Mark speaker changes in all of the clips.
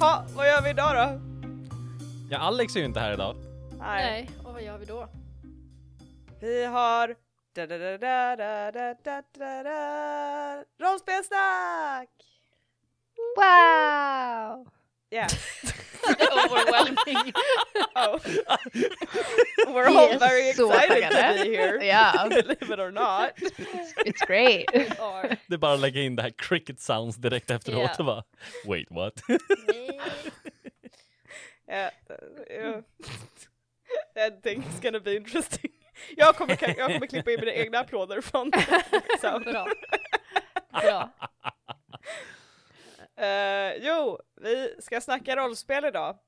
Speaker 1: Ha, vad gör vi idag då?
Speaker 2: Ja, Alex är ju inte här idag.
Speaker 1: Nej.
Speaker 3: Nej, och vad gör vi då?
Speaker 1: Vi har... da, da, da, da, da, da, da, da, da. Rollspelsnack!
Speaker 3: Wow!
Speaker 1: Yeah.
Speaker 3: Overwhelming.
Speaker 1: Oh. We're all
Speaker 3: Yes.
Speaker 1: very
Speaker 3: Så
Speaker 1: excited to
Speaker 3: taggade.
Speaker 1: be here.
Speaker 3: yeah,
Speaker 1: Alltså, Believe it or not.
Speaker 3: it's great.
Speaker 1: Or,
Speaker 2: Det är bara att lägga in det här cricket sounds direkt efteråt
Speaker 3: Ja.
Speaker 2: och bara wait what?
Speaker 1: yeah, yeah. That thing's gonna be interesting. Jag kommer, jag kommer klippa in mina egna applåder från liksom. sound.
Speaker 3: Bra. Bra.
Speaker 1: Eh, jo, vi ska snacka rollspel idag.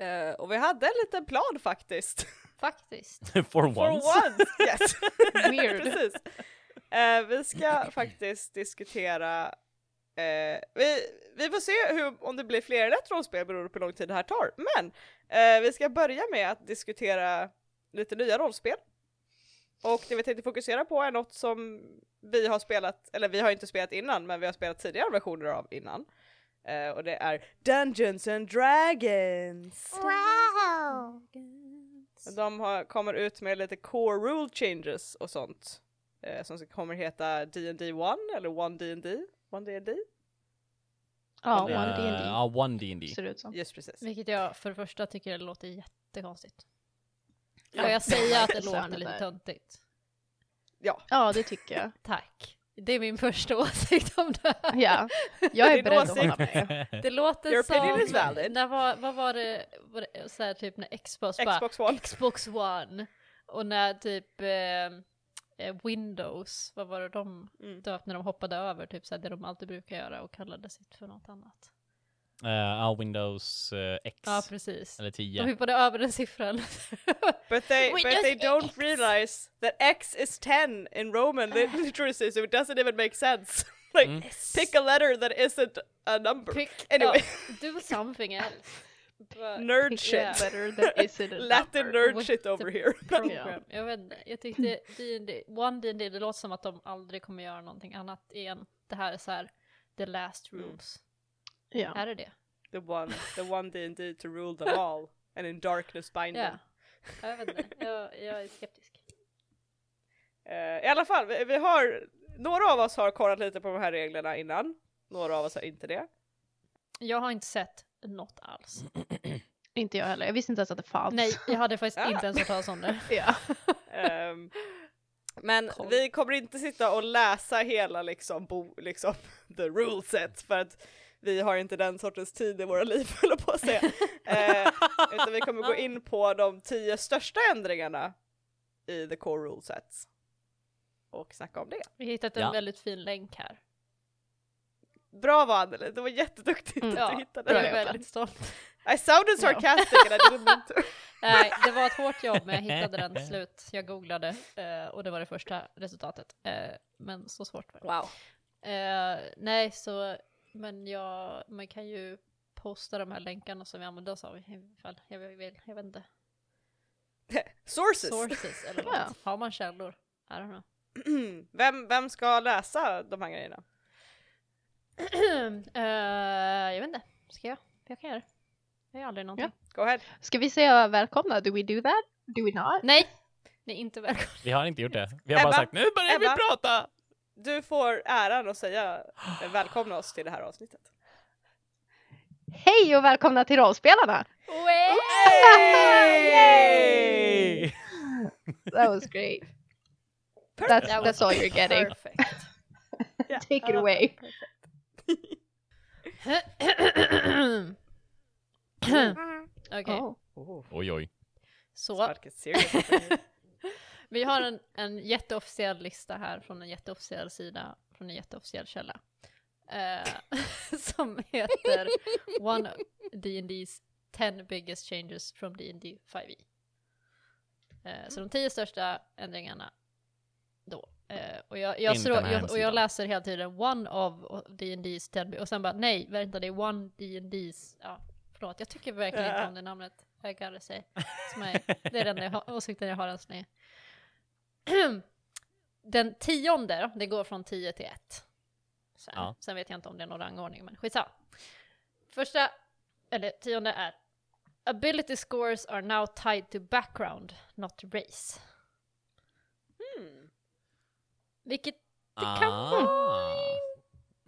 Speaker 1: Eh, och vi hade en liten plan faktiskt.
Speaker 3: Faktiskt.
Speaker 2: For
Speaker 1: For
Speaker 2: once.
Speaker 1: once! Yes.
Speaker 3: Weird.
Speaker 1: Precis. Eh, vi ska faktiskt diskutera, eh, vi, vi får se hur, om det blir fler än ett rollspel beroende på hur lång tid det här tar. Men eh, vi ska börja med att diskutera lite nya rollspel. Och det vi tänkte fokusera på är något som vi har spelat, eller vi har inte spelat innan, men vi har spelat tidigare versioner av innan. Eh, och det är Dungeons and Dragons!
Speaker 3: Wow!
Speaker 1: De har, kommer ut med lite core rule changes och sånt. Eh, som kommer heta D&D 1 eller 1 D&D 1 D&D
Speaker 3: Ja,
Speaker 2: Eh,
Speaker 3: One D&D
Speaker 2: Ja, one D&D.
Speaker 3: ser det ut som.
Speaker 1: Just precis.
Speaker 4: Vilket jag för det första tycker låter jättekonstigt.
Speaker 3: Ja.
Speaker 4: Får jag säga att det
Speaker 3: Sen det
Speaker 4: låter lite
Speaker 3: där.
Speaker 4: töntigt?
Speaker 3: Ja, det tycker jag.
Speaker 4: Tack. Det är min första åsikt om det här.
Speaker 3: Ja, jag
Speaker 1: Din
Speaker 3: är beredd att
Speaker 1: åsikt.
Speaker 3: hålla med.
Speaker 4: Det låter
Speaker 1: Your
Speaker 4: som...
Speaker 1: opinion is valid.
Speaker 4: När var, vad var det, var det så här, typ när Xbox,
Speaker 1: Xbox One.
Speaker 4: bara Xbox One och när typ eh, eh, Windows, vad var det de
Speaker 1: Mm.
Speaker 4: döpte när de hoppade över typ så här, det de alltid brukar göra och kallade sitt för något annat.
Speaker 2: Eh, ja, Windows eh, X.
Speaker 4: Ja precis.
Speaker 2: Eller
Speaker 4: De
Speaker 2: 10.
Speaker 4: hoppade över den siffran.
Speaker 1: But they,
Speaker 3: We
Speaker 1: but
Speaker 3: just
Speaker 1: they don't
Speaker 3: X.
Speaker 1: realize that X is 10 in Roman lit- literacy so it doesn't even make sense. like,
Speaker 2: Mm.
Speaker 1: pick a letter that isn't a number.
Speaker 4: Pick,
Speaker 1: Anyway.
Speaker 4: ja, do something else. But-
Speaker 1: nerd shit.
Speaker 4: Yeah.
Speaker 3: Better than is it a
Speaker 1: Latin
Speaker 3: number.
Speaker 1: nerd
Speaker 4: What's
Speaker 1: shit
Speaker 4: the
Speaker 1: over here.
Speaker 4: program. Jag vet inte, jag tyckte D&D, One D&D det låter som att de aldrig kommer göra någonting annat igen. Det här är så här, the last rules.
Speaker 3: Ja.
Speaker 4: Är det det?
Speaker 1: the one, the one D&D to rule them all. And in darkness bind
Speaker 4: Ja.
Speaker 1: them.
Speaker 4: Jag vet inte, jag, jag är skeptisk.
Speaker 1: Eh, I alla fall, vi, vi har, några av oss har kollat lite på de här reglerna innan. Några av oss har inte det.
Speaker 4: Jag har inte sett något alls.
Speaker 3: Inte jag heller. Jag visste inte ens att det fanns.
Speaker 4: Nej, jag hade faktiskt
Speaker 1: Ah.
Speaker 4: inte ens hört talas om det.
Speaker 3: Ja.
Speaker 1: Ehm, men vi kommer inte sitta och läsa hela liksom, bo, liksom the rule set för att vi har inte den sortens tid i våra liv höll jag på att säga. Eh, utan vi kommer gå in på de tio största ändringarna i the core rule sets. Och snacka om det.
Speaker 4: Vi har hittat en
Speaker 2: Ja.
Speaker 4: väldigt fin länk här.
Speaker 1: Bra var Anneli, du var jätteduktig
Speaker 3: Mm.
Speaker 1: att du
Speaker 4: Ja,
Speaker 1: hittade
Speaker 4: jag
Speaker 3: bra
Speaker 4: är
Speaker 1: det.
Speaker 3: jobbat.
Speaker 4: väldigt stolt.
Speaker 1: I sounded
Speaker 3: Ja.
Speaker 1: sarcastic and I didn't mean to.
Speaker 4: Nej, det var ett hårt jobb men jag hittade den till slut. Jag googlade eh, och det var det första resultatet. Eh, Men så svårt var det.
Speaker 1: Wow.
Speaker 4: Eh, nej, så, men jag, man kan ju posta de här länkarna som vi använder oss av ifall jag vill, jag vet inte.
Speaker 1: Sources!
Speaker 4: Sources eller något.
Speaker 3: Ja.
Speaker 4: Har man källor? I don't know.
Speaker 1: vem, vem ska läsa de här grejerna?
Speaker 4: Eh, jag vet inte, ska jag? Jag kan göra det. Jag gör aldrig någonting.
Speaker 1: Go ahead.
Speaker 3: Ska vi säga välkomna? Do we do that? Do we not?
Speaker 4: Nej! Ni är inte välkomna.
Speaker 2: Vi har inte gjort det. Vi har bara
Speaker 1: Ebba?
Speaker 2: sagt nu börjar
Speaker 1: Ebba?
Speaker 2: vi prata!
Speaker 1: Du får äran att säga eh, välkomna oss till det här avsnittet.
Speaker 3: Hej och välkomna till Rollspelarna!
Speaker 2: Hey!
Speaker 3: That was great.
Speaker 1: Perfect.
Speaker 3: That's, that's all you're getting.
Speaker 4: Perfect.
Speaker 3: Take it away.
Speaker 4: Okej,
Speaker 3: Oh.
Speaker 1: Oh,
Speaker 2: Oj oj.
Speaker 4: så.
Speaker 1: Marcus, serious. Okej.
Speaker 4: Vi har en, en jätteofficiell lista här från en jätteofficiell sida, från en jätteofficiell källa. Eh, som heter One D&D's 10 biggest changes from D&D 5e. Eh, så de tio största ändringarna då. Eh, och jag, jag,
Speaker 2: Inte
Speaker 4: slår,
Speaker 2: den här
Speaker 4: jag, och jag
Speaker 2: hemsidan.
Speaker 4: läser hela tiden One of D&D's 10 bi-" och sen bara nej, vänta det är One D&D's, ja förlåt jag tycker verkligen inte om det namnet. I gotta say. Som är, det är den jag har, åsikten jag har än så länge. Den tionde då, det går från 10 till 1. Sen,
Speaker 2: Ja.
Speaker 4: sen vet jag inte om det är någon rangordning, men skitsamma. Första, eller tionde är Ability scores are now tied to background, not race.
Speaker 1: Hmm.
Speaker 4: Vilket kan vara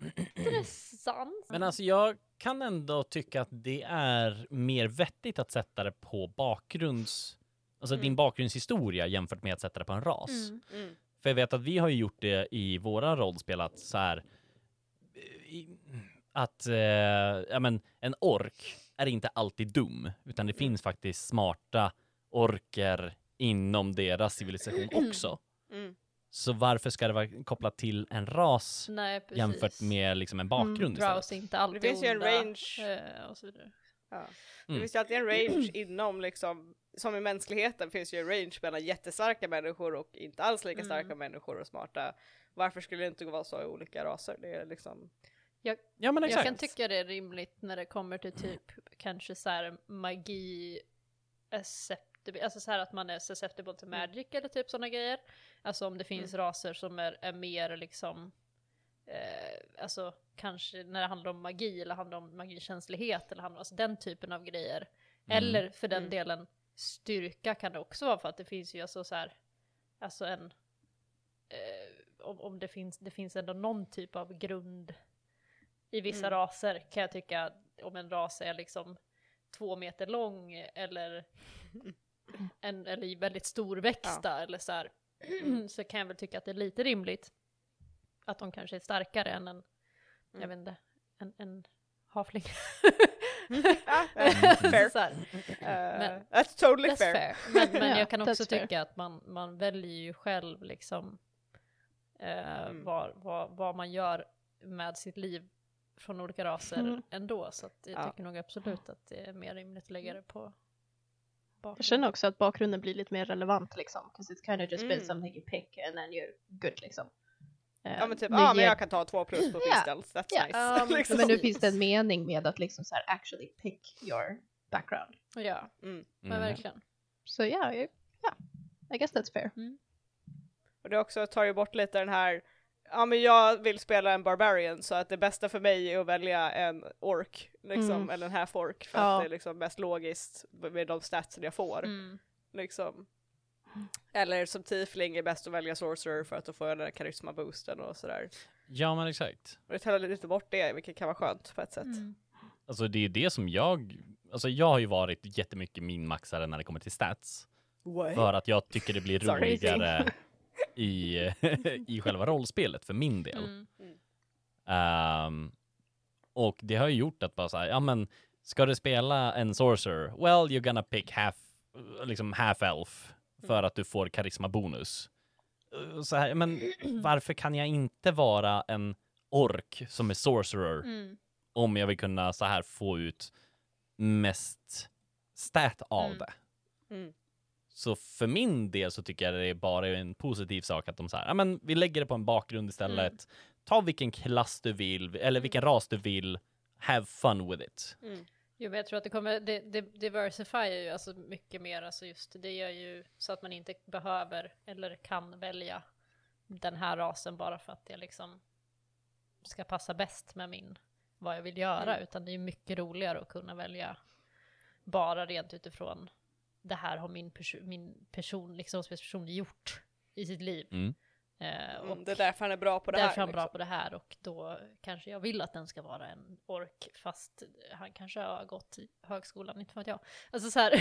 Speaker 2: Ah.
Speaker 4: intressant.
Speaker 2: Men alltså jag kan ändå tycka att det är mer vettigt att sätta det på bakgrunds... Alltså
Speaker 1: Mm.
Speaker 2: din bakgrundshistoria jämfört med att sätta det på en ras.
Speaker 4: Mm.
Speaker 1: Mm.
Speaker 2: För jag vet att vi har ju gjort det i våra rollspel att så här eh, i- att eh, ja, men en ork är inte alltid dum, utan
Speaker 1: Mm.
Speaker 2: det finns faktiskt smarta orker inom deras civilisation också.
Speaker 1: Mm.
Speaker 2: Så varför ska det vara kopplat till en ras
Speaker 4: Nej, precis.
Speaker 2: jämfört med liksom en bakgrund
Speaker 4: mm,
Speaker 2: istället?
Speaker 4: Drows är inte alltid
Speaker 1: Det finns ju en
Speaker 4: onda,
Speaker 1: range.
Speaker 4: eh, och så vidare.
Speaker 1: Ja. Det
Speaker 2: Mm.
Speaker 1: finns ju alltid en range inom liksom, som i mänskligheten finns ju en range mellan jättestarka människor och inte alls lika starka
Speaker 4: Mm.
Speaker 1: människor och smarta. Varför skulle det inte vara så i olika raser? Det är liksom,
Speaker 2: Ja, men
Speaker 4: Jag
Speaker 2: exakt.
Speaker 4: kan tycka det är rimligt när det kommer till typ kanske så här magi acceptable, alltså så här att man är susceptible
Speaker 2: Mm.
Speaker 4: till magic eller typ sådana grejer. Alltså om det finns raser som är, är mer liksom, eh, alltså kanske när det handlar om magi eller handlar om magikänslighet eller handlar, alltså den typen av grejer.
Speaker 2: Mm.
Speaker 4: Eller för den
Speaker 1: Mm.
Speaker 4: delen styrka kan det också vara för att det finns ju alltså så här, alltså en, eh, om, om det finns, det finns ändå någon typ av grund i vissa
Speaker 1: Mm.
Speaker 4: raser kan jag tycka om en ras är liksom två meter lång eller, en, eller väldigt storväxta eller så här, så kan jag väl tycka att det är lite rimligt att de kanske är starkare än en, jag
Speaker 1: Mm.
Speaker 4: vet inte, en, en havling.
Speaker 1: ah,
Speaker 4: Så
Speaker 1: fair.
Speaker 4: så här.
Speaker 1: Eh,
Speaker 4: Men-
Speaker 1: that's totally
Speaker 4: That's
Speaker 1: fair.
Speaker 4: fair. Men, men
Speaker 3: Ja,
Speaker 4: jag kan också
Speaker 3: that's fair.
Speaker 4: tycka att man, man väljer ju själv liksom eh,
Speaker 1: Mm.
Speaker 4: vad, vad, vad man gör med sitt liv från olika raser
Speaker 3: Mm.
Speaker 4: ändå. Så att jag
Speaker 1: Ja.
Speaker 4: tycker nog absolut att det är mer rimligt att lägga det på
Speaker 3: Jag
Speaker 4: bakgrunden.
Speaker 3: känner också att bakgrunden blir lite mer relevant liksom. 'Cause it's kind of just
Speaker 1: Mm.
Speaker 3: been something you pick and then you're good liksom. Eh,
Speaker 1: Ja men typ,
Speaker 3: det
Speaker 1: ja ah, men
Speaker 3: ger-
Speaker 1: jag kan ta två plus på
Speaker 3: Ja.
Speaker 1: pistols, that's
Speaker 3: Ja.
Speaker 4: Ja,
Speaker 1: nice.
Speaker 4: men-
Speaker 1: liksom.
Speaker 3: Men nu
Speaker 4: Precis.
Speaker 3: finns det en mening med att liksom så här actually pick your background.
Speaker 4: Ja, men
Speaker 2: Mm.
Speaker 4: verkligen.
Speaker 3: Så ja, ja, I guess that's fair.
Speaker 1: Mm. Och det också tar ju bort lite den här, ja men jag vill spela en barbarian så att det bästa för mig är att välja en ork, liksom,
Speaker 3: Mm.
Speaker 1: eller en half ork för
Speaker 3: Ja.
Speaker 1: att det är liksom mest logiskt med de statsen jag får.
Speaker 4: Mm.
Speaker 1: Liksom. Eller som tiefling är bäst att välja sorcerer för att då får jag den här karisma-boosten och sådär.
Speaker 2: Ja, men exakt.
Speaker 1: Och det tar lite bort det, vilket kan vara skönt på ett sätt.
Speaker 4: Mm.
Speaker 2: Alltså det är det som jag... Alltså jag har ju varit jättemycket min maxare när det kommer till stats. För att jag tycker det blir
Speaker 1: Sorry.
Speaker 2: roligare i, i själva rollspelet för min del.
Speaker 4: Mm.
Speaker 2: Ehm, och det har ju gjort att bara så här, ja men ska du spela en sorcerer? Well, you're gonna pick half, eh, liksom half elf för att du får karisma bonus. Så här, men varför kan jag inte vara en ork som är sorcerer
Speaker 4: Mm.
Speaker 2: om jag vill kunna så här få ut mest stat av
Speaker 4: Mm.
Speaker 2: det?
Speaker 1: Mm.
Speaker 2: Så för min del så tycker jag det är bara en positiv sak att de så här, ja men vi lägger det på en bakgrund istället. Ta vilken klass du vill, eller vilken ras du vill. Have fun with it.
Speaker 4: Jo, men jag tror att det kommer, det, det diversifierar ju alltså mycket mer, alltså just det gör ju så att man inte behöver eller kan välja den här rasen bara för att det liksom ska passa bäst med min, vad jag vill göra,
Speaker 1: Mm.
Speaker 4: utan det är ju mycket roligare att kunna välja bara rent utifrån det här har min, perso- min person, liksom person gjort i sitt liv.
Speaker 2: Mm.
Speaker 4: Eh, och
Speaker 1: Mm, det är därför han är bra på det
Speaker 4: därför
Speaker 1: här.
Speaker 4: han är bra
Speaker 2: liksom.
Speaker 4: på det här och då kanske jag vill att den ska vara en ork fast han kanske har gått i högskolan, inte för att jag. Alltså så här,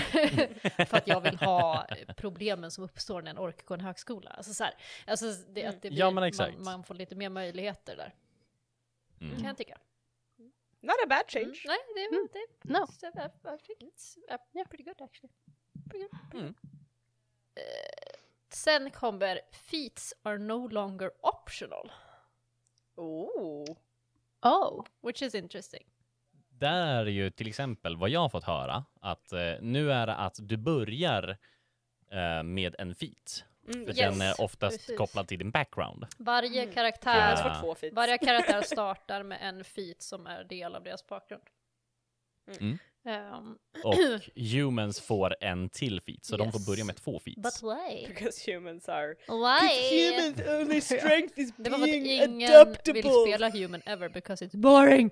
Speaker 4: för att jag vill ha problemen som uppstår när en ork går en högskola. Alltså så här, alltså det, att det blir,
Speaker 2: Mm. Ja, men exakt.
Speaker 4: Man, man får lite mer möjligheter där,
Speaker 2: Mm.
Speaker 4: kan jag tycka.
Speaker 1: liksom. Not a bad
Speaker 4: Mm.
Speaker 1: change.
Speaker 4: Nej, det var
Speaker 3: Mm.
Speaker 4: inte...
Speaker 3: No.
Speaker 4: So I, I think it's uh, yeah, pretty good actually. Pretty good. Pretty
Speaker 2: Mm.
Speaker 4: good. Eh, sen kommer feats are no longer optional,
Speaker 1: Oh.
Speaker 3: Oh.
Speaker 4: which is interesting.
Speaker 2: Där är ju till exempel vad jag har fått höra, att eh, nu är det att du börjar eh, med en feat.
Speaker 1: Mm, yes.
Speaker 2: För den är oftast
Speaker 4: precis.
Speaker 2: kopplad till din background.
Speaker 4: Varje
Speaker 1: Mm.
Speaker 4: karaktär
Speaker 1: Jag
Speaker 2: Ja.
Speaker 1: har fått två feats.
Speaker 4: Varje karaktär startar med en feat som är del av deras bakgrund.
Speaker 2: Mm.
Speaker 4: Ehm,
Speaker 2: Och humans får en till feat, så de
Speaker 4: Yes.
Speaker 2: får börja med två feats.
Speaker 4: why?
Speaker 1: Because humans are...
Speaker 4: Why?
Speaker 1: only strength is
Speaker 4: Det var för att ingen vill spela human ever because it's
Speaker 1: boring!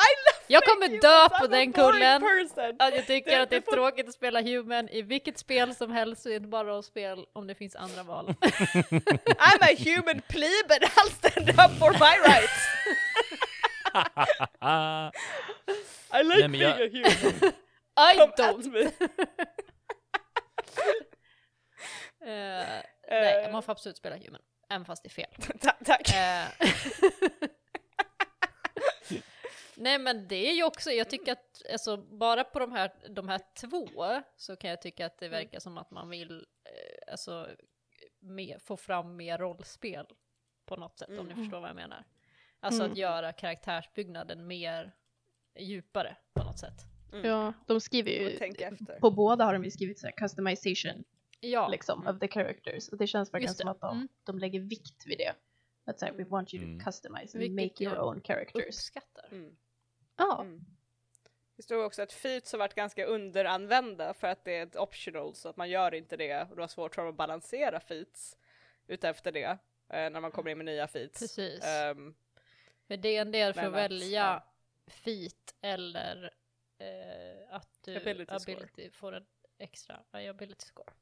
Speaker 1: I love
Speaker 4: Jag kommer dö
Speaker 1: I'm
Speaker 4: på
Speaker 1: a
Speaker 4: den
Speaker 1: boring
Speaker 4: kullen.
Speaker 1: person.
Speaker 4: Att jag tycker
Speaker 1: Det-
Speaker 4: att det är
Speaker 1: det får-
Speaker 4: tråkigt att spela human i vilket spel som helst, och inte bara rollspel om det finns andra val.
Speaker 1: I'm a human plebe and I'll stand up for my rights.
Speaker 2: Ah,
Speaker 1: I like
Speaker 2: Nej, men jag-
Speaker 1: being a human.
Speaker 4: I
Speaker 1: Come at
Speaker 4: don't!
Speaker 1: me.
Speaker 4: Eh, nej, man får absolut spela human, även fast det är fel.
Speaker 1: Ta- tack.
Speaker 4: Eh. Nej men det är ju också, jag tycker att alltså, bara på de här, de här två så kan jag tycka att
Speaker 3: Mm.
Speaker 4: det verkar som att man vill eh, alltså, mer, få fram mer rollspel på något sätt om ni
Speaker 1: Mm.
Speaker 4: förstår vad jag menar. Alltså
Speaker 3: Mm.
Speaker 4: att göra karaktärsbyggnaden mer djupare på något sätt.
Speaker 3: Ja, de skriver
Speaker 1: Mm. Jag får
Speaker 3: ju...
Speaker 1: tänka efter.
Speaker 3: På båda har de ju skrivit så här customization
Speaker 4: Ja,
Speaker 3: liksom
Speaker 1: Mm.
Speaker 3: of the characters och det känns verkligen
Speaker 4: Just det.
Speaker 3: som att de,
Speaker 4: Mm.
Speaker 3: de lägger vikt vid det. Att så här, we want you to
Speaker 2: Mm.
Speaker 3: customize and
Speaker 4: Vilket
Speaker 3: make your
Speaker 4: jag
Speaker 3: own characters.
Speaker 4: uppskattar.
Speaker 1: Mm.
Speaker 3: Ja,
Speaker 1: Mm. Det stod också att feats har varit ganska underanvända för att det är ett optional så att man gör inte det och då har svårt för att balansera feats utefter det eh, när man kommer in med nya feats.
Speaker 4: Precis.
Speaker 1: Ehm,
Speaker 4: För det är en del för
Speaker 1: Men
Speaker 4: att
Speaker 1: att-
Speaker 4: välja feat eller eh, att du
Speaker 1: Ability score.
Speaker 4: ability får en extra ja, ability score.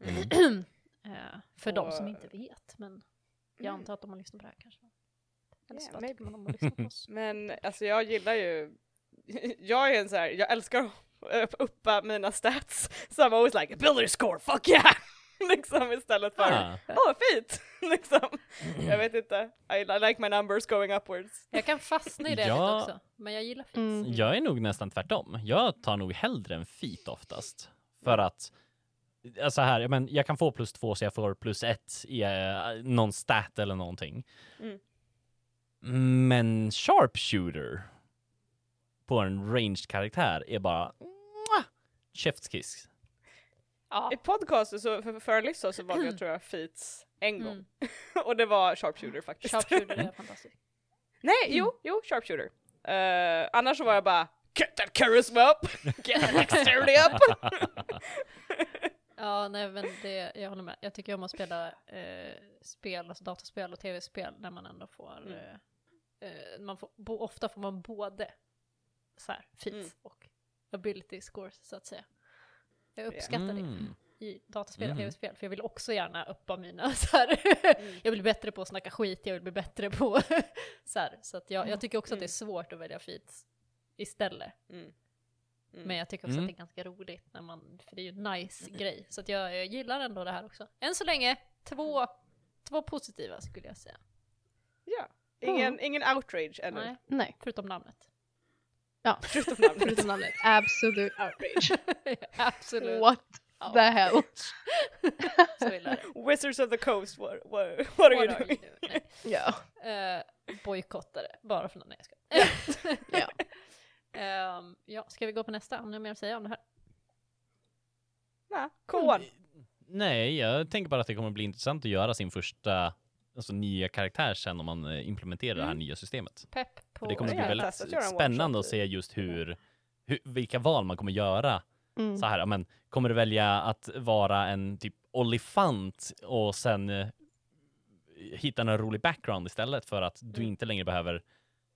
Speaker 2: mm.
Speaker 4: Eh, för de som
Speaker 1: Och-
Speaker 4: inte vet, men jag
Speaker 1: Mm.
Speaker 4: antar att de har lyssnat på det här kanske. Eller så
Speaker 1: Yeah,
Speaker 4: bara
Speaker 1: maybe.
Speaker 4: tycker man om att lyssna på oss.
Speaker 1: Men alltså jag gillar ju, jag är en så här, jag älskar att uppa mina stats. Så I'm always like ability score, fuck yeah! liksom istället för
Speaker 2: Ah.
Speaker 1: åh fint! liksom. Jag vet inte, I, I like my numbers going upwards.
Speaker 4: Jag kan fastna i det
Speaker 2: Ja.
Speaker 4: lite också, men jag gillar feats.
Speaker 3: Mm.
Speaker 2: Jag är nog nästan tvärtom. Jag tar nog hellre en fit oftast. För att, eh, så här, ja, men jag kan få plus två så jag får plus ett i eh, någon stat eller någonting.
Speaker 1: Mm.
Speaker 2: Men sharpshooter på en ranged karaktär är bara mwah, käftskiss.
Speaker 4: Ja.
Speaker 1: I podcasten så, för, för Alyssa så valde jag tror jag feats en gång.
Speaker 4: Mm.
Speaker 1: Och det var sharpshooter faktiskt.
Speaker 4: Sharpshooter
Speaker 1: Mm.
Speaker 4: är fantastiskt.
Speaker 1: Nej, jo, jo, sharpshooter. Eh, annars så var jag bara Get that charisma up! Get that dexterity up!
Speaker 4: Ja, nej men det, jag håller med. Jag tycker om att spela eh, spel, alltså dataspel och tv-spel när man ändå får,
Speaker 1: Mm.
Speaker 4: eh, eh, man får bo, ofta får man både så här, feats
Speaker 1: Mm.
Speaker 4: och ability scores så att säga. Jag
Speaker 1: Yeah.
Speaker 4: uppskattar
Speaker 2: Mm.
Speaker 4: det i dataspel och
Speaker 2: Mm.
Speaker 4: tv-spel, för jag vill också gärna uppa mina så här, jag vill bli bättre på att snacka skit, jag vill bli bättre på så här, så att jag, jag tycker också att det är svårt att välja feats istället.
Speaker 1: Mm. Mm.
Speaker 4: Men jag tycker också
Speaker 2: Mm.
Speaker 4: att det är ganska roligt när man, för det är ju en nice grej. Så att jag, jag gillar ändå det här också. Än så länge, två, två positiva skulle jag säga.
Speaker 1: Ja. Ingen, ingen outrage ännu.
Speaker 4: Nej,
Speaker 3: nej.
Speaker 4: förutom namnet.
Speaker 3: Ja,
Speaker 1: Förutom namnet.
Speaker 3: förutom namnet. Absolute outrage.
Speaker 4: Absolut.
Speaker 3: What
Speaker 4: Ja,
Speaker 3: the hell?
Speaker 4: så illa är det.
Speaker 1: Wizards of the coast, what, what, what are you
Speaker 4: What are
Speaker 1: doing?
Speaker 4: you doing? Nej.
Speaker 3: Ja.
Speaker 4: Eh, bojkottade, bara för någon. Nej, jag skojar.
Speaker 3: Ja.
Speaker 4: Ehm, ja, ska vi gå på nästa? Har ni mer att säga om det här?
Speaker 1: Nah, cool
Speaker 4: Mm.
Speaker 1: one.
Speaker 2: Nej, jag tänker bara att det kommer bli intressant att göra sin första alltså, nya karaktär sen om man eh, implementerar det här
Speaker 1: Mm.
Speaker 2: nya systemet.
Speaker 4: Pepp på...
Speaker 2: För det kommer
Speaker 1: jag
Speaker 2: att bli
Speaker 1: har
Speaker 2: väldigt
Speaker 1: testat att göra en
Speaker 2: spännande
Speaker 1: workshop
Speaker 2: att
Speaker 1: i-
Speaker 2: se just hur, hur, vilka val man kommer göra.
Speaker 3: Mm.
Speaker 2: Så här, ja, men, kommer du välja att vara en typ olifant och sen eh, hitta en rolig background istället för att du
Speaker 1: Mm.
Speaker 2: inte längre behöver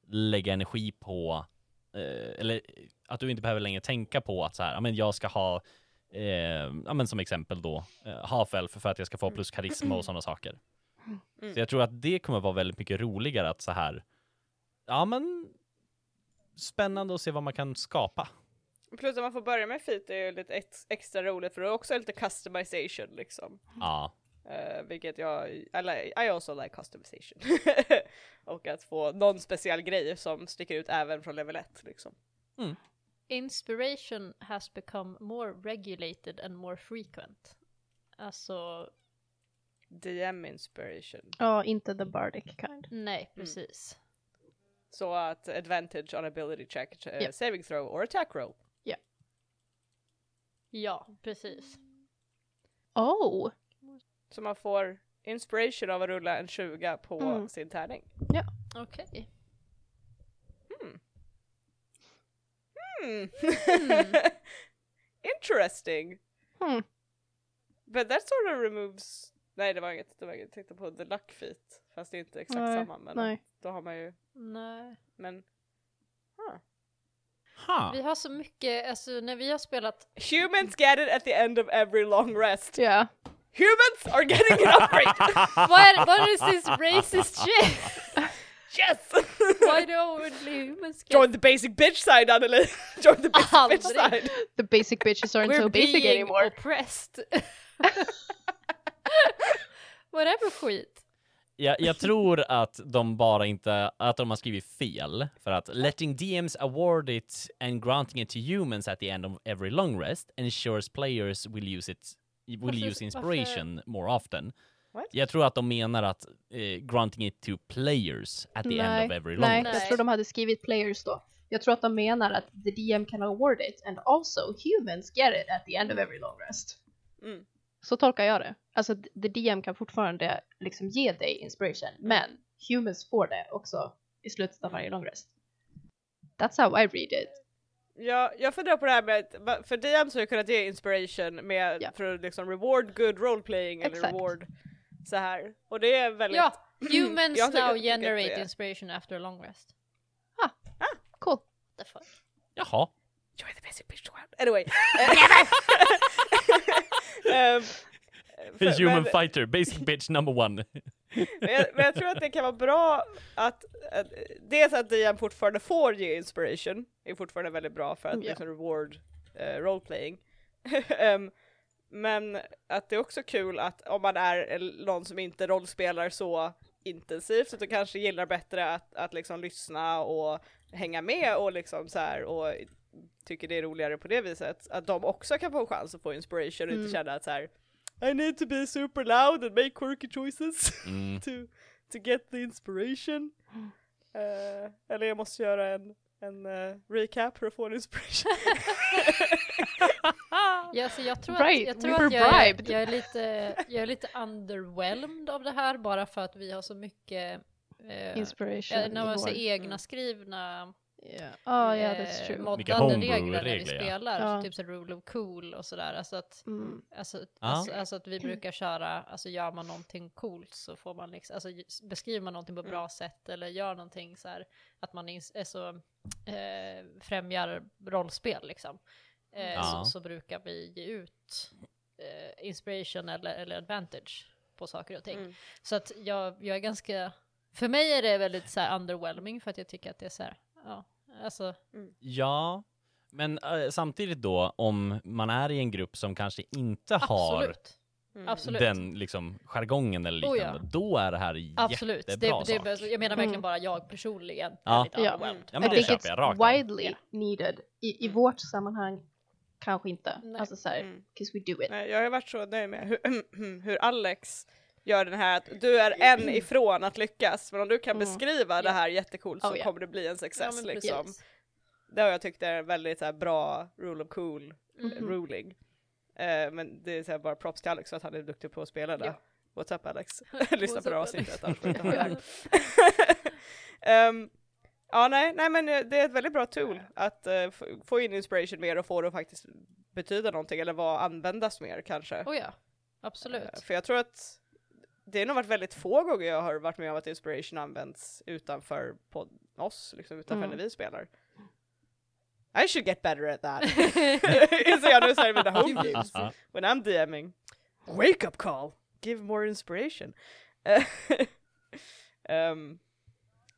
Speaker 2: lägga energi på, eh, eller att du inte behöver längre tänka på att så här, ja, men jag ska ha, eh, ja, men som exempel då, eh, half-elf för att jag ska få plus karisma och sådana saker.
Speaker 1: Mm.
Speaker 2: Så jag tror att det kommer vara väldigt mycket roligare att så här, ja men spännande att se vad man kan skapa.
Speaker 1: Plus att man får börja med feet är ju lite ex- extra roligt för det är också lite customization liksom.
Speaker 2: Ja.
Speaker 1: Eh, vilket jag, I, li- I also like customization. och att få någon speciell grej som sticker ut även från level 1 liksom.
Speaker 4: Inspiration has become more regulated and more frequent. Alltså,
Speaker 1: DM inspiration.
Speaker 3: Ja, inte Oh, the bardic kind.
Speaker 4: nej precis.
Speaker 1: Så att advantage on ability check, eh,
Speaker 3: Yep.
Speaker 1: saving throw or attack roll.
Speaker 4: Ja, precis.
Speaker 3: Oh!
Speaker 1: Så man får inspiration av att rulla en 20 på
Speaker 3: Mm.
Speaker 1: sin tärning.
Speaker 4: Okej.
Speaker 3: Mm.
Speaker 1: Hmm. Interesting.
Speaker 3: Hmm.
Speaker 1: But that sort of removes... Nej det var inget, det var inget. Jag tänkte på the luck feat. Fast det är inte exakt
Speaker 3: Nej,
Speaker 1: samma men
Speaker 3: Nej.
Speaker 1: då har man ju...
Speaker 4: Nej.
Speaker 1: Men... Huh.
Speaker 2: Ha.
Speaker 4: Vi har så mycket, alltså när vi har spelat
Speaker 1: Humans get it at the end of every long rest.
Speaker 3: Ja.
Speaker 1: Humans are getting an upgrade!
Speaker 4: Vad är, vad är this racist shit?
Speaker 1: yes!
Speaker 4: Why do only humans get
Speaker 1: Join the basic bitch side Anneli! Join the basic bitch
Speaker 4: Aldrig.
Speaker 1: side!
Speaker 3: The basic bitches aren't so
Speaker 4: We're
Speaker 3: basic
Speaker 4: being
Speaker 3: anymore.
Speaker 4: oppressed. Whatever skit.
Speaker 2: Jag, jag tror att de bara inte, att de har skrivit fel. För att letting DMs award it and granting it to humans at the end of every long rest ensures players will use it, will
Speaker 4: Varför-
Speaker 2: use inspiration more often.
Speaker 1: What?
Speaker 2: Jag tror att de menar att eh, granting it to players at the end of every long
Speaker 3: nej,
Speaker 2: rest.
Speaker 3: jag tror de hade skrivit players då. Jag tror att de menar att the DM can award it and also humans get it at the end of every long rest.
Speaker 1: Mm.
Speaker 3: Så tolkar jag det. Alltså the DM kan fortfarande liksom ge dig inspiration men humans får det också i slutet av varje long rest. That's how I read it.
Speaker 1: Ja, jag funderar på det här med att, va- för DMs har ju kunnat ge inspiration med,
Speaker 3: Ja.
Speaker 1: för att liksom reward good roleplaying eller
Speaker 3: Exakt.
Speaker 1: reward så här. Och det är väldigt...
Speaker 4: Ja, humans
Speaker 1: Jag tycker-
Speaker 4: now
Speaker 1: tycker att det
Speaker 4: generate
Speaker 1: är-
Speaker 4: inspiration after a long rest.
Speaker 3: Cool.
Speaker 4: The fuck?
Speaker 2: Jaha.
Speaker 1: Join the basic bitch squad. Anyway. Eh, ehm, för-
Speaker 2: Human
Speaker 1: men-
Speaker 2: fighter, basic bitch number one.
Speaker 1: men, jag, men jag tror att det kan vara bra att, att dels att DM fortfarande får ge inspiration, är fortfarande väldigt bra för att
Speaker 3: Ja.
Speaker 1: liksom reward eh, roleplaying. Ehm, men att det är också kul att om man är en- någon som inte rollspelar så intensivt, så att du kanske gillar bättre att, att liksom lyssna och hänga med och liksom så här och tycker det är roligare på det viset, att de också kan få en chans att få inspiration och inte känna att så här I need to be super loud and make quirky choices
Speaker 2: Mm.
Speaker 1: to, to get the inspiration. Eh, eller jag måste göra en, en eh, recap för att få en inspiration.
Speaker 4: Ja, så jag tror att,
Speaker 3: Right,
Speaker 4: jag,
Speaker 3: we
Speaker 4: tror
Speaker 3: were
Speaker 4: att jag, är,
Speaker 3: bribed.
Speaker 4: jag, är lite, jag är lite underwhelmed av det här bara för att vi har så mycket eh,
Speaker 3: Inspiration.
Speaker 4: eh, när man
Speaker 3: reward.
Speaker 4: säger egna skrivna
Speaker 3: Yeah. Oh yeah, that's
Speaker 4: eh,
Speaker 3: true.
Speaker 2: Vilka
Speaker 4: moddade
Speaker 2: homebrew-
Speaker 4: regler när vi
Speaker 2: regler, ja.
Speaker 4: spelar,
Speaker 3: Ja.
Speaker 4: typ så rule of cool och sådär. Alltså att,
Speaker 3: Mm.
Speaker 4: alltså,
Speaker 2: Ja.
Speaker 4: alltså, alltså att vi brukar köra, alltså gör man någonting coolt så får man liksom, alltså j- beskriver man någonting på
Speaker 3: Mm.
Speaker 4: bra sätt eller gör någonting så här att man ins- är så, eh, främjar rollspel liksom. Eh,
Speaker 3: Mm.
Speaker 2: Ja.
Speaker 4: så, så brukar vi ge ut eh, inspiration eller, eller advantage på saker och ting.
Speaker 1: Mm.
Speaker 4: Så att jag, jag är ganska, för mig är det väldigt så här underwhelming för att jag tycker att det är så här, ja, alltså
Speaker 2: Ja, men eh, samtidigt då, om man är i en grupp som kanske inte har
Speaker 4: absolut.
Speaker 1: Mm.
Speaker 4: Absolut.
Speaker 2: den liksom jargongen eller
Speaker 4: Oh,
Speaker 2: liknande,
Speaker 4: ja.
Speaker 2: då är det här
Speaker 4: Absolut, det,
Speaker 2: jättebra
Speaker 4: det,
Speaker 2: sak.
Speaker 4: jag menar verkligen
Speaker 3: Mm.
Speaker 4: bara jag personligen
Speaker 2: Ja.
Speaker 4: är lite
Speaker 3: Ja.
Speaker 4: underwhelmed. Alltså,
Speaker 2: Ja, men
Speaker 3: I
Speaker 2: det
Speaker 3: think
Speaker 2: köper
Speaker 3: it's
Speaker 2: jag rakt av.
Speaker 3: widely needed. I, I vårt sammanhang kanske inte.
Speaker 4: Nej.
Speaker 3: Alltså såhär,
Speaker 1: Mm.
Speaker 3: 'cause we do it.
Speaker 1: Nej, jag har ju varit så nöjd med hur, hur Alex gör den här att du är en ifrån att lyckas, men om du kan
Speaker 3: Mm.
Speaker 1: beskriva det
Speaker 4: Mm. Ja.
Speaker 1: här jättecoolt så
Speaker 3: Oh, ja.
Speaker 1: kommer det bli en
Speaker 4: Ja,
Speaker 1: success
Speaker 4: men
Speaker 1: liksom.
Speaker 4: precis.
Speaker 1: Det har jag tyckt är en väldigt så här, bra rule of cool
Speaker 4: Mhm.
Speaker 3: Mm.
Speaker 1: eh, ruling. Eh, men det är så här, bara props till Alex för att han är duktig på att spela det.
Speaker 4: Ja.
Speaker 1: What's up Alex? Lyssna
Speaker 4: What's
Speaker 1: på det
Speaker 4: up,
Speaker 1: avsnittet.
Speaker 4: Alex?
Speaker 1: annars får du inte höra det. Ehm, ja, nej, nej, men eh, det är ett väldigt bra tool att eh, f- få in inspiration mer och få det att faktiskt betyda någonting eller vara användas mer kanske.
Speaker 4: Oh ja,
Speaker 1: Eh,
Speaker 4: absolut.
Speaker 1: För jag tror att det är nog varit väldigt få gånger jag har varit med om att inspiration används utanför podd- oss, liksom utanför
Speaker 3: Mm.
Speaker 1: när vi spelar. I should get better at that. Inser jag nu såhär i mina home games.
Speaker 2: Ja.
Speaker 1: When I'm DMing. Wake up call! Give more inspiration. Ehm,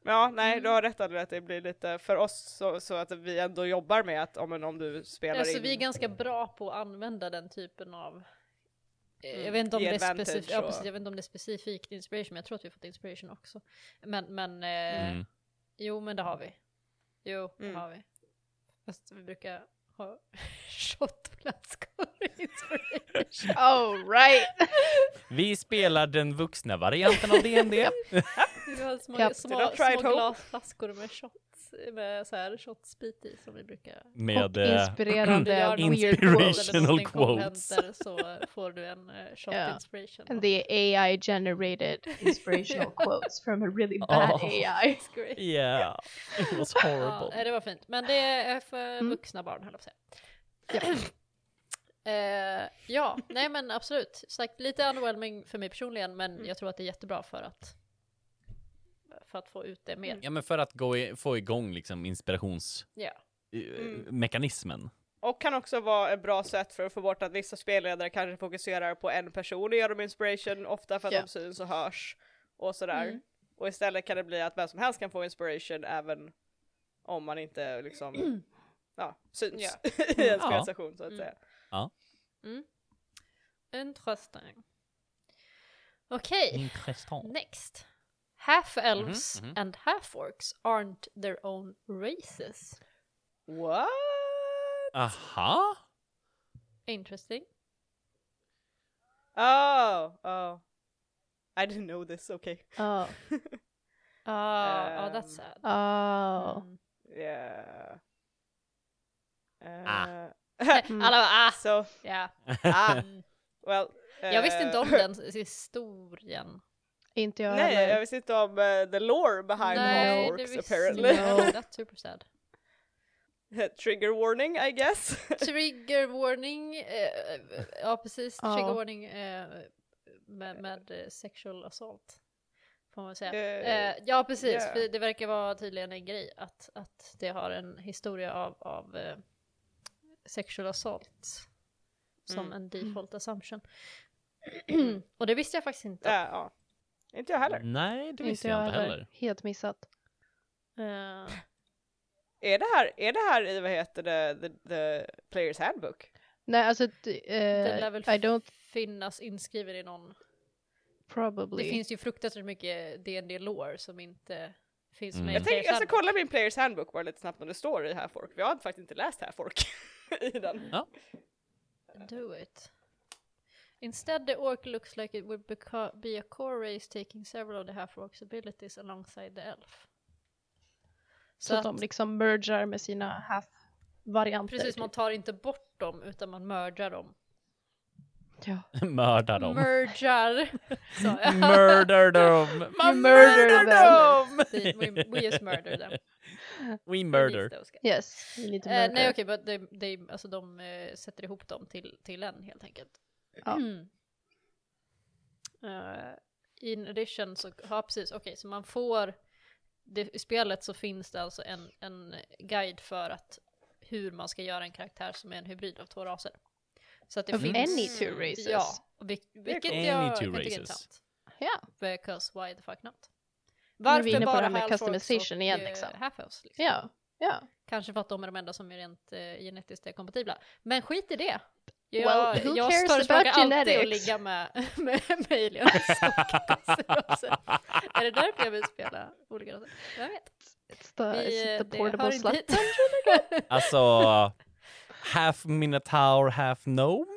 Speaker 1: ja, nej, du har rätt Andrea, att det blir lite för oss så, så att vi ändå jobbar med att om, om du spelar
Speaker 4: Alltså,
Speaker 1: in.
Speaker 4: vi är ganska bra på att använda den typen av eh,
Speaker 1: Mm,
Speaker 4: jag vet, inte om
Speaker 1: ge
Speaker 4: det är
Speaker 1: advantage
Speaker 4: specif- ja,
Speaker 1: och-
Speaker 4: precis, jag vet inte om det är specifikt inspiration, men jag tror att vi har fått inspiration också. Men, men eh,
Speaker 2: Mm.
Speaker 4: jo men det har vi. Jo,
Speaker 1: Mm.
Speaker 4: det har vi. Fast vi brukar ha shotflaskor i inspiration.
Speaker 3: Oh right!
Speaker 2: Vi spelar den vuxna varianten av D&D.
Speaker 4: Vi har små,
Speaker 3: Captain
Speaker 4: små,
Speaker 1: of Tried
Speaker 4: små
Speaker 1: Hope.
Speaker 4: glasflaskor med shots, med så här shotsprit i som vi brukar
Speaker 2: Med...
Speaker 3: Och
Speaker 2: eh,
Speaker 4: Om du gör
Speaker 3: inspirerande
Speaker 4: någon
Speaker 3: weird
Speaker 4: skillnad eller
Speaker 3: quotes.
Speaker 2: Inspiration. Inspirational quotes.
Speaker 4: någonting som händer så får du en eh, shot
Speaker 3: Ja.
Speaker 4: inspiration.
Speaker 3: And the AI generated inspirational quotes from a really bad
Speaker 2: Oh.
Speaker 3: AI.
Speaker 4: It's great.
Speaker 2: Yeah, it was
Speaker 4: Ja, eh.
Speaker 2: horrible.
Speaker 4: nej, det var fint. Men det är för
Speaker 3: Mm.
Speaker 4: vuxna barn, höll jag på att säga. eh, ja, nej men absolut. Sagt, lite underwhelming för mig personligen, men
Speaker 3: Mm.
Speaker 4: jag tror att det är jättebra för att, för att få ut det mer.
Speaker 2: Ja men för att gå i, få igång liksom inspirations...
Speaker 4: Ja.
Speaker 2: eh,
Speaker 1: Mm.
Speaker 2: mekanismen.
Speaker 1: Och kan också vara ett bra sätt för att få bort att vissa spelledare kanske fokuserar på en person och gör dem inspiration, ofta för att
Speaker 3: Ja.
Speaker 1: de syns och hörs och sådär.
Speaker 4: Mm.
Speaker 1: Och istället kan det bli att vem som helst kan få inspiration även om man inte liksom ja, syns
Speaker 4: Ja.
Speaker 1: i en
Speaker 2: Ja.
Speaker 1: spelstation så att
Speaker 4: Mm.
Speaker 1: säga.
Speaker 3: Mm.
Speaker 4: Interesting. Okej.
Speaker 2: Intressant.
Speaker 4: Next. Half-elves
Speaker 2: Mhm, mhm.
Speaker 4: and half-orcs aren't their own races.
Speaker 1: What?
Speaker 2: Aha!
Speaker 4: Interesting.
Speaker 1: Oh, oh. I didn't know this, okay.
Speaker 3: Oh.
Speaker 4: Ah, oh,
Speaker 1: Ehm,
Speaker 4: that's sad.
Speaker 3: Oh.
Speaker 4: Mm.
Speaker 1: Yeah.
Speaker 2: Ah.
Speaker 1: Uh,
Speaker 3: Mm.
Speaker 4: Alla bara, ah,
Speaker 1: so,
Speaker 4: ja.
Speaker 1: ah,
Speaker 4: Mm.
Speaker 1: well.
Speaker 4: Jag visste
Speaker 1: eh,
Speaker 4: inte om den historien.
Speaker 3: Inte jag
Speaker 1: Nej,
Speaker 3: heller.
Speaker 1: jag visste inte om eh, the lore behind
Speaker 4: Nej, det
Speaker 1: half-orcs
Speaker 4: visste inte
Speaker 1: apparently.
Speaker 4: jag heller. That's super sad.
Speaker 1: Trigger warning I guess.
Speaker 4: Typ Trigger warning. eh, ja, precis.
Speaker 3: Ja.
Speaker 4: Trigger warning eh, med, med eh, sexual assault. Får man säga.
Speaker 1: Eh,
Speaker 4: Eh, ja precis,
Speaker 1: ja.
Speaker 4: för det verkar vara tydligen en grej att, att det har en historia av, av eh, sexual assault som
Speaker 1: Mm.
Speaker 4: en default assumption. Och det visste jag faktiskt inte.
Speaker 1: ja, ja. Inte jag heller.
Speaker 2: Nej, det visste
Speaker 3: inte
Speaker 2: jag inte heller.
Speaker 3: Helt missat.
Speaker 4: Eh,
Speaker 1: Är det här, är det här i vad heter det, the, the players handbook?
Speaker 3: Nej, alltså d-
Speaker 4: den
Speaker 3: eh,
Speaker 4: lär väl
Speaker 3: I don't
Speaker 4: finnas inskriven i någon.
Speaker 3: probably.
Speaker 4: Det finns ju fruktansvärt mycket dd lore som inte finns
Speaker 2: Mm.
Speaker 4: med
Speaker 1: Jag,
Speaker 4: i
Speaker 1: tänker, jag ska
Speaker 4: Players
Speaker 1: kolla min players handbook bara lite snabbt om det står i här folk. Vi har faktiskt inte läst här folk i den.
Speaker 4: Handbook. Do it. Instead the orc looks like it would beca- be a core race taking several of the half-orcs abilities alongside the elf.
Speaker 3: så att de liksom mergar med sina half-varianter.
Speaker 4: Precis,
Speaker 3: typ.
Speaker 4: man tar inte bort dem utan man mördar dem.
Speaker 3: Ja.
Speaker 2: Mörda dem.
Speaker 4: Mergar, sa jag.
Speaker 2: Murder them!
Speaker 3: You murder them.
Speaker 4: See, we, we just murder them.
Speaker 2: We
Speaker 4: Release
Speaker 2: murder.
Speaker 4: those guys.
Speaker 3: Yes, you need to
Speaker 4: Eh,
Speaker 3: murder.
Speaker 4: nej okej, but they, they, alltså de eh, sätter ihop dem till, till en helt enkelt.
Speaker 3: Ja.
Speaker 4: Eh, in addition så, ja precis, okej så man får, det, i spelet så finns det alltså en, en guide för att hur man ska göra en karaktär som är en hybrid av två raser. Så att det
Speaker 3: Of
Speaker 4: finns...
Speaker 3: any two races.
Speaker 4: Ja, vil, vilket
Speaker 1: coolt.
Speaker 4: jag
Speaker 2: Any
Speaker 4: kan
Speaker 2: two
Speaker 4: tycka är
Speaker 2: races.
Speaker 4: intressant.
Speaker 3: Ja.
Speaker 4: Because why the fuck not?
Speaker 3: är vi
Speaker 4: Varför
Speaker 3: inne på
Speaker 4: bara
Speaker 3: det här med
Speaker 4: Half-Orcs
Speaker 3: customization igen,
Speaker 4: och,
Speaker 3: liksom.
Speaker 4: eh, Half-Elves, liksom.
Speaker 3: Ja. ja.
Speaker 4: Kanske för att de är de enda som är rent eh, genetiskt är kompatibla. Men skit i det.
Speaker 3: Well,
Speaker 4: Jag,
Speaker 3: who
Speaker 4: jag
Speaker 3: cares
Speaker 4: förespråkar
Speaker 3: about
Speaker 4: alltid att
Speaker 3: genetics?
Speaker 4: ligga med, med, med aliens och raser. Är det därför jag vill spela olika raser? Jag vet.
Speaker 3: It's the, is
Speaker 4: eh,
Speaker 3: it the
Speaker 4: det
Speaker 3: portable
Speaker 4: hör inte
Speaker 3: slut?
Speaker 4: hit.
Speaker 2: Alltså, half minotaur, half gnome?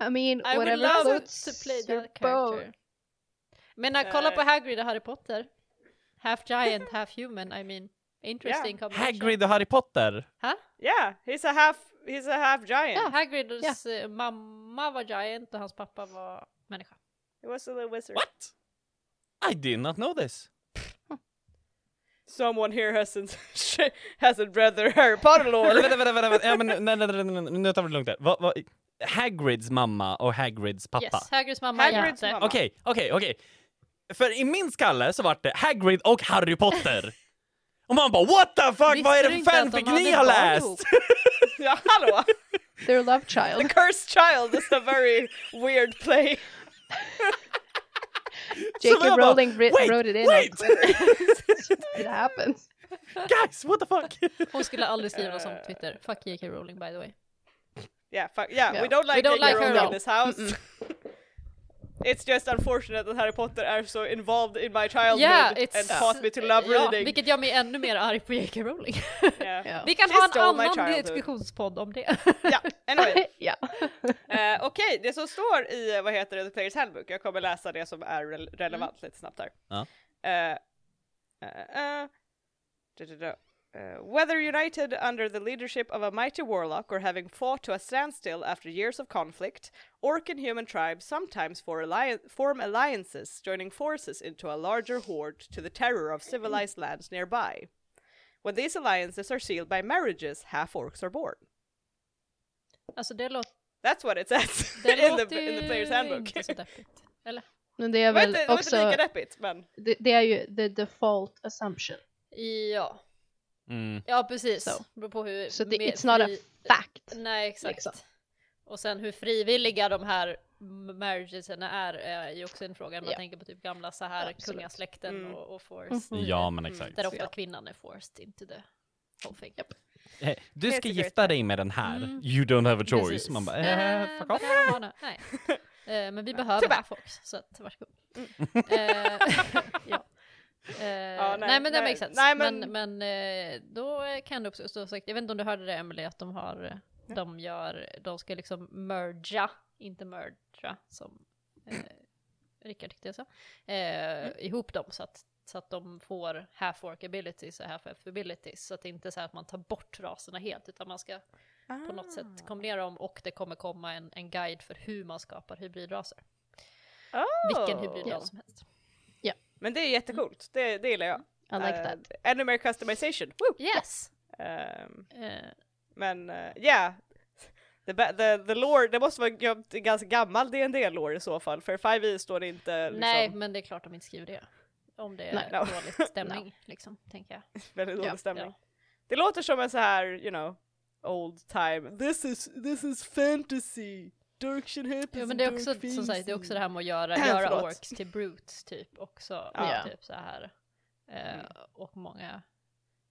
Speaker 3: I mean,
Speaker 4: I would
Speaker 3: whatever
Speaker 4: love
Speaker 3: floats
Speaker 4: to play
Speaker 3: your
Speaker 4: that
Speaker 3: boat.
Speaker 4: character. Men uh, kolla
Speaker 1: Eh.
Speaker 4: på Hagrid och Harry Potter. Half giant, half human, I mean. Interesting combination.
Speaker 2: Hagrid och Harry Potter?
Speaker 1: Yeah, he's a half, he's a half giant.
Speaker 4: Ja, Hagrids eh, mamma var giant och hans pappa var människa.
Speaker 1: He was a little wizard.
Speaker 2: What? I did not know this.
Speaker 1: Someone here hasn't, hasn't read their Harry Potter
Speaker 2: Eller
Speaker 1: lore.
Speaker 2: vänta, vänta, vänta, vänta. Ja, men, nej, nej, nej, nej, nej, nu tar vi det lugnt där. Vad- vad- Hagrids mamma och Hagrids pappa?
Speaker 4: Yes, Hagrids mamma är
Speaker 1: Hagrids
Speaker 4: jätte.
Speaker 1: mamma.
Speaker 2: Okej, okej, okej. För i min skalle så vart det Hagrid och Harry Potter. Och man bara what the fuck,
Speaker 4: Visste
Speaker 2: vad är
Speaker 4: du
Speaker 2: det
Speaker 4: inte
Speaker 2: för
Speaker 4: att de
Speaker 2: fanfic
Speaker 4: hade
Speaker 2: ni har
Speaker 4: barn
Speaker 2: läst?
Speaker 4: ihop?
Speaker 1: ja, hallå!
Speaker 3: Their love
Speaker 1: The
Speaker 3: child.
Speaker 1: Cursed Child is a very weird play.
Speaker 2: Så jag
Speaker 3: J.K.
Speaker 2: bara,
Speaker 3: Rowling writ-
Speaker 2: wait,
Speaker 3: wrote it in
Speaker 2: wait.
Speaker 3: on Twitter. it happens.
Speaker 2: Guys, what the fuck?
Speaker 4: Hon skulle aldrig skriva något sånt på Twitter. Fuck J.K. Rowling by the way.
Speaker 1: Yeah, fuck, yeah,
Speaker 3: Yeah.
Speaker 1: we don't like,
Speaker 4: We don't
Speaker 1: J.K.
Speaker 4: like her
Speaker 1: Rowling
Speaker 4: at
Speaker 1: in
Speaker 4: all.
Speaker 1: this house. It's just unfortunate that Harry Potter are so involved in my childhood
Speaker 4: Yeah, it's-
Speaker 1: and taught me to love
Speaker 4: Ja,
Speaker 1: reading.
Speaker 4: vilket gör mig ännu mer arg på J.K. Rowling.
Speaker 1: yeah.
Speaker 3: Ja.
Speaker 4: Vi kan
Speaker 1: She
Speaker 4: ha en
Speaker 1: stole my
Speaker 4: annan
Speaker 1: childhood.
Speaker 4: diskussionspodd om det.
Speaker 1: Ja, anyway.
Speaker 3: ja.
Speaker 1: Eh, Okej, det som står i, eh, vad heter det, The Players Handbook, jag kommer läsa det som är rel- relevant lite snabbt här.
Speaker 2: Ja.
Speaker 1: Eh, eh, eh, da, da, da. Eh, whether united under the leadership of a mighty warlock or having fought to a standstill after years of conflict, orc and human tribes sometimes for alli- form alliances, joining forces into a larger horde to the terror of civilized lands nearby. When these alliances are sealed by marriages, half orcs are born.
Speaker 4: Alltså det, låt,
Speaker 1: That's what it says
Speaker 4: det
Speaker 1: in, the,
Speaker 4: låter
Speaker 1: in the players
Speaker 4: ju
Speaker 1: handbook.
Speaker 4: inte så deppigt. Eller?
Speaker 3: Men det är
Speaker 1: Det var
Speaker 3: väl
Speaker 1: inte, det var inte
Speaker 3: också,
Speaker 1: lika deppigt men
Speaker 3: det, det är ju the default assumption.
Speaker 4: Ja.
Speaker 2: Mm.
Speaker 4: Ja precis,
Speaker 3: So.
Speaker 4: beror på hur...
Speaker 3: Så det,
Speaker 4: mer
Speaker 3: it's not a
Speaker 4: fri-
Speaker 3: fact.
Speaker 4: Nej exakt.
Speaker 3: liksom.
Speaker 4: Och sen hur frivilliga de här m- marriagesna är är ju också en fråga. Man
Speaker 3: Ja.
Speaker 4: tänker på typ gamla så här
Speaker 3: Absolut.
Speaker 4: kungasläkten
Speaker 1: Mm.
Speaker 4: och, och
Speaker 3: Mhm.
Speaker 4: forced.
Speaker 2: Ja, men
Speaker 1: Mm.
Speaker 2: exakt.
Speaker 4: Där
Speaker 3: Så
Speaker 4: ofta
Speaker 3: ja.
Speaker 4: kvinnan är forced into the whole thing.
Speaker 2: Eh, Du ska
Speaker 1: Helt
Speaker 2: gifta dig med den här.
Speaker 4: Mm.
Speaker 2: You don't have a choice.
Speaker 4: Precis.
Speaker 2: Man bara,
Speaker 4: Eh,
Speaker 2: eh, fuck off.
Speaker 4: bara barna. Nej. Eh, men vi behöver
Speaker 1: Tyvärr. Mm.
Speaker 4: ha folk, så att, varsågod. Eh, ja. Eh, nej, men det
Speaker 1: nej.
Speaker 4: makes sense.
Speaker 1: Nej, men-
Speaker 4: men men, eh, då kan det också stå sagt, jag vet inte om du hörde det Emelie att de har, eh, de gör, de ska liksom merga, inte merga som eh, Rickard tyckte jag sa, eh,
Speaker 1: Mm.
Speaker 4: ihop dem så att så att de får half work abilities och half elf abilities. Så att det inte är så här att man tar bort raserna helt utan man ska på något
Speaker 1: Ah.
Speaker 4: sätt kombinera dem och det kommer komma en, en guide för hur man skapar hybridraser.
Speaker 1: Oh.
Speaker 4: Vilken hybridras
Speaker 3: Ja.
Speaker 4: som helst.
Speaker 1: Men det är jättecoolt, det, det gillar
Speaker 4: Mm.
Speaker 1: jag.
Speaker 3: I like
Speaker 1: Eh,
Speaker 3: that.
Speaker 1: Ännu mer customization, woo!
Speaker 4: Yes!
Speaker 1: Ehm,
Speaker 4: Eh,
Speaker 1: men ja, yeah. The, ba- the, the lore, det måste vara gömt i ganska gammal dd lore i så fall, för 5e står det inte liksom,
Speaker 4: Nej, men det är klart de inte skriver det. Om det är
Speaker 3: Nej.
Speaker 1: No.
Speaker 4: dålig stämning, liksom, tänker jag.
Speaker 1: väldigt dålig
Speaker 3: Ja,
Speaker 1: stämning.
Speaker 4: ja.
Speaker 1: Det låter som en så här, you know, old time, this is, this is fantasy, dark shit happens
Speaker 4: Ja,
Speaker 1: in
Speaker 4: men det är
Speaker 1: dark
Speaker 4: också, som sagt, det är också det här med att göra,
Speaker 1: Förlåt.
Speaker 4: göra orks till brutes, typ, också.
Speaker 3: Ja.
Speaker 4: Typ så här. Eh,
Speaker 1: Mm.
Speaker 4: Och många,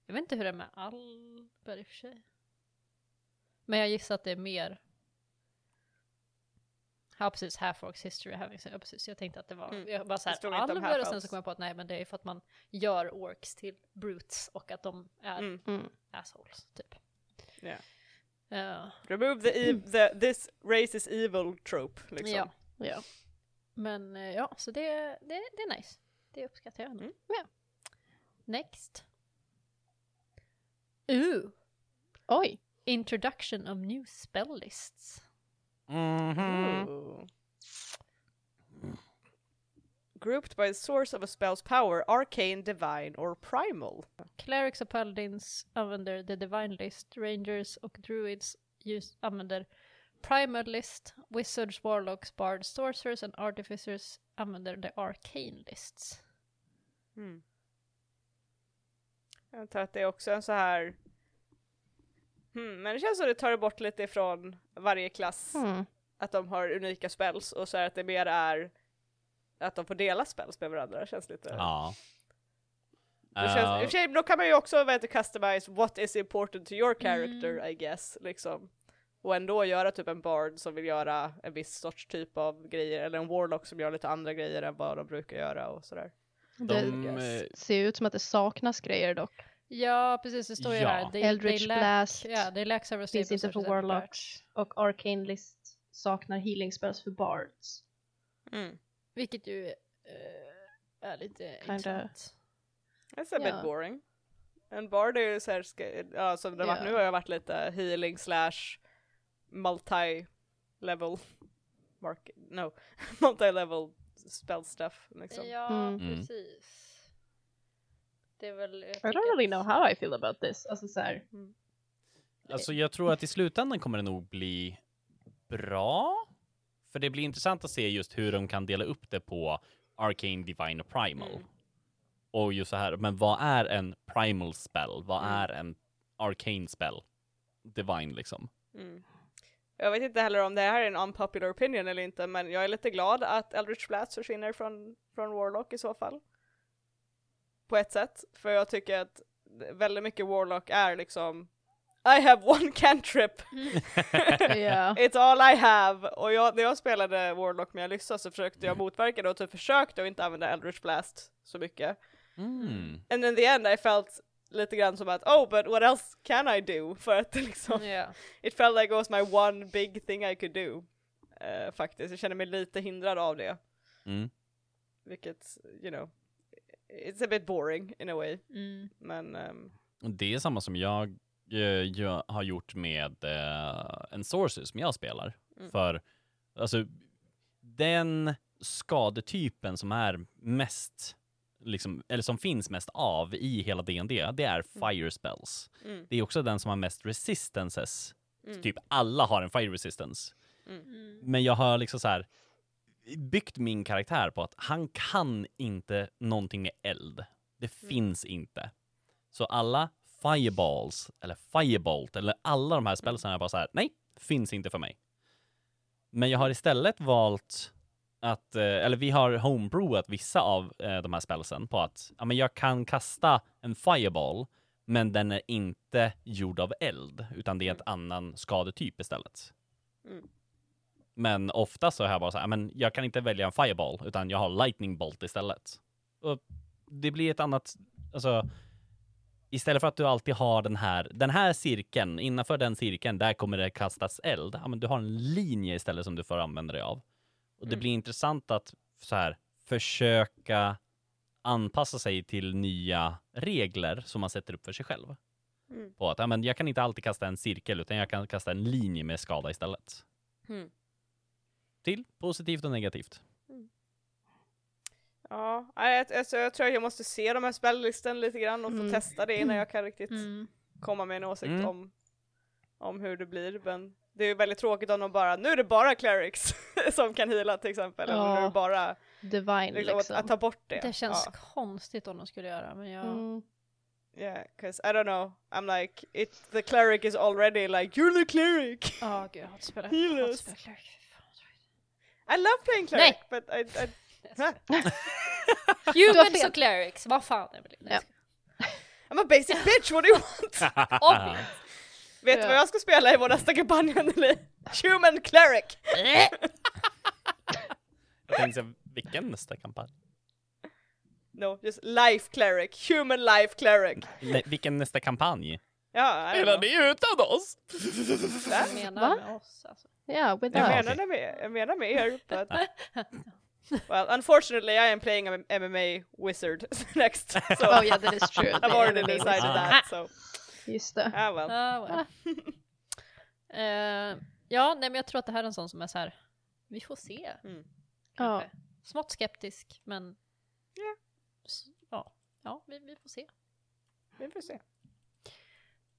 Speaker 4: jag vet inte hur det är med alber i och för sig. Men jag gissar att det är mer Ja precis, half orcs history having ja, precis. Jag tänkte att det var,
Speaker 1: Mm.
Speaker 4: jag bara
Speaker 1: Det stod
Speaker 4: såhär
Speaker 1: inte om
Speaker 4: alver och sen
Speaker 1: half-elves.
Speaker 4: så kom jag på att nej men det är för att man gör orks till brutes och att de är
Speaker 1: Mm.
Speaker 3: Mm.
Speaker 4: assholes typ. Eh,
Speaker 1: Ja.
Speaker 4: Ja.
Speaker 1: Remove the, e- the this race is evil trope liksom.
Speaker 4: ja.
Speaker 3: Ja.
Speaker 4: Men eh, ja, så det, det, det är nice. Det uppskattar jag ändå.
Speaker 1: Mm.
Speaker 4: Ja. Next. Ooh,
Speaker 3: Oj.
Speaker 4: introduction of new spell lists.
Speaker 2: Mhm.
Speaker 1: Ooh. Grouped by source of a spell's power, arcane, divine or primal.
Speaker 4: Clerics och Paladins använder the Divine List, Rangers och Druids just använder Primal List, Wizards, Warlocks, Bards, Sorcerers and Artificers använder the Arcane Lists.
Speaker 1: Jag antar att det är också en så här... Hmm, men det känns som det tar bort lite ifrån varje klass,
Speaker 3: Mm.
Speaker 1: att de har unika spells och så är att det mer är att de får dela spells med varandra, känns lite...
Speaker 2: Ja.
Speaker 1: Det känns, I och
Speaker 2: Eh,
Speaker 1: för sig, men då kan man ju också veta customize what is important to your character I guess, liksom. Och ändå göra typ en bard som vill göra en viss sorts typ av grejer, eller en warlock som gör lite andra grejer än vad de brukar göra och sådär.
Speaker 3: De,
Speaker 2: eh,
Speaker 3: ser ju ut som att det saknas grejer dock.
Speaker 4: Ja, precis, det står ju
Speaker 2: Ja.
Speaker 4: här. They,
Speaker 3: Eldritch
Speaker 4: they lack,
Speaker 3: Blast.
Speaker 4: Ja, they lack several
Speaker 3: Finns
Speaker 4: stables such
Speaker 3: inte för
Speaker 4: as Eldritch
Speaker 3: Warlock.
Speaker 4: Blast.
Speaker 3: Och Arcane List saknar healing spells för bards.
Speaker 4: Vilket ju eh, är lite intressant.
Speaker 1: That's a bit
Speaker 3: Ja.
Speaker 1: boring. En bard är ju såhär, ska, ja, som det har varit
Speaker 4: Ja.
Speaker 1: nu har jag varit lite healing slash multi-level, mark, no, multi-level spell stuff liksom.
Speaker 4: Ja,
Speaker 3: Mm.
Speaker 4: precis. Det är väl... jag
Speaker 3: I don't
Speaker 4: tycker
Speaker 3: really
Speaker 4: att-
Speaker 3: know how I feel about this. Alltså såhär,
Speaker 2: Alltså jag tror att i slutändan kommer det nog bli bra. För det blir intressant att se just hur de kan dela upp det på Arcane, Divine och Primal.
Speaker 1: Mm.
Speaker 2: Och just så här, men vad är en Primal spell? Vad
Speaker 1: Mm.
Speaker 2: är en Arcane spell? Divine liksom.
Speaker 1: Mm. Jag vet inte heller om det här är en unpopular opinion eller inte, men jag är lite glad att Eldritch Blast försvinner från, från Warlock i så fall. På ett sätt, för jag tycker att väldigt mycket Warlock är liksom I have one cantrip,
Speaker 3: ja.
Speaker 1: it's all I have! Och jag, när jag spelade Warlock med Alyssa så försökte jag motverka det och typ försökte att inte använda Eldritch Blast så mycket.
Speaker 2: Mm.
Speaker 1: And in the end I felt lite grann som att oh but what else can I do? För att det liksom
Speaker 4: Ja.
Speaker 1: It felt like it was my one big thing I could do. Eh, faktiskt, jag känner mig lite hindrad av det.
Speaker 2: Mm.
Speaker 1: Vilket, you know, it's a bit boring in a way.
Speaker 4: Mm.
Speaker 1: Men ehm,
Speaker 2: Och Det är samma som jag, eh, jag har gjort med eh, en Sorcerer som jag spelar.
Speaker 1: Mm.
Speaker 2: För alltså, den skadetypen som är mest, liksom, eller som finns mest av i hela D&D, det är fire spells.
Speaker 1: Mm.
Speaker 2: Det är också den som har mest resistances. Så
Speaker 1: Mm.
Speaker 2: Typ alla har en fire resistance.
Speaker 4: Mm.
Speaker 2: Men jag har liksom så här byggt min karaktär på att han kan inte någonting med eld. Det finns inte. Så alla fireballs eller firebolt eller alla de här spelsen. Jag bara så här, nej, finns inte för mig. Men jag har istället valt att, eh, eller vi har homebrewat vissa av eh, de här spelsen på att ja, men jag kan kasta en fireball, men den är inte gjord av eld, utan det är ett annan skadetyp istället.
Speaker 1: Mm.
Speaker 2: Men ofta så har jag bara så här, men jag kan inte välja en fireball, utan jag har lightning bolt istället. Och det blir ett annat, alltså, istället för att du alltid har den här, den här cirkeln, innanför den cirkeln, där kommer det kastas eld. Ja, men du har en linje istället som du får använda dig av. Och det
Speaker 1: Mm.
Speaker 2: blir intressant att så här, försöka anpassa sig till nya regler som man sätter upp för sig själv.
Speaker 1: Mm.
Speaker 2: På att ja, men jag kan inte alltid kasta en cirkel, utan jag kan kasta en linje med skada istället.
Speaker 1: Mm.
Speaker 2: Till positivt och negativt.
Speaker 1: Ja, nej, jag, alltså, jag tror jag måste se de här spellistan lite grann och få
Speaker 3: Mm.
Speaker 1: testa det innan jag kan riktigt
Speaker 4: Mm.
Speaker 1: komma med en åsikt
Speaker 2: Mm.
Speaker 1: om, om hur det blir. Men det är ju väldigt tråkigt om de bara, nu är det bara clerics som kan heala till exempel. Eller
Speaker 3: Ja,
Speaker 1: nu är det bara,
Speaker 3: Divine
Speaker 1: liksom,
Speaker 3: liksom.
Speaker 1: Att, att ta bort det.
Speaker 4: Det känns
Speaker 1: Ja,
Speaker 4: konstigt om de skulle göra men jag...
Speaker 3: Mm.
Speaker 1: yeah, 'cause I don't know, I'm like, it, the cleric is already like, you're the cleric!
Speaker 4: Ja, gud jag hatar
Speaker 1: Healers.
Speaker 4: att spela cleric.
Speaker 1: I love playing cleric but I, I
Speaker 4: Humans
Speaker 3: fel.
Speaker 4: och clerics, vad fan Emelie?
Speaker 3: Ja.
Speaker 1: I'm a basic bitch, what do you want?
Speaker 4: Obvious.
Speaker 1: Vet du
Speaker 3: Ja.
Speaker 1: vad jag ska spela i vår nästa kampanj Anneli? Human cleric!
Speaker 2: Jag tänkte, så här, vilken nästa kampanj?
Speaker 1: No, just life cleric, human life cleric.
Speaker 2: Nej, vilken nästa kampanj?
Speaker 1: Ja, I don't know.
Speaker 2: ni utan oss?
Speaker 4: Vad menar
Speaker 3: Va?
Speaker 4: med oss alltså.
Speaker 3: Ja, with
Speaker 2: Ja,
Speaker 1: Jag
Speaker 3: us.
Speaker 2: men-
Speaker 1: menar det med, jag menar med er, but... Well, unfortunately I am playing an MMA wizard next, so
Speaker 3: Oh yeah, that is true.
Speaker 1: I've already
Speaker 3: Det är-
Speaker 1: decided
Speaker 2: Ah.
Speaker 1: that, so...
Speaker 3: Just det.
Speaker 1: Ah, well.
Speaker 4: Ah, well. Eh, ja, nej men jag tror att det här är en sån som är så här. vi får se.
Speaker 1: Mm.
Speaker 3: Ja.
Speaker 4: kanske. Smått skeptisk men...
Speaker 1: Ja.
Speaker 4: S- Ja, ja vi, vi får se.
Speaker 1: Vi får se.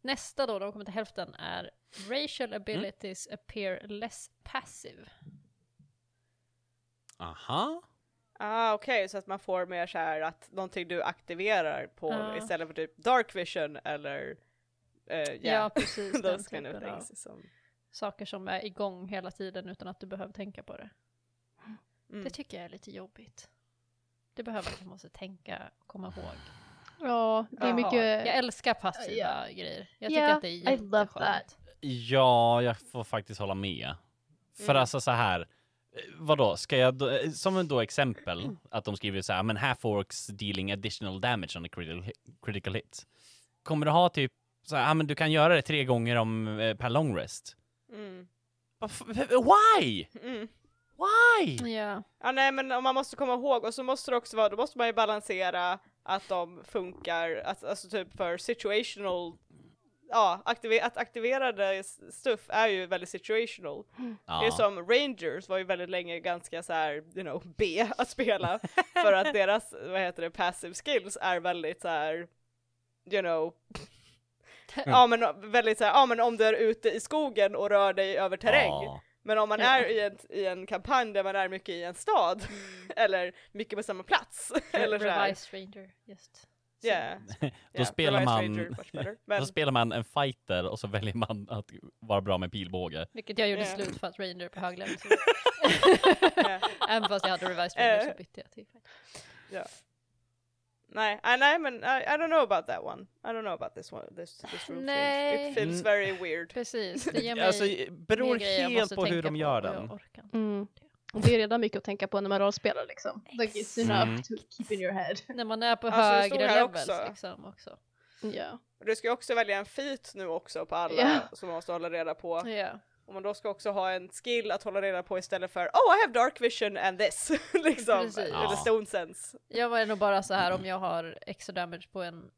Speaker 4: Nästa då, de kommer till hälften, är Racial
Speaker 3: Mm.
Speaker 4: abilities appear less passive.
Speaker 2: Aha.
Speaker 1: Ah, okej, så att man får mer så här att någonting du aktiverar på
Speaker 4: Ja.
Speaker 1: istället för typ dark vision eller... eh,
Speaker 4: Ja,
Speaker 1: yeah,
Speaker 4: precis. den
Speaker 1: those kind of
Speaker 4: typen av
Speaker 1: things. Som,
Speaker 4: saker som är igång hela tiden utan att du behöver tänka på det.
Speaker 1: Mm.
Speaker 4: Det tycker jag är lite jobbigt. Det behöver att man måste tänka och komma ihåg.
Speaker 3: Ja, det är
Speaker 1: Jaha.
Speaker 3: mycket...
Speaker 4: Jag älskar passiva
Speaker 3: Ja.
Speaker 4: grejer. Jag tycker
Speaker 3: Ja,
Speaker 4: att det är
Speaker 3: I love
Speaker 4: jätteskönt.
Speaker 3: that.
Speaker 2: Ja, jag får faktiskt hålla med. För
Speaker 1: Mm.
Speaker 2: alltså så här, eh, vadå, ska jag då, eh, som en då exempel, att de skriver så här, men half orcs dealing additional damage on a critical, hi- critical hit. Kommer du ha typ, så här, ah, men du kan göra det tre gånger om eh, per long rest.
Speaker 1: Mm.
Speaker 2: Vad f- Why?
Speaker 1: Mm.
Speaker 2: Why?
Speaker 4: Ja.
Speaker 1: Ja nej men om man måste komma ihåg och så måste det också vara, då måste man ju balansera att de funkar, att, alltså typ för situational, ja aktive, att aktiverade s- stuff är ju väldigt situational. Det är
Speaker 2: Ja.
Speaker 1: som Rangers var ju väldigt länge ganska så här, you know, B att spela för att deras, vad heter det, passive skills är väldigt så här, you know, ja men väldigt så här, ja men om du är ute i skogen och rör dig över terräng
Speaker 2: Ja.
Speaker 1: men om man
Speaker 3: Ja.
Speaker 1: är i, ett, i en kampanj där man är mycket i en stad,
Speaker 2: Mm.
Speaker 1: eller mycket på samma plats, eller så här.
Speaker 4: Revise Ranger, just.
Speaker 1: Yeah.
Speaker 2: Då spelar
Speaker 1: Revised
Speaker 2: man-
Speaker 1: Ranger, much better. Men,
Speaker 2: Då spelar man en fighter och så väljer man att vara bra med pilbåge.
Speaker 4: Vilket jag gjorde
Speaker 1: Ja.
Speaker 4: slut för att Ranger på hög level.
Speaker 1: ja,
Speaker 4: Även fast jag hade Revised Ranger
Speaker 1: Eh.
Speaker 4: så bytte jag till.
Speaker 1: ja. Nej, ah, nej men I, I don't know about that one. I don't know about this one, this, this rule change.
Speaker 4: Nej.
Speaker 1: It feels
Speaker 2: Mm.
Speaker 1: very weird.
Speaker 4: Precis, det ger mig
Speaker 2: Alltså,
Speaker 4: mer
Speaker 2: beror
Speaker 4: grejer jag
Speaker 2: helt
Speaker 4: måste
Speaker 2: på hur
Speaker 4: tänka
Speaker 2: de gör
Speaker 4: och jag
Speaker 2: den.
Speaker 4: orkar inte.
Speaker 3: Mm. Och Det är redan mycket att tänka på när man rollspelar liksom. Like it's enough
Speaker 2: Mm.
Speaker 3: to keep in your head.
Speaker 4: När man är på
Speaker 1: Alltså, det står
Speaker 4: högre
Speaker 1: här
Speaker 4: levels
Speaker 1: också.
Speaker 4: liksom också.
Speaker 3: Ja.
Speaker 1: Du ska ju också välja en feat nu också på alla
Speaker 3: Ja.
Speaker 1: som man måste hålla reda på.
Speaker 4: Ja.
Speaker 1: Och man då ska också ha en skill att hålla reda på istället för Oh I have dark vision and this! liksom.
Speaker 4: Precis.
Speaker 1: Eller
Speaker 2: Ja.
Speaker 1: stone sense.
Speaker 4: Jag var nog bara så här om jag har extra damage på en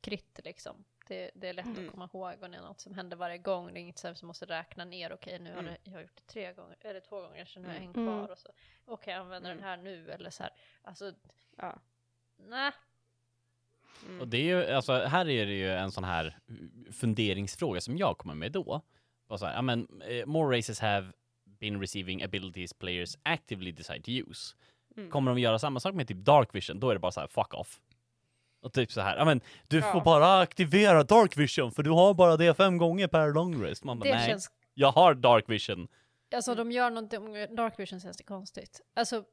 Speaker 4: crit liksom. Det, det är lätt
Speaker 1: Mm.
Speaker 4: att komma ihåg och det är något som händer varje gång. Det är inget så här som måste räkna ner. Okej, nu har
Speaker 1: Mm.
Speaker 4: det, jag har gjort det tre gånger, eller två gånger, så nu har jag en
Speaker 3: Mm.
Speaker 4: kvar.
Speaker 3: Mm.
Speaker 4: Och så, okej, jag använder den här nu eller så här. Alltså,
Speaker 1: Mm. Ja.
Speaker 4: nej.
Speaker 1: Mm.
Speaker 2: Och det är ju, alltså, här är det ju en sån här funderingsfråga som jag kommer med då. Bara så här, ja, men, eh, more races have been receiving abilities players actively decide to use.
Speaker 1: Mm.
Speaker 2: Kommer de göra samma sak med typ dark vision, då är det bara så här fuck off. Och typ så här, ja men du
Speaker 1: Ja.
Speaker 2: får bara aktivera dark vision för du har bara det fem gånger per long rest. Man bara,
Speaker 4: Det
Speaker 2: nej,
Speaker 4: känns...
Speaker 2: jag har dark vision.
Speaker 4: Alltså de gör någonting, Dark Vision känns det konstigt. Alltså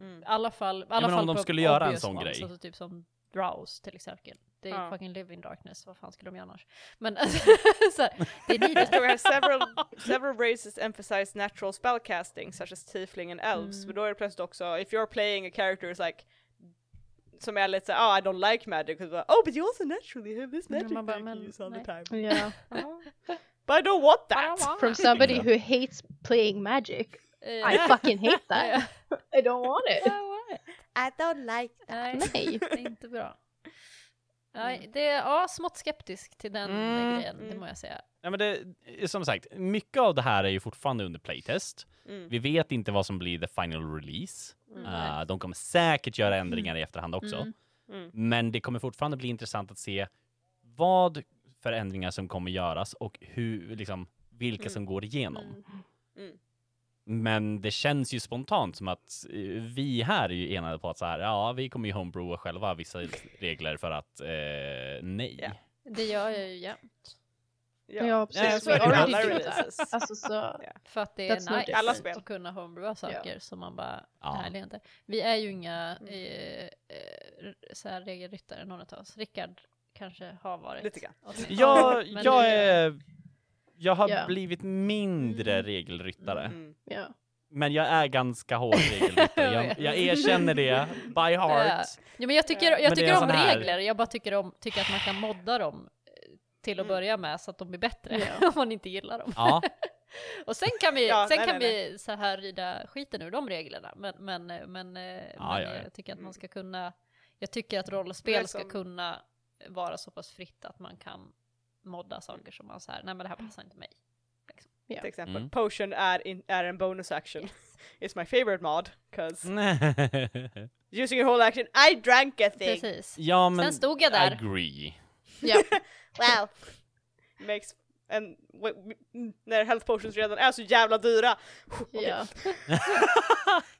Speaker 1: Mm.
Speaker 4: i alla fall, i alla
Speaker 2: men om
Speaker 4: fall
Speaker 2: de
Speaker 4: på
Speaker 2: skulle göra en
Speaker 4: obvious
Speaker 2: sån
Speaker 4: ones,
Speaker 2: grej.
Speaker 4: Alltså typ som Drowse till exempel. They
Speaker 1: Ja.
Speaker 4: fucking live in darkness, vad fan skulle de göra annars? Men alltså, så här, they need
Speaker 1: There
Speaker 4: it.
Speaker 1: står här several, several races emphasize natural spellcasting such as tiefling and elves. Men då är det plötsligt också, if you're playing a character is like som är lite såhär, oh I don't like magic, och så bara, oh but you also naturally have this magic
Speaker 4: man bara,
Speaker 1: thing
Speaker 4: men
Speaker 1: you use all
Speaker 4: nej.
Speaker 1: the time.
Speaker 3: Yeah.
Speaker 1: Ja. But I don't want that!
Speaker 3: From somebody who hates playing magic, I
Speaker 4: Eh,
Speaker 3: fucking hate that.
Speaker 4: eh,
Speaker 3: I don't want it.
Speaker 4: eh,
Speaker 1: I don't like
Speaker 4: Nej,
Speaker 3: Nej.
Speaker 4: det är inte bra. Nej, det är ja, smått skeptisk till den
Speaker 2: Mm.
Speaker 4: grejen, det
Speaker 1: Mm.
Speaker 4: må jag säga.
Speaker 2: Ja, men det, eh, som sagt, mycket av det här är ju fortfarande under playtest.
Speaker 1: Mm.
Speaker 2: Vi vet inte vad som blir the final release.
Speaker 4: Nej.
Speaker 2: Eh, de kommer säkert göra ändringar i efterhand också.
Speaker 4: Mm.
Speaker 1: Mm.
Speaker 2: Men det kommer fortfarande bli intressant att se vad för ändringar som kommer göras och hur, liksom, vilka som går igenom.
Speaker 4: Mm.
Speaker 1: Mm.
Speaker 2: Men det känns ju spontant som att eh, vi här är ju enade på att så här, ja, vi kommer ju homebrewa själva vissa regler för att eh, nej.
Speaker 1: Ja.
Speaker 4: Det gör jag ju jämt.
Speaker 1: Ja.
Speaker 3: Ja, precis.
Speaker 1: Nej, så
Speaker 2: Vi
Speaker 1: är det med
Speaker 2: already
Speaker 1: alla
Speaker 2: do that.
Speaker 1: releases.
Speaker 3: Alltså så,
Speaker 4: För att det
Speaker 3: That's no
Speaker 4: är nice
Speaker 1: Alla spel.
Speaker 4: att kunna homebrewa saker som man bara,
Speaker 2: Ja.
Speaker 4: nej det är inte. Vi är ju inga
Speaker 1: Mm.
Speaker 4: eh, eh, så här regelryttare någon av oss. Rickard kanske har varit.
Speaker 1: Lite grann.
Speaker 4: åt det
Speaker 2: Jag,
Speaker 4: hållet, men
Speaker 2: jag,
Speaker 4: det-
Speaker 2: är, jag har
Speaker 3: Ja.
Speaker 2: blivit mindre
Speaker 4: Mm.
Speaker 2: regelryttare,
Speaker 1: Mm.
Speaker 3: ja.
Speaker 2: men jag är ganska hård regelryttare.
Speaker 4: Jag
Speaker 2: Jag,
Speaker 4: vet.
Speaker 2: jag erkänner det by heart.
Speaker 4: Ja, men jag
Speaker 1: Men
Speaker 4: tycker, jag
Speaker 2: det är
Speaker 4: tycker
Speaker 2: en
Speaker 4: om
Speaker 2: sån här-
Speaker 4: regler, jag bara tycker, om, tycker att man kan modda dem eh, till att
Speaker 1: Mm.
Speaker 4: börja med så att de blir bättre
Speaker 3: Ja.
Speaker 4: om man inte gillar dem.
Speaker 2: Ja,
Speaker 4: Och sen kan vi,
Speaker 1: Ja,
Speaker 4: sen
Speaker 1: nej,
Speaker 4: kan
Speaker 1: nej,
Speaker 4: vi så här rida skiten ur de reglerna. Men, men, eh, men, eh,
Speaker 2: ja,
Speaker 4: men
Speaker 2: ja.
Speaker 4: jag tycker att man ska kunna, jag tycker att rollspel ska
Speaker 1: Mm. som-
Speaker 4: kunna vara så pass fritt att man kan modda saker som man så här, nej men det här passar inte mig.
Speaker 1: Till exempel,
Speaker 2: Mm.
Speaker 1: potion är, in, är en bonus action. It's my favorite mod, cause using a whole action, I drank a thing!
Speaker 4: Precis.
Speaker 2: ja men
Speaker 4: Sen stod jag där.
Speaker 2: agree.
Speaker 1: Wow. Makes en, w- m- när health potions redan är så jävla dyra. Okej.
Speaker 3: Ja.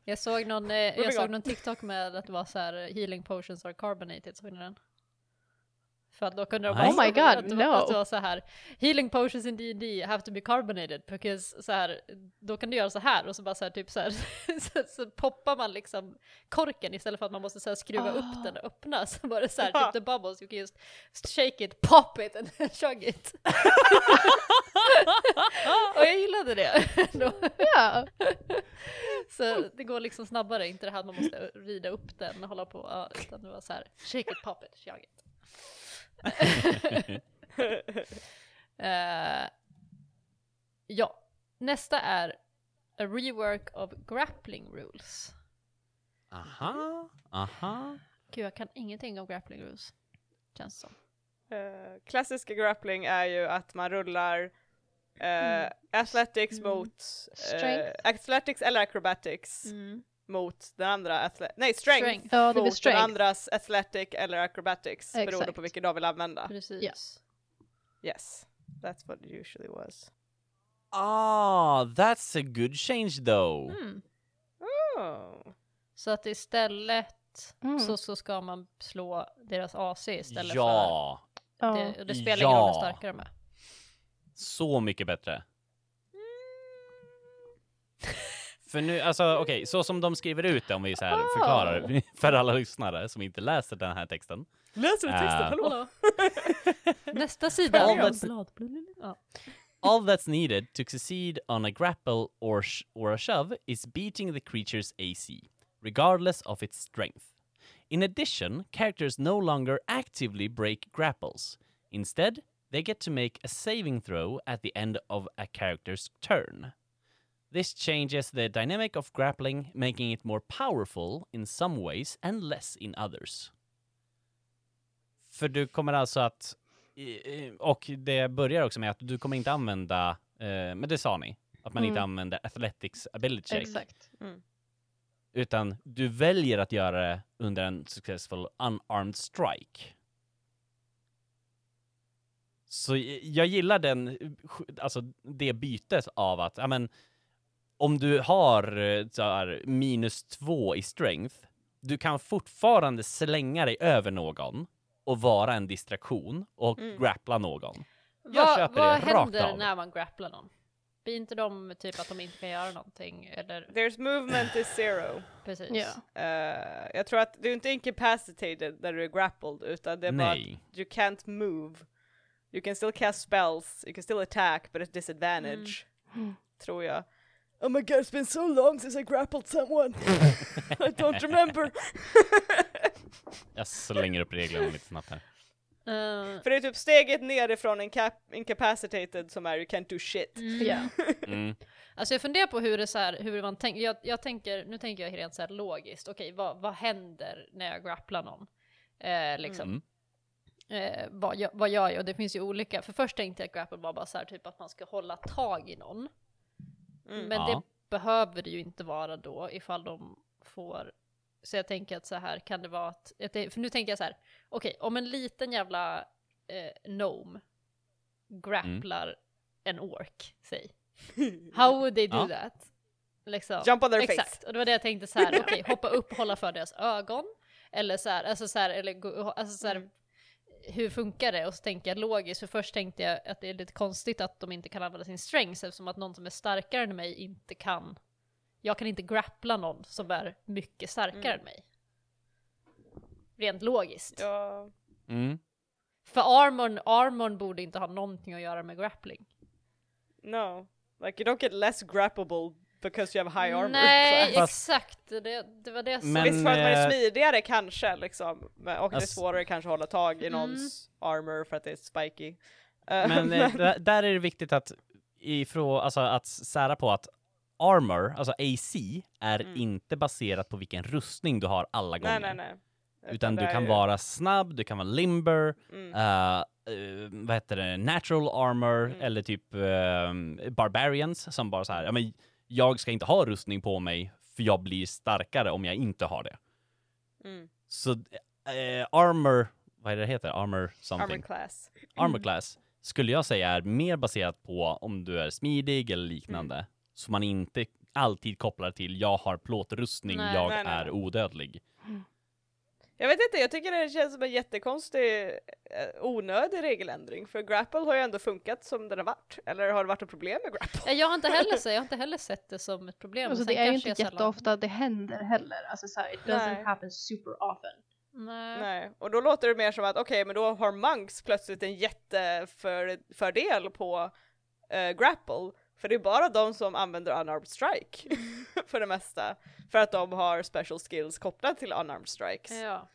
Speaker 4: Jag såg någon, eh, jag
Speaker 1: Moving
Speaker 4: såg
Speaker 1: on.
Speaker 4: någon TikTok med att det var så här eh, healing potions are carbonated, såg ni den? För att då kunde de
Speaker 2: Nej.
Speaker 4: också-
Speaker 2: Oh
Speaker 3: my God,
Speaker 4: att det var-
Speaker 3: no.
Speaker 4: Att det var så här, healing potions in D&D have to be carbonated, because så här, då kan du göra så här och så bara så här, typ så här, så, så poppar man liksom korken istället för att man måste så här, skruva
Speaker 3: Ah.
Speaker 4: upp den och öppna, så var det så här,
Speaker 1: Ja.
Speaker 4: typ the bubbles, you can just shake it, pop it and then chug it. och jag gillade det. Då.
Speaker 3: ja.
Speaker 4: Så det går liksom snabbare, inte det här att man måste rida upp den och hålla på, ja, utan det var så här, shake it, pop it, jag it. Eh, ja, nästa är a rework of grappling rules.
Speaker 2: Aha, aha.
Speaker 4: Gud, jag kan ingenting om grappling rules. Känns som.
Speaker 1: Eh, klassiska grappling är ju att man rullar eh, athletics mot
Speaker 3: Strength.
Speaker 1: eh, athletics eller acrobatics
Speaker 4: Mm,
Speaker 1: mot den andra athle- nej strength,
Speaker 4: Strength.
Speaker 3: Ja, det blir
Speaker 1: mot
Speaker 3: strength.
Speaker 1: den andras athletic eller acrobatics beroende
Speaker 3: Exakt. Mm.
Speaker 1: på vilken dag vill använda.
Speaker 4: Precis.
Speaker 3: Ja.
Speaker 1: Yes, that's what it usually was.
Speaker 2: Ah, that's a good change though.
Speaker 4: Mm.
Speaker 1: Oh.
Speaker 4: Så att istället
Speaker 3: Mm.
Speaker 4: så, så ska man slå deras AC istället
Speaker 2: ja,
Speaker 4: för,
Speaker 3: Ja.
Speaker 4: det, och det spelar ingen roll hur
Speaker 2: Ja.
Speaker 4: starka de är.
Speaker 2: så mycket bättre. För nu, alltså okej, så som de skriver ut det om vi så här förklarar för alla lyssnare som inte läser den här texten.
Speaker 1: Läser du texten?
Speaker 2: Ah.
Speaker 1: Hallå?
Speaker 4: Nästa sida.
Speaker 2: All that's-
Speaker 4: Blad. Ja.
Speaker 2: All that's needed to succeed on a grapple or, sh- or a shove is beating the creature's AC, regardless of its strength. In addition, characters no longer actively break grapples. Instead, they get to make a saving throw at the end of a character's turn. This changes the dynamic of grappling, making it more powerful in some ways and less in others. För du kommer alltså att, i- i- och det börjar också med att du kommer inte använda, eh, men det sa ni, att man inte
Speaker 3: Mm.
Speaker 2: använder athletics ability check.
Speaker 3: Exakt.
Speaker 2: Utan du väljer att göra det under en successful unarmed strike. Så j- jag gillar den, eh, sk- alltså det bytet av att, ja men, om du har eh, så här, minus två i strength, du kan fortfarande slänga dig över någon och vara en distraktion och
Speaker 1: Mm.
Speaker 2: grappla någon. Jag
Speaker 4: Vad-
Speaker 2: köper
Speaker 4: vad
Speaker 2: det rakt
Speaker 4: händer
Speaker 2: av.
Speaker 4: när man grapplar någon? Blir inte de typ att de inte kan göra någonting? Eller
Speaker 1: There's movement is zero.
Speaker 4: precis.
Speaker 3: Ja.
Speaker 1: Eh, jag tror att du är inte incapacitated när du är grappled utan det är bara
Speaker 2: Nej.
Speaker 1: att you can't move. You can still cast spells, you can still attack but at disadvantage.
Speaker 3: Mm.
Speaker 1: Tror jag. Oh my god it's been so long since I grappled someone. I don't remember.
Speaker 2: Jag slänger upp reglerna lite snabbt här.
Speaker 4: Eh,
Speaker 1: För det är typ steget nerifrån incap- incapacitated som är you can't do shit.
Speaker 3: Ja.
Speaker 2: Mm.
Speaker 4: Alltså jag funderar på hur det så här, hur man tänker, jag, jag tänker, nu tänker jag rent så här logiskt, okej vad, vad händer när jag grapplar någon? Eh, liksom.
Speaker 2: Mm.
Speaker 4: Eh, vad, gö- vad gör jag? Och det finns ju olika, för först tänkte jag att grapple var bara så här typ att man ska hålla tag i någon.
Speaker 1: Mm.
Speaker 4: Men
Speaker 2: Ja.
Speaker 4: det behöver det ju inte vara då ifall de får, så jag tänker att så här kan det vara att, jag tän- för nu tänker jag så här, okej om en liten jävla eh, gnome grapplar
Speaker 2: Mm.
Speaker 4: en ork, säg.
Speaker 1: Mm.
Speaker 4: How would they do
Speaker 2: Ja.
Speaker 4: that? Liksom.
Speaker 1: Jump on their face.
Speaker 4: Exakt, och det var det jag tänkte så här, okej, hoppa upp och hålla för deras ögon. Eller så här, alltså så här, eller gå- alltså så här,
Speaker 1: Mm.
Speaker 4: hur funkar det? Och så tänker jag logiskt, för först tänkte jag att det är lite konstigt att de inte kan använda sin strength eftersom att någon som är starkare än mig inte kan, jag kan inte grappla någon som är mycket starkare än mig. Rent logiskt.
Speaker 1: Mm. Ja.
Speaker 2: Mm.
Speaker 4: För armorn, armorn borde inte ha någonting att göra med grappling.
Speaker 1: No. Like you don't get less grappable because you have high armor.
Speaker 4: Nej,
Speaker 2: Fast-
Speaker 4: exakt, det, det var det som...
Speaker 2: Men-
Speaker 1: Visst för att man är
Speaker 2: eh, Alltså-
Speaker 1: smidigare kanske liksom, men- och det är
Speaker 2: ass-
Speaker 1: svårare kanske att hålla tag i
Speaker 4: Mm.
Speaker 1: någons armor för att det är spiky. Eh,
Speaker 2: Men eh, där- där är det viktigt att, ifrå, alltså, att sära på att armor, alltså AC, är inte baserat på vilken rustning du har alla gånger.
Speaker 1: Mm. nej, nej, nej.
Speaker 2: Utan du
Speaker 1: det är Mm.
Speaker 2: kan
Speaker 1: ju-
Speaker 2: vara snabb, du kan vara limber, eh, eh, vad heter det, natural armor
Speaker 1: Mm.
Speaker 2: eller typ eh, barbarians som bara så här, ja men jag ska inte ha rustning på mig för jag blir starkare om jag inte har det.
Speaker 1: Mm.
Speaker 2: Så eh, armor, vad är det det heter? Armor something.
Speaker 1: Armor class.
Speaker 2: armor class skulle jag säga är mer baserat på om du är smidig eller liknande.
Speaker 1: Mm.
Speaker 2: Så man inte alltid kopplar till jag har plåtrustning,
Speaker 4: Nej,
Speaker 2: jag
Speaker 1: nej, nej,
Speaker 2: är
Speaker 1: nej.
Speaker 2: odödlig.
Speaker 1: Jag vet inte, jag tycker det känns som en jättekonstig eh, onödig regeländring för grapple har ju ändå funkat som den har varit. Eller har det varit ett problem med grapple?
Speaker 4: Nej, Jag har, inte heller, sett- jag har inte heller sett det som ett problem.
Speaker 3: Alltså,
Speaker 4: Sen
Speaker 3: det är ju
Speaker 4: kanske
Speaker 3: inte
Speaker 4: jag sällan-
Speaker 3: jätteofta det händer heller. Alltså så här, it doesn't
Speaker 1: Nej.
Speaker 3: happen super often.
Speaker 4: Nej.
Speaker 1: Nej, och då låter det mer som att okej, men då har Monks plötsligt en jättefördel på eh, grapple. För det är bara de som använder unarmed strike för det mesta. För att de har special skills kopplat till unarmed strikes.
Speaker 4: Ja.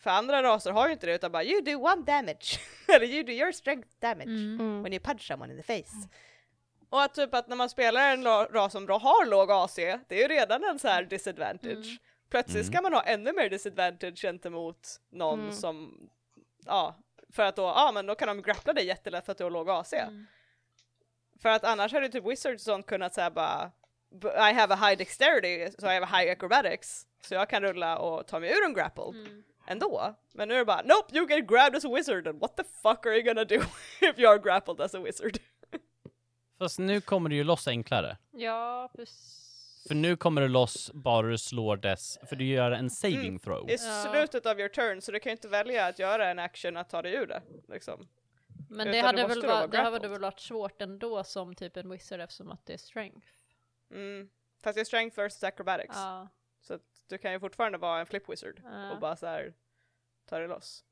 Speaker 1: För andra raser har ju inte det utan bara you do one damage. Eller you do your strength damage
Speaker 3: Mm.
Speaker 1: when you punch someone in the face. Och att typ att när man spelar en la- ras som har låg AC, det är ju redan en så
Speaker 3: Mm.
Speaker 1: här disadvantage. Plötsligt ska man ha ännu mer disadvantage gentemot någon
Speaker 3: Mm.
Speaker 1: som, ja, för att då, ja men då kan de grappla dig jättelätt för att du har låg AC.
Speaker 3: Mm.
Speaker 1: För att annars hade ju typ Wizards och sånt kunnat säga bara "B- I have a high dexterity, so I have a high acrobatics, så jag kan rulla och ta mig ur en grapple
Speaker 3: Mm.
Speaker 1: ändå. Men nu är det bara Nope, you get grabbed as a wizard and what the fuck are you gonna do if you are grappled as a wizard?
Speaker 2: Fast nu kommer det ju loss enklare.
Speaker 4: Ja, precis.
Speaker 2: För nu kommer det loss bara du slår dess, för du gör en
Speaker 1: Mm.
Speaker 2: saving throw.
Speaker 1: I
Speaker 4: Ja.
Speaker 1: slutet av your turn, så du kan ju inte välja att göra en action att ta dig ur det. Liksom.
Speaker 4: Men
Speaker 1: Utan
Speaker 4: det
Speaker 1: du
Speaker 4: hade,
Speaker 1: måste
Speaker 4: väl
Speaker 1: då
Speaker 4: va-
Speaker 1: vara
Speaker 4: det hade
Speaker 1: grappled.
Speaker 4: väl varit svårt ändå som typ en wizard eftersom att det är strength.
Speaker 1: Mm. Fast det är strength versus acrobatics.
Speaker 4: Ja.
Speaker 1: Så att du kan ju fortfarande vara en flip wizard
Speaker 4: Ja.
Speaker 1: och bara så här ta dig loss.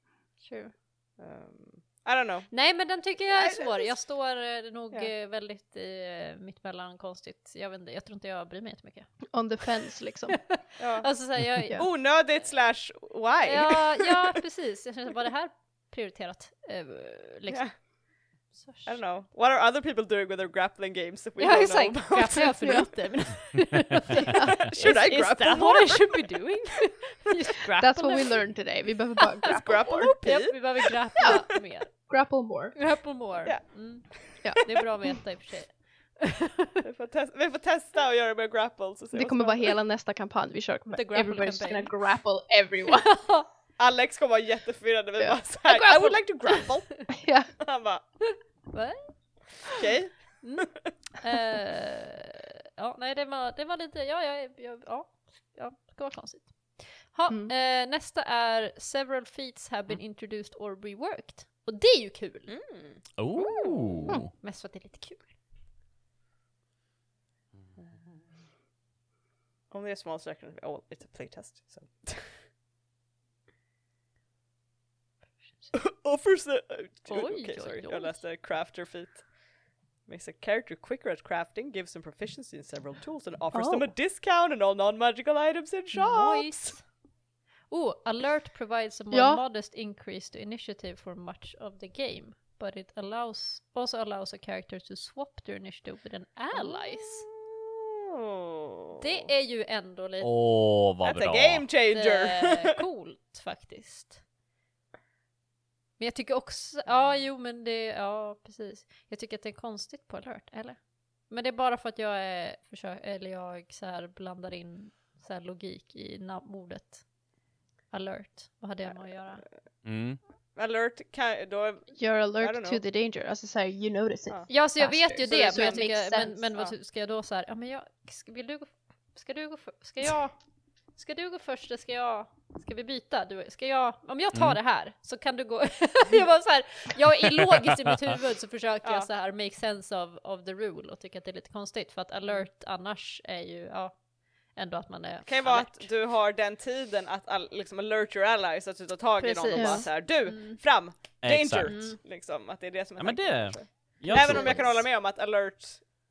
Speaker 4: True.
Speaker 1: Um, I don't know.
Speaker 4: Nej men den tycker jag är
Speaker 1: Nej,
Speaker 4: svår. Jag står eh, nog
Speaker 1: Ja.
Speaker 4: eh, väldigt i mittemellan konstigt. Jag vet inte, jag tror inte jag bryr mig jättemycket.
Speaker 3: On the fence liksom.
Speaker 1: Ja.
Speaker 4: Alltså så här, jag,
Speaker 3: Ja.
Speaker 1: Onödigt slash why?
Speaker 4: ja, ja precis. Jag känner, var det här prioriterat? Eh, liksom.
Speaker 1: Yeah. I don't know. What are other people doing with their grappling games if we don't know about?
Speaker 4: Grapplar jag för lite?
Speaker 1: Should I
Speaker 4: Is
Speaker 1: grapple
Speaker 4: that
Speaker 1: more?
Speaker 4: what I should be doing? Just grapple
Speaker 3: That's what we learned today. Vi behöver bara grapple,
Speaker 1: Grapple
Speaker 3: more.
Speaker 1: more,
Speaker 4: Japp,
Speaker 1: please.
Speaker 4: vi behöver grappla mer.
Speaker 3: grapple more.
Speaker 4: Grapple more.
Speaker 1: Ja.
Speaker 4: Mm.
Speaker 3: Ja.
Speaker 4: Det är bra att veta i och för sig.
Speaker 1: Vi får, test- vi får testa och göra med grapple. Så ser
Speaker 3: Det
Speaker 1: vad
Speaker 3: kommer
Speaker 1: som
Speaker 3: vara
Speaker 1: händer.
Speaker 3: hela nästa kampanj vi kör.
Speaker 4: The grapple
Speaker 3: Everybody's just gonna
Speaker 4: campaign.
Speaker 3: grapple everyone.
Speaker 1: Alex kommer vara jätteförvirrad när vi
Speaker 3: Ja.
Speaker 1: bara såhär I would
Speaker 4: grapple.
Speaker 1: like to grapple.
Speaker 3: ja.
Speaker 1: Han bara
Speaker 4: Va?
Speaker 1: okej.
Speaker 4: Eh, ja, nej det var, det var lite, ja, jag, jag, ja, ja, det ska vara konstigt. Ha,
Speaker 3: Mm.
Speaker 4: eh, nästa är Several feats have been introduced or reworked. Och det är ju kul!
Speaker 1: Mm.
Speaker 2: Oh!
Speaker 3: Mm.
Speaker 4: Mest för att det är lite kul.
Speaker 1: Om det är smalt så räknas det. Oh, it's a playtest. So. Offers the... uh, Okej,
Speaker 4: Oj,
Speaker 1: okay,
Speaker 4: oj,
Speaker 1: sorry.
Speaker 4: oj.
Speaker 1: Jag läste crafter feat. Makes a character quicker at crafting, gives them proficiency in several tools and offers them a discount on all non-magical items in shops!
Speaker 4: Nice. Oh, alert provides a more
Speaker 3: Ja.
Speaker 4: modest increase to initiative for much of the game. But it allows, also allows a character to swap their initiative with an allies.
Speaker 1: Oh.
Speaker 4: Det är ju ändå lite
Speaker 2: Åh, vad
Speaker 1: That's
Speaker 2: bra!
Speaker 1: a game changer!
Speaker 4: coolt faktiskt. Men jag tycker också, ja jo men det, ja precis. Jag tycker att det är konstigt på alert, eller? Men det är bara för att jag är, försök, eller jag så här blandar in så här logik i nam- ordet alert. Vad hade jag med att göra?
Speaker 2: Mm.
Speaker 1: Alert kan, då
Speaker 3: You're
Speaker 1: I don't
Speaker 3: alert
Speaker 1: know.
Speaker 3: to the danger. Alltså såhär, you notice it.
Speaker 1: Ja.
Speaker 4: Ja så jag
Speaker 3: Faster.
Speaker 4: vet ju
Speaker 3: Så-
Speaker 4: det,
Speaker 3: så
Speaker 4: men, jag
Speaker 3: it makes
Speaker 4: tycker, men,
Speaker 3: sense,
Speaker 4: men vad
Speaker 1: ja.
Speaker 4: ty- ska jag då så här, ja men jag, ska, vill du gå, f- ska du gå, för, ska jag, ska du gå först eller ska jag, ska vi byta? Du, ska jag, om jag tar
Speaker 2: Mm.
Speaker 4: det här så kan du gå, jag var så här, jag är logiskt i mitt huvud så försöker
Speaker 1: Ja.
Speaker 4: jag så här make sense of, of the rule och tycker att det är lite konstigt för att alert annars är ju, ja, ändå att man är
Speaker 1: kan ju vara
Speaker 4: alert.
Speaker 1: att du har den tiden att all, liksom alert your allies, att du tar tag i någon och
Speaker 4: Precis.
Speaker 1: bara
Speaker 3: Ja.
Speaker 1: såhär du,
Speaker 3: Mm.
Speaker 1: fram, danger!
Speaker 2: Exakt.
Speaker 4: Mm.
Speaker 1: Liksom, att det är det som är
Speaker 2: Ja, men
Speaker 1: tanken,
Speaker 2: det-
Speaker 1: kanske.
Speaker 2: Jag
Speaker 1: Även
Speaker 2: tror
Speaker 1: om jag kan
Speaker 2: det.
Speaker 1: hålla med om att alert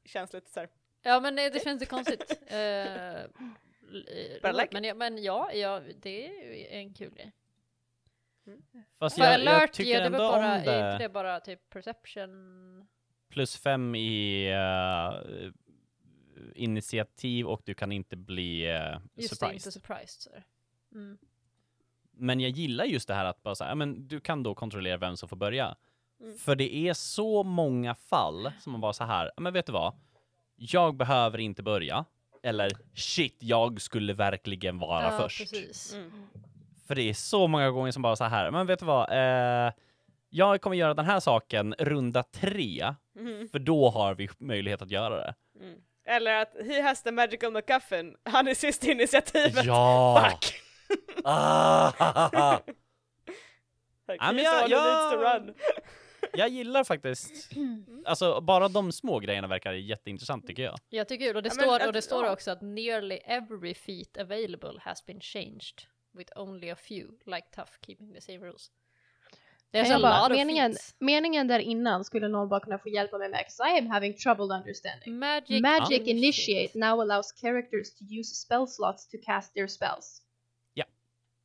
Speaker 1: känns lite såhär,
Speaker 4: Ja men eh, det känns ju konstigt. Eh, l- eh,
Speaker 1: Bara
Speaker 4: roligt,
Speaker 1: like
Speaker 4: men, ja- men ja, ja, det är ju en kul grej.
Speaker 2: Fast
Speaker 4: För
Speaker 2: jag, jag
Speaker 4: alert
Speaker 2: tycker
Speaker 4: ger det
Speaker 2: ändå
Speaker 4: väl bara,
Speaker 2: om
Speaker 4: är
Speaker 2: det.
Speaker 4: inte det bara typ perception?
Speaker 2: Plus fem i eh, initiativ och du kan inte bli eh,
Speaker 4: Just det, inte
Speaker 2: surprised.
Speaker 4: surprised. Så. är det. Mm.
Speaker 2: Men jag gillar just det här att bara så här, ja, men du kan då kontrollera vem som får börja.
Speaker 1: Mm.
Speaker 2: För det är så många fall som man bara så här, ja, men vet du vad? Jag behöver inte börja. Eller shit, jag skulle verkligen vara
Speaker 4: ja,
Speaker 2: först.
Speaker 4: Precis.
Speaker 1: mm.
Speaker 2: För det är så många gånger som bara så här, men vet du vad? Eh, jag kommer göra den här saken runda tre,
Speaker 1: Mhm.
Speaker 3: Mm.
Speaker 2: för då har vi möjlighet att göra det.
Speaker 1: Mm. Eller att he has the magical MacGuffin, han är sist i initiativet,
Speaker 2: Ja!
Speaker 1: fuck!
Speaker 2: Ah.
Speaker 1: Like,
Speaker 2: Ja, men
Speaker 1: he's
Speaker 2: jag-
Speaker 1: the one who needs to
Speaker 2: jag-
Speaker 1: run.
Speaker 2: jag gillar faktiskt, alltså bara de små grejerna verkar jätteintressant tycker jag.
Speaker 4: Jag tycker kul, och det,
Speaker 1: Ja, men
Speaker 4: står,
Speaker 1: att-
Speaker 4: och det står
Speaker 1: ja.
Speaker 4: också att nearly every feat available has been changed with only a few, like tough keeping the same rules. Det
Speaker 3: Jag bara, meningen, meningen där innan skulle någon bara kunna få hjälpa mig med, 'cause I am having trouble understanding.
Speaker 4: Magic,
Speaker 3: Magic Initiate now allows characters to use spell slots to cast their spells.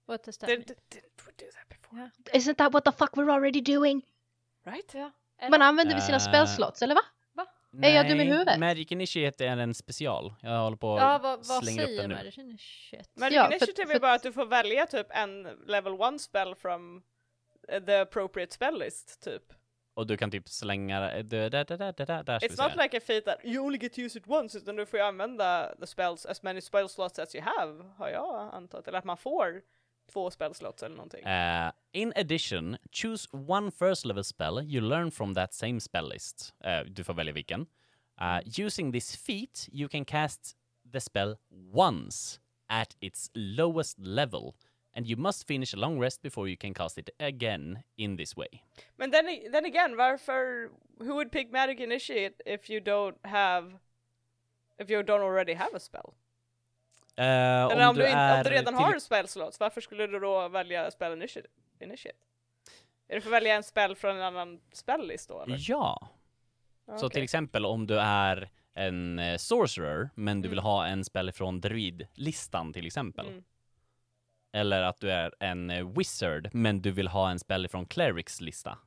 Speaker 4: What does that
Speaker 1: They
Speaker 4: mean?
Speaker 1: didn't we do that before,
Speaker 3: Isn't that what the fuck we're already doing?
Speaker 1: right?
Speaker 4: Eller?
Speaker 3: Man använder väl sina
Speaker 2: Äh.
Speaker 3: spell slots, eller va? Är jag dum i huvudet?
Speaker 2: Magic Initiate är en special. Jag håller på
Speaker 4: Ja, vad, vad
Speaker 2: slänger upp
Speaker 4: säger
Speaker 2: den nu.
Speaker 4: Magic Initiate?
Speaker 1: Magic
Speaker 3: Ja, för-
Speaker 1: Initiative är
Speaker 3: för-
Speaker 1: bara att du får välja typ en level one spell from eh, the appropriate spell list typ.
Speaker 2: Och du kan typ slänga... Där, där, där, där, där, där ska vi
Speaker 1: It's not
Speaker 2: se.
Speaker 1: like a feat that you only get to use it once utan du får ju använda the spells as many spell slots as you have har jag antat. Eller att man får två spell slots eller någonting.
Speaker 2: Eh, in addition, choose one first level spell you learn from that same spell list. Eh, du får välja vilken. Eh, using this feat you can cast the spell once at its lowest level and you must finish a long rest before you can cast it again in this way.
Speaker 1: Men then, then again, varför, who would pick Magic Initiate if you don't have if you don't already have a spell?
Speaker 2: Eh,
Speaker 1: Eller om, du, inte, om
Speaker 2: är
Speaker 1: du redan
Speaker 2: till-
Speaker 1: har en spell slots, varför skulle du då välja spell initiate? initiate? Är det för att välja en spell från en annan spellist då eller?
Speaker 2: Ja. Så till
Speaker 1: Okej.
Speaker 2: exempel om du är en eh, sorcerer, men du vill ha en spel från druidlistan till exempel.
Speaker 1: Mm.
Speaker 2: Eller att du är en eh, wizard, men du vill ha en spel från clerics lista.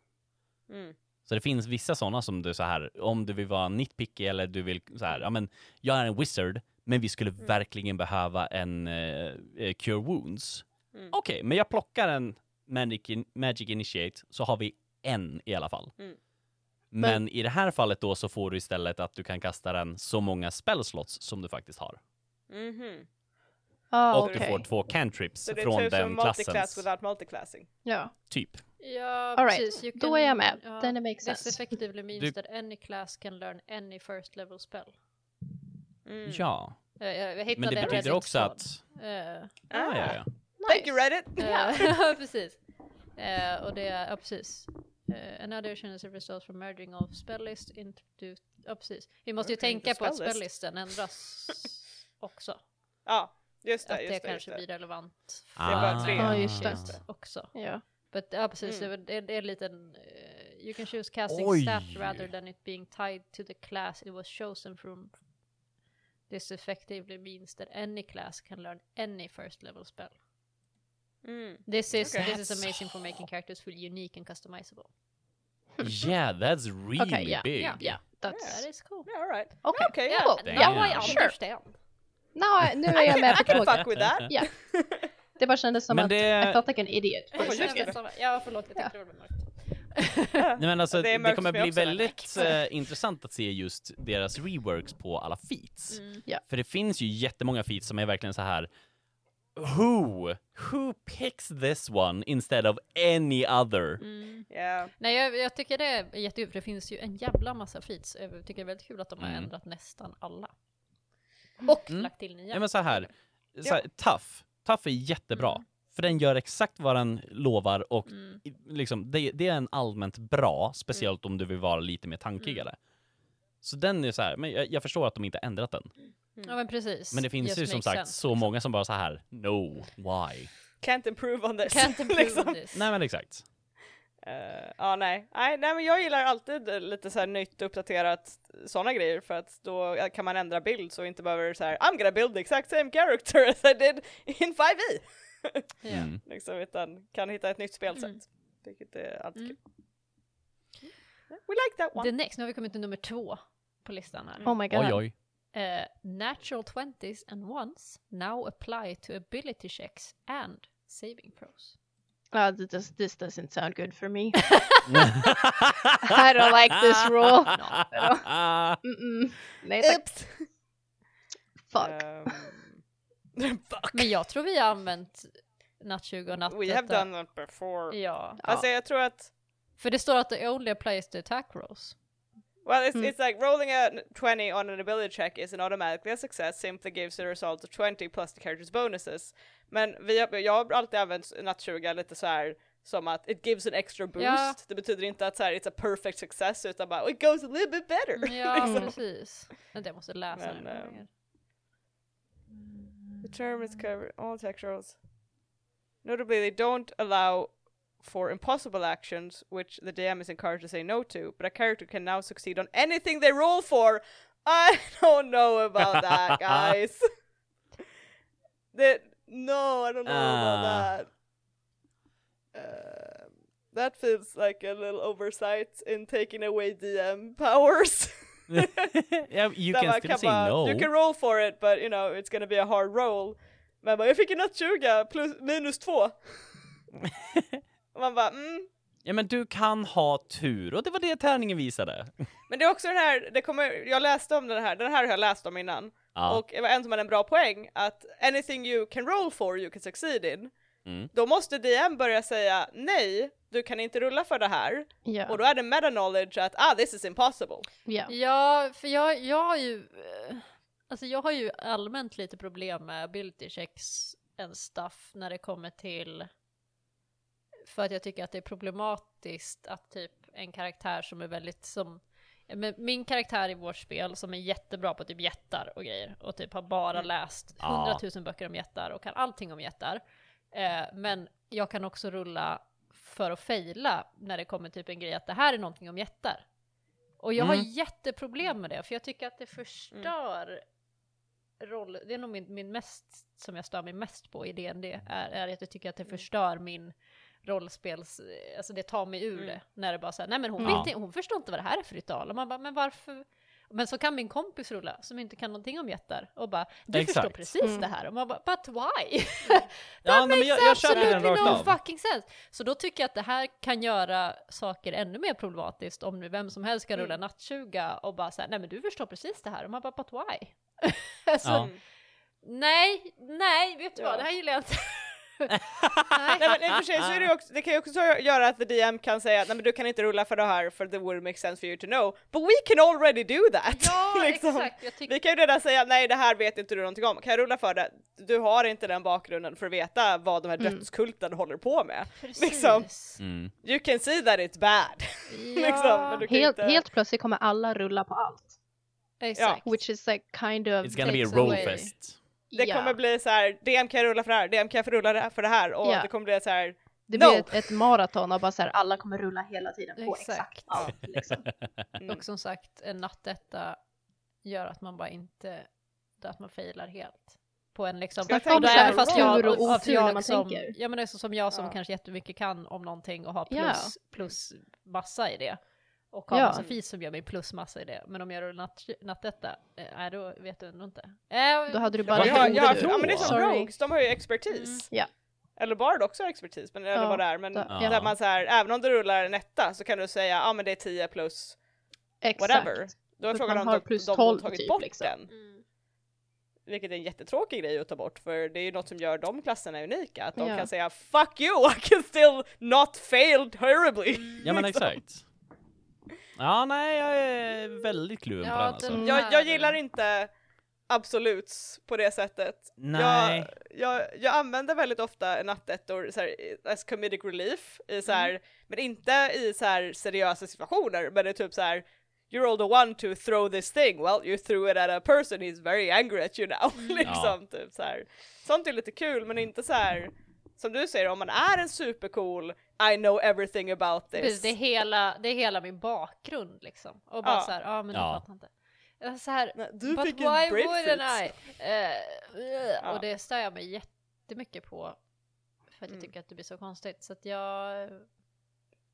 Speaker 1: Mm.
Speaker 2: Så det finns vissa sådana som du så här, om du vill vara nitpicky eller du vill så här, ja men jag är en wizard, men vi
Speaker 1: Mm.
Speaker 2: skulle verkligen behöva en eh, eh, cure wounds.
Speaker 1: Mm.
Speaker 2: Okej, men jag plockar en magic, in, magic initiate så har vi en i alla fall.
Speaker 1: Mm.
Speaker 2: Men, i det här fallet då så får du istället att du kan kasta den så många spellslots som du faktiskt har.
Speaker 1: Mhm.
Speaker 3: Ah,
Speaker 2: Och du får två cantrips
Speaker 1: Så det är
Speaker 2: från
Speaker 1: typ
Speaker 2: den
Speaker 1: som multiclass
Speaker 2: klassens
Speaker 1: without multiclassing.
Speaker 3: Ja.
Speaker 2: typ.
Speaker 4: Ja,
Speaker 3: All right,
Speaker 4: precis. You
Speaker 3: då är jag med. Then it makes
Speaker 4: This
Speaker 3: sense.
Speaker 4: effectively means
Speaker 2: Du-
Speaker 4: that any class can learn any first level spell.
Speaker 1: Mm.
Speaker 2: Ja,
Speaker 4: Eh, jag, jag hittade
Speaker 2: men det
Speaker 4: en
Speaker 2: betyder också
Speaker 4: räddningstråd.
Speaker 2: att...
Speaker 4: Eh,
Speaker 2: Ja, ja, ja.
Speaker 1: Ah, Thank you Reddit!
Speaker 4: Eh, Ja, precis. Eh, och det är, ja precis. Eh, another change of results from merging of spell list into... Ja precis. Vi måste ju
Speaker 1: Merging
Speaker 4: tänka
Speaker 1: into
Speaker 4: på att
Speaker 1: spell list.
Speaker 4: spellisten ändras också.
Speaker 1: Ja, just
Speaker 4: att
Speaker 1: det,
Speaker 4: det,
Speaker 1: just det. Just
Speaker 4: kanske
Speaker 1: det.
Speaker 4: blir relevant
Speaker 1: bara tre.
Speaker 2: Ah.
Speaker 3: Ja, just det. Just
Speaker 4: också.
Speaker 3: Ja.
Speaker 4: But, ja precis,
Speaker 1: Mm.
Speaker 4: det, är, det är en liten... eh, you can choose casting
Speaker 2: Oj.
Speaker 4: stat rather than it being tied to the class it was chosen from. This effectively means that any class can learn any first level spell.
Speaker 1: Mm.
Speaker 4: This is,
Speaker 1: Okay.
Speaker 4: this is amazing for making characters feel unique and customizable.
Speaker 2: Yeah, that's really
Speaker 3: Okay, yeah,
Speaker 2: big.
Speaker 4: yeah,
Speaker 3: Yeah,
Speaker 4: That
Speaker 3: that's...
Speaker 4: is cool.
Speaker 1: Yeah, all right.
Speaker 3: Okej.
Speaker 1: Okej,
Speaker 4: Yeah,
Speaker 1: ja.
Speaker 3: Cool.
Speaker 2: Damn.
Speaker 4: now I
Speaker 3: Sure.
Speaker 4: understand.
Speaker 3: Nå, nu är jag
Speaker 1: I
Speaker 3: med på
Speaker 1: can
Speaker 3: tåget.
Speaker 1: fuck with that.
Speaker 3: Ja. Det bara kändes som
Speaker 2: Men
Speaker 3: att
Speaker 2: det-
Speaker 3: I felt like an idiot.
Speaker 1: Oh, just
Speaker 4: Jag
Speaker 1: det.
Speaker 4: vet samma- Ja, förlåt, jag tänkte det var mörkt.
Speaker 2: Nej, men alltså,
Speaker 1: Det är
Speaker 2: det,
Speaker 1: mörkt
Speaker 2: kommer
Speaker 1: för mig
Speaker 2: bli
Speaker 1: också,
Speaker 2: väldigt
Speaker 1: men-
Speaker 2: eh, intressant att se just deras reworks på alla feats.
Speaker 3: Ja.
Speaker 2: För det finns ju jättemånga feats som är verkligen så här Who? Who picks this one instead of any other?
Speaker 1: Yeah.
Speaker 4: Nej, jag, jag tycker det är jättekul, för det finns ju en jävla massa feeds. Jag tycker det är väldigt kul att de har
Speaker 2: Mm.
Speaker 4: ändrat nästan alla. Och
Speaker 2: Mm.
Speaker 4: lagt till nya.
Speaker 2: Ja, men så här, så här Tough. Tough är jättebra. För den gör exakt vad den lovar och
Speaker 4: Mm.
Speaker 2: i- liksom, det, det är en allmänt bra, speciellt om du vill vara lite mer tankigare. Så den är så här, men jag, jag förstår att de inte har ändrat den.
Speaker 1: Mm.
Speaker 4: Ja, men precis.
Speaker 2: Men det finns
Speaker 4: Just
Speaker 2: ju som
Speaker 4: makes
Speaker 2: sagt
Speaker 4: sense.
Speaker 2: så många som bara så här, no, why?
Speaker 1: Can't improve on this.
Speaker 4: Can't improve
Speaker 1: Liksom.
Speaker 4: on this.
Speaker 2: Nej men exakt.
Speaker 1: Eh, ja nej. nej, nej men jag gillar alltid eh, lite så här nytt uppdaterat sådana grejer för att då eh, kan man ändra bild så inte behöver så här I'm gonna build the exact same character as I did in 5e.
Speaker 4: Ja.
Speaker 2: Mm.
Speaker 1: Liksom utan kan hitta ett nytt spelsätt. Vilket är alltid
Speaker 4: Mm.
Speaker 1: kul. We like that one.
Speaker 4: The next, nu har vi kommit till nummer två på listan här.
Speaker 1: Mm.
Speaker 3: Oh my god.
Speaker 2: Oj oj.
Speaker 4: Eh, natural 20s and ones now apply to ability checks and saving throws.
Speaker 3: Ah, this, does- this doesn't sound good for me. I don't like this rule. Mm-mm. Nej tack.
Speaker 1: Oops!
Speaker 3: Fuck.
Speaker 1: eh, Ehm, fuck!
Speaker 4: Men jag tror vi har använt natt 20 och natt
Speaker 1: We have done that before.
Speaker 4: Ja,
Speaker 1: Alltså jag tror att
Speaker 4: för det står att the only applies to attack rolls.
Speaker 1: Well, it's,
Speaker 3: Mm.
Speaker 1: it's like rolling a n- 20 on an ability check is an automatically a success, simply gives the result of 20 plus the character's bonuses. Men vi har, jag har alltid använt natt 20 lite så här som att it gives an extra boost.
Speaker 4: Ja.
Speaker 1: Det betyder inte att så här it's a perfect success utan bara "Oh, it goes a little bit better.
Speaker 4: Ja, Mm.
Speaker 1: liksom.
Speaker 4: precis. Men det måste läsa
Speaker 1: Men,
Speaker 4: den här
Speaker 1: ehm,
Speaker 4: gången.
Speaker 1: The term is covered all attack rolls. Notably, they don't allow for impossible actions, which the DM is encouraged to say no to, but a character can now succeed on anything they roll for. I don't know about that, guys. that no, I don't know
Speaker 2: Ah.
Speaker 1: about that. Uh, that feels like a little oversight in taking away DM powers.
Speaker 2: yeah, you
Speaker 1: Där
Speaker 2: can
Speaker 1: man
Speaker 2: still
Speaker 1: kan
Speaker 2: say
Speaker 1: bara,
Speaker 2: no.
Speaker 1: You can roll for it but you know it's gonna be a hard roll. Men bara, jag fick ju natt 20 plus, minus 2. man bara mm.
Speaker 2: Ja men du kan ha tur och det var det tärningen visade.
Speaker 1: Men det är också den här, det kommer, jag läste om den här, den här har jag läst om innan.
Speaker 2: Ja.
Speaker 1: Och det var en som hade en bra poäng att anything you can roll for you can succeed in.
Speaker 2: Mm.
Speaker 1: Då måste DM börja säga nej, du kan inte rulla för det här. Och
Speaker 3: Ja.
Speaker 1: då är det meta knowledge att ah this is impossible.
Speaker 3: Ja.
Speaker 4: Ja, för jag, jag har ju... eh, Alltså jag har ju allmänt lite problem med ability checks and stuff när det kommer till... För att jag tycker att det är problematiskt att typ en karaktär som är väldigt som... Men min karaktär i vårt spel som är jättebra på typ jättar och grejer och typ har bara läst
Speaker 2: Ja.
Speaker 4: hundratusen böcker om jättar och kan allting om jättar. Eh, men jag kan också rulla för att fejla när det kommer typ en grej att det här är någonting om jättar. Och jag har
Speaker 2: Mm.
Speaker 4: jätteproblem med det, för jag tycker att det förstör roll. Det är nog min, min mest, som jag stör mig mest på i DND, är, är att jag tycker att det förstör min rollspels, alltså det tar mig ur
Speaker 1: Mm.
Speaker 4: det. När det bara säger nej men hon,
Speaker 2: Ja.
Speaker 4: vet inte, hon förstår inte vad det här är för ritual. Och man bara, men varför? Men så kan min kompis rulla, som inte kan någonting om jättar, och bara, du förstår
Speaker 2: Exakt.
Speaker 4: precis
Speaker 3: Mm.
Speaker 4: det här. Och man bara, but why?
Speaker 2: Ja, nej, men jag, jag köper den
Speaker 4: Absolutely
Speaker 2: rakt
Speaker 4: no
Speaker 2: av.
Speaker 4: fucking sense. Så då tycker jag att det här kan göra saker ännu mer problematiskt om nu vem som helst kan rulla mm. nattsuga och bara säga nej men du förstår precis det här och man bara but why? alltså,
Speaker 2: Ja.
Speaker 4: nej, nej, vet du
Speaker 1: Ja.
Speaker 4: vad, det här gillar jag inte.
Speaker 1: Nej men i och för sig så är det, ju också, det kan ju också göra att the DM kan säga att nej men du kan inte rulla för det här för det would make sense for you to know. But we can already do that!
Speaker 4: ja,
Speaker 1: Liksom.
Speaker 4: exakt, jag tycker
Speaker 1: Vi kan ju redan säga nej det här vet inte du någonting om, kan jag rulla för det? du har inte den bakgrunden för att veta vad de här
Speaker 3: Mm.
Speaker 1: dödskulten håller på med.
Speaker 4: Precis.
Speaker 1: Liksom.
Speaker 2: Mm.
Speaker 1: You can see that it's bad. liksom,
Speaker 4: Ja,
Speaker 1: men du kan
Speaker 3: Helt,
Speaker 1: inte...
Speaker 3: helt plötsligt kommer alla rulla på allt.
Speaker 4: exakt.
Speaker 3: Which is like kind of...
Speaker 2: It's gonna be a
Speaker 4: Takes away.
Speaker 2: rollfest.
Speaker 1: Det
Speaker 3: ja,
Speaker 1: kommer bli så här: DM kan jag rulla för det här, DM kan jag rulla det här- för det här och
Speaker 3: Ja.
Speaker 1: det kommer bli så här.
Speaker 3: det
Speaker 1: no.
Speaker 3: blir ett, ett maraton och bara så här, alla kommer rulla hela tiden på exakt,
Speaker 4: Exakt.
Speaker 3: allt. Liksom.
Speaker 1: Mm.
Speaker 4: Och som sagt, en nattetta gör att man bara inte, att man failar helt. På en liksom,
Speaker 1: Ska jag
Speaker 4: och då
Speaker 1: tänka
Speaker 4: även
Speaker 1: på
Speaker 4: fast
Speaker 1: tur
Speaker 4: jag,
Speaker 1: och otur
Speaker 4: att
Speaker 3: när man
Speaker 4: jag som,
Speaker 3: tänker?
Speaker 4: ja men det är så som jag som
Speaker 1: Ja.
Speaker 4: kanske jättemycket kan om någonting och har plus,
Speaker 3: Ja.
Speaker 4: plus massa i det. Och har
Speaker 3: Ja.
Speaker 4: ja. Sofie som gör mig plus massa i det. Men om jag gör natt, nattetta, eh, nej då vet du ändå inte. Eh,
Speaker 3: Då hade du
Speaker 1: Ja,
Speaker 3: bara...
Speaker 2: Vad
Speaker 1: ja,
Speaker 2: händer
Speaker 1: ja,
Speaker 2: nu?
Speaker 1: ja men det är som
Speaker 3: Sorry.
Speaker 1: Rogues, de har ju expertis.
Speaker 4: Mm.
Speaker 3: Ja.
Speaker 1: Eller Bard också har expertis, men, eller
Speaker 3: Ja,
Speaker 1: vad det är. Men
Speaker 3: då-
Speaker 2: ja.
Speaker 1: där man så här, även om du rullar en etta så kan du säga ja ah, men det är 10 plus,
Speaker 3: Exakt.
Speaker 1: whatever. Då är
Speaker 3: Att
Speaker 1: frågan
Speaker 3: man
Speaker 1: om
Speaker 3: har
Speaker 1: de,
Speaker 3: plus
Speaker 1: de, de
Speaker 3: 12
Speaker 1: tagit
Speaker 3: typ,
Speaker 1: bort
Speaker 3: liksom.
Speaker 1: den.
Speaker 4: Mm.
Speaker 1: Vilket är en jättetråkig grej att ta bort för det är ju något som gör de klasserna unika. Att de
Speaker 3: Ja.
Speaker 1: kan säga fuck you, I can still not fail terribly.
Speaker 3: Mm.
Speaker 2: Ja men exakt. Ja nej jag är väldigt kluven på
Speaker 4: Ja,
Speaker 2: den
Speaker 4: den-
Speaker 2: alltså.
Speaker 1: Jag, jag gillar inte absoluts på det sättet.
Speaker 2: Nej.
Speaker 1: Jag, jag, jag använder väldigt ofta nattettor så här, as comedic relief, i så här, men inte i så här seriösa situationer, men det är typ så här You rolled a one to throw this thing, well you threw it at a person, he's very angry at you now. liksom, typ så här. Sånt är lite kul men inte så här som du säger om man är en supercool I know everything about
Speaker 4: Precis,
Speaker 1: this.
Speaker 4: det är hela, det är hela min bakgrund liksom. Och bara
Speaker 1: Ja.
Speaker 4: så här, ja ah, men
Speaker 2: Ja.
Speaker 4: du fattar inte. Eh, Så här,
Speaker 1: Nej, du
Speaker 4: but
Speaker 1: fick en
Speaker 4: why
Speaker 1: grapefruit.
Speaker 4: wouldn't I? Eh, eh,
Speaker 1: Ja.
Speaker 4: Och det stör jag mig jättemycket på. För att jag
Speaker 1: Mm.
Speaker 4: tycker att det blir så konstigt. Så att jag,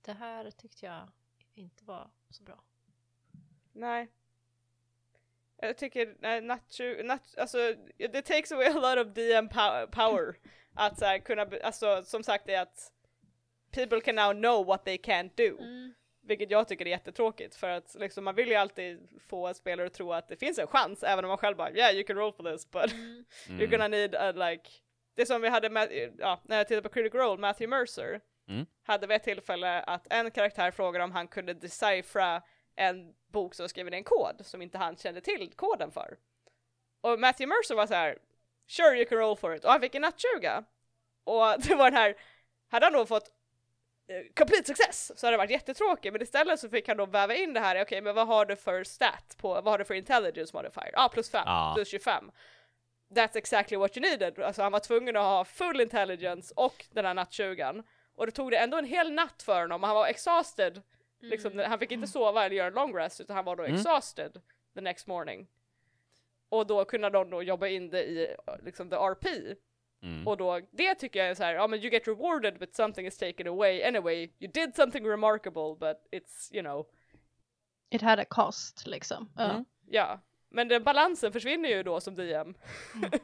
Speaker 4: det här tyckte jag inte var så bra.
Speaker 1: Nej. Jag tycker, nej, natu, nat, alltså, det takes away a lot of DM pow- power. Att så här, kunna, be- alltså som sagt är att people can now know what they can't do.
Speaker 4: Mm.
Speaker 1: Vilket jag tycker är jättetråkigt för att liksom, man vill ju alltid få en spelare att tro att det finns en chans även om man själv bara yeah you can roll for this but
Speaker 2: Mm.
Speaker 1: you're gonna need a like det som vi hade med, ja, när jag tittade på Critical Role, Matthew Mercer
Speaker 2: Mm.
Speaker 1: hade vid ett tillfälle att en karaktär frågade om han kunde decifra en bok som var skriven i en kod som inte han kände till koden för. Och Matthew Mercer var så här, sure you can roll for it, och han fick en nattjuga. Och det var den här, hade han då fått eh, complete success så hade det varit jättetråkigt men istället så fick han då väva in det här, okej men vad har du för stat på, vad har du för intelligence modifier? Ja ah, plus 5,
Speaker 2: Ja.
Speaker 1: plus 25. That's exactly what you needed, alltså han var tvungen att ha full intelligence och den här nattjugan. Och det tog det ändå en hel natt för honom och han var exhausted, liksom, han fick inte sova eller göra en long rest utan han var då
Speaker 2: Mm.
Speaker 1: exhausted the next morning. Och då kunde de då jobba in det i eh, liksom the RP.
Speaker 2: Mm.
Speaker 1: Och då, det tycker jag är så här, ja men you get rewarded but something is taken away anyway. You did something remarkable but it's, you know,
Speaker 3: It had a cost liksom. Ja.
Speaker 2: Mm.
Speaker 1: ja. Men den balansen försvinner ju då som DM.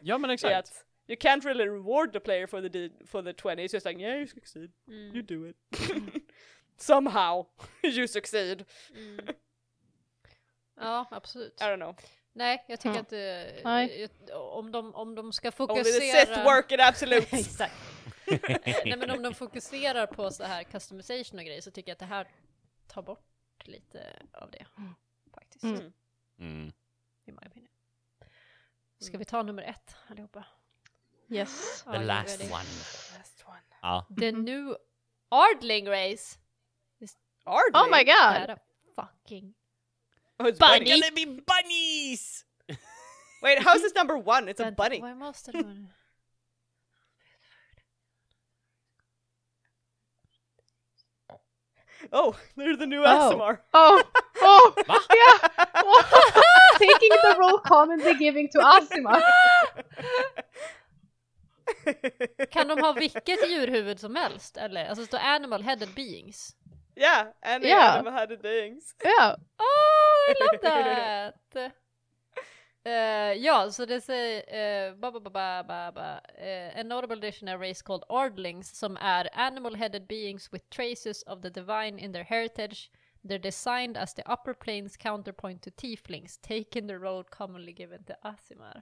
Speaker 2: Ja men
Speaker 1: I
Speaker 2: exakt.
Speaker 1: att you can't really reward the player for the, D- for the 20, it's just like yeah you succeed,
Speaker 4: Mm.
Speaker 1: you do it. Somehow you succeed.
Speaker 4: Mm. Ja, absolut.
Speaker 1: I don't know.
Speaker 4: Nej, jag tycker
Speaker 3: Mm.
Speaker 4: att eh,
Speaker 3: Nej.
Speaker 4: jag- om, de, om de ska
Speaker 1: Only
Speaker 4: fokusera...
Speaker 1: the
Speaker 3: eh,
Speaker 1: Sith work it absolute.
Speaker 4: Exakt. Nej men om de fokuserar på så här customization och grejer så tycker jag att det här tar bort lite av det. Faktiskt.
Speaker 3: Mm.
Speaker 2: Mm.
Speaker 4: I my opinion. Ska vi ta nummer ett allihopa?
Speaker 3: Yes.
Speaker 4: Are
Speaker 2: The
Speaker 4: you
Speaker 2: last
Speaker 4: ready?
Speaker 2: one.
Speaker 1: Last one.
Speaker 2: Ja.
Speaker 4: The new Ardling race.
Speaker 1: Hardly.
Speaker 3: Oh my god!
Speaker 4: Är a fucking...
Speaker 1: Oh, it's
Speaker 4: Bunny.
Speaker 1: bunny.
Speaker 2: be bunnies!
Speaker 1: Wait, how's this number one? It's a
Speaker 4: Vänta,
Speaker 1: bunny.
Speaker 4: Vad måste det vara nu?
Speaker 1: Oh, they're the new
Speaker 3: Oh.
Speaker 1: ASMR.
Speaker 3: Oh! Oh!
Speaker 2: Va?
Speaker 3: Yeah. Taking the role commonly giving to Asima.
Speaker 4: Kan de ha vilket djurhuvud som helst eller? Alltså det står animal headed beings.
Speaker 1: yeah, and the
Speaker 3: Yeah.
Speaker 1: animal had things.
Speaker 3: Ja.
Speaker 4: Oh, I love that! Eh, ja, så det säger uh, ba, ba, ba, ba, ba, ba. eh, a notable addition a race called Ardlings som är animal-headed beings with traces of the divine in their heritage. They're designed as the upper planes counterpoint to tieflings, taking the road commonly given to Asimar.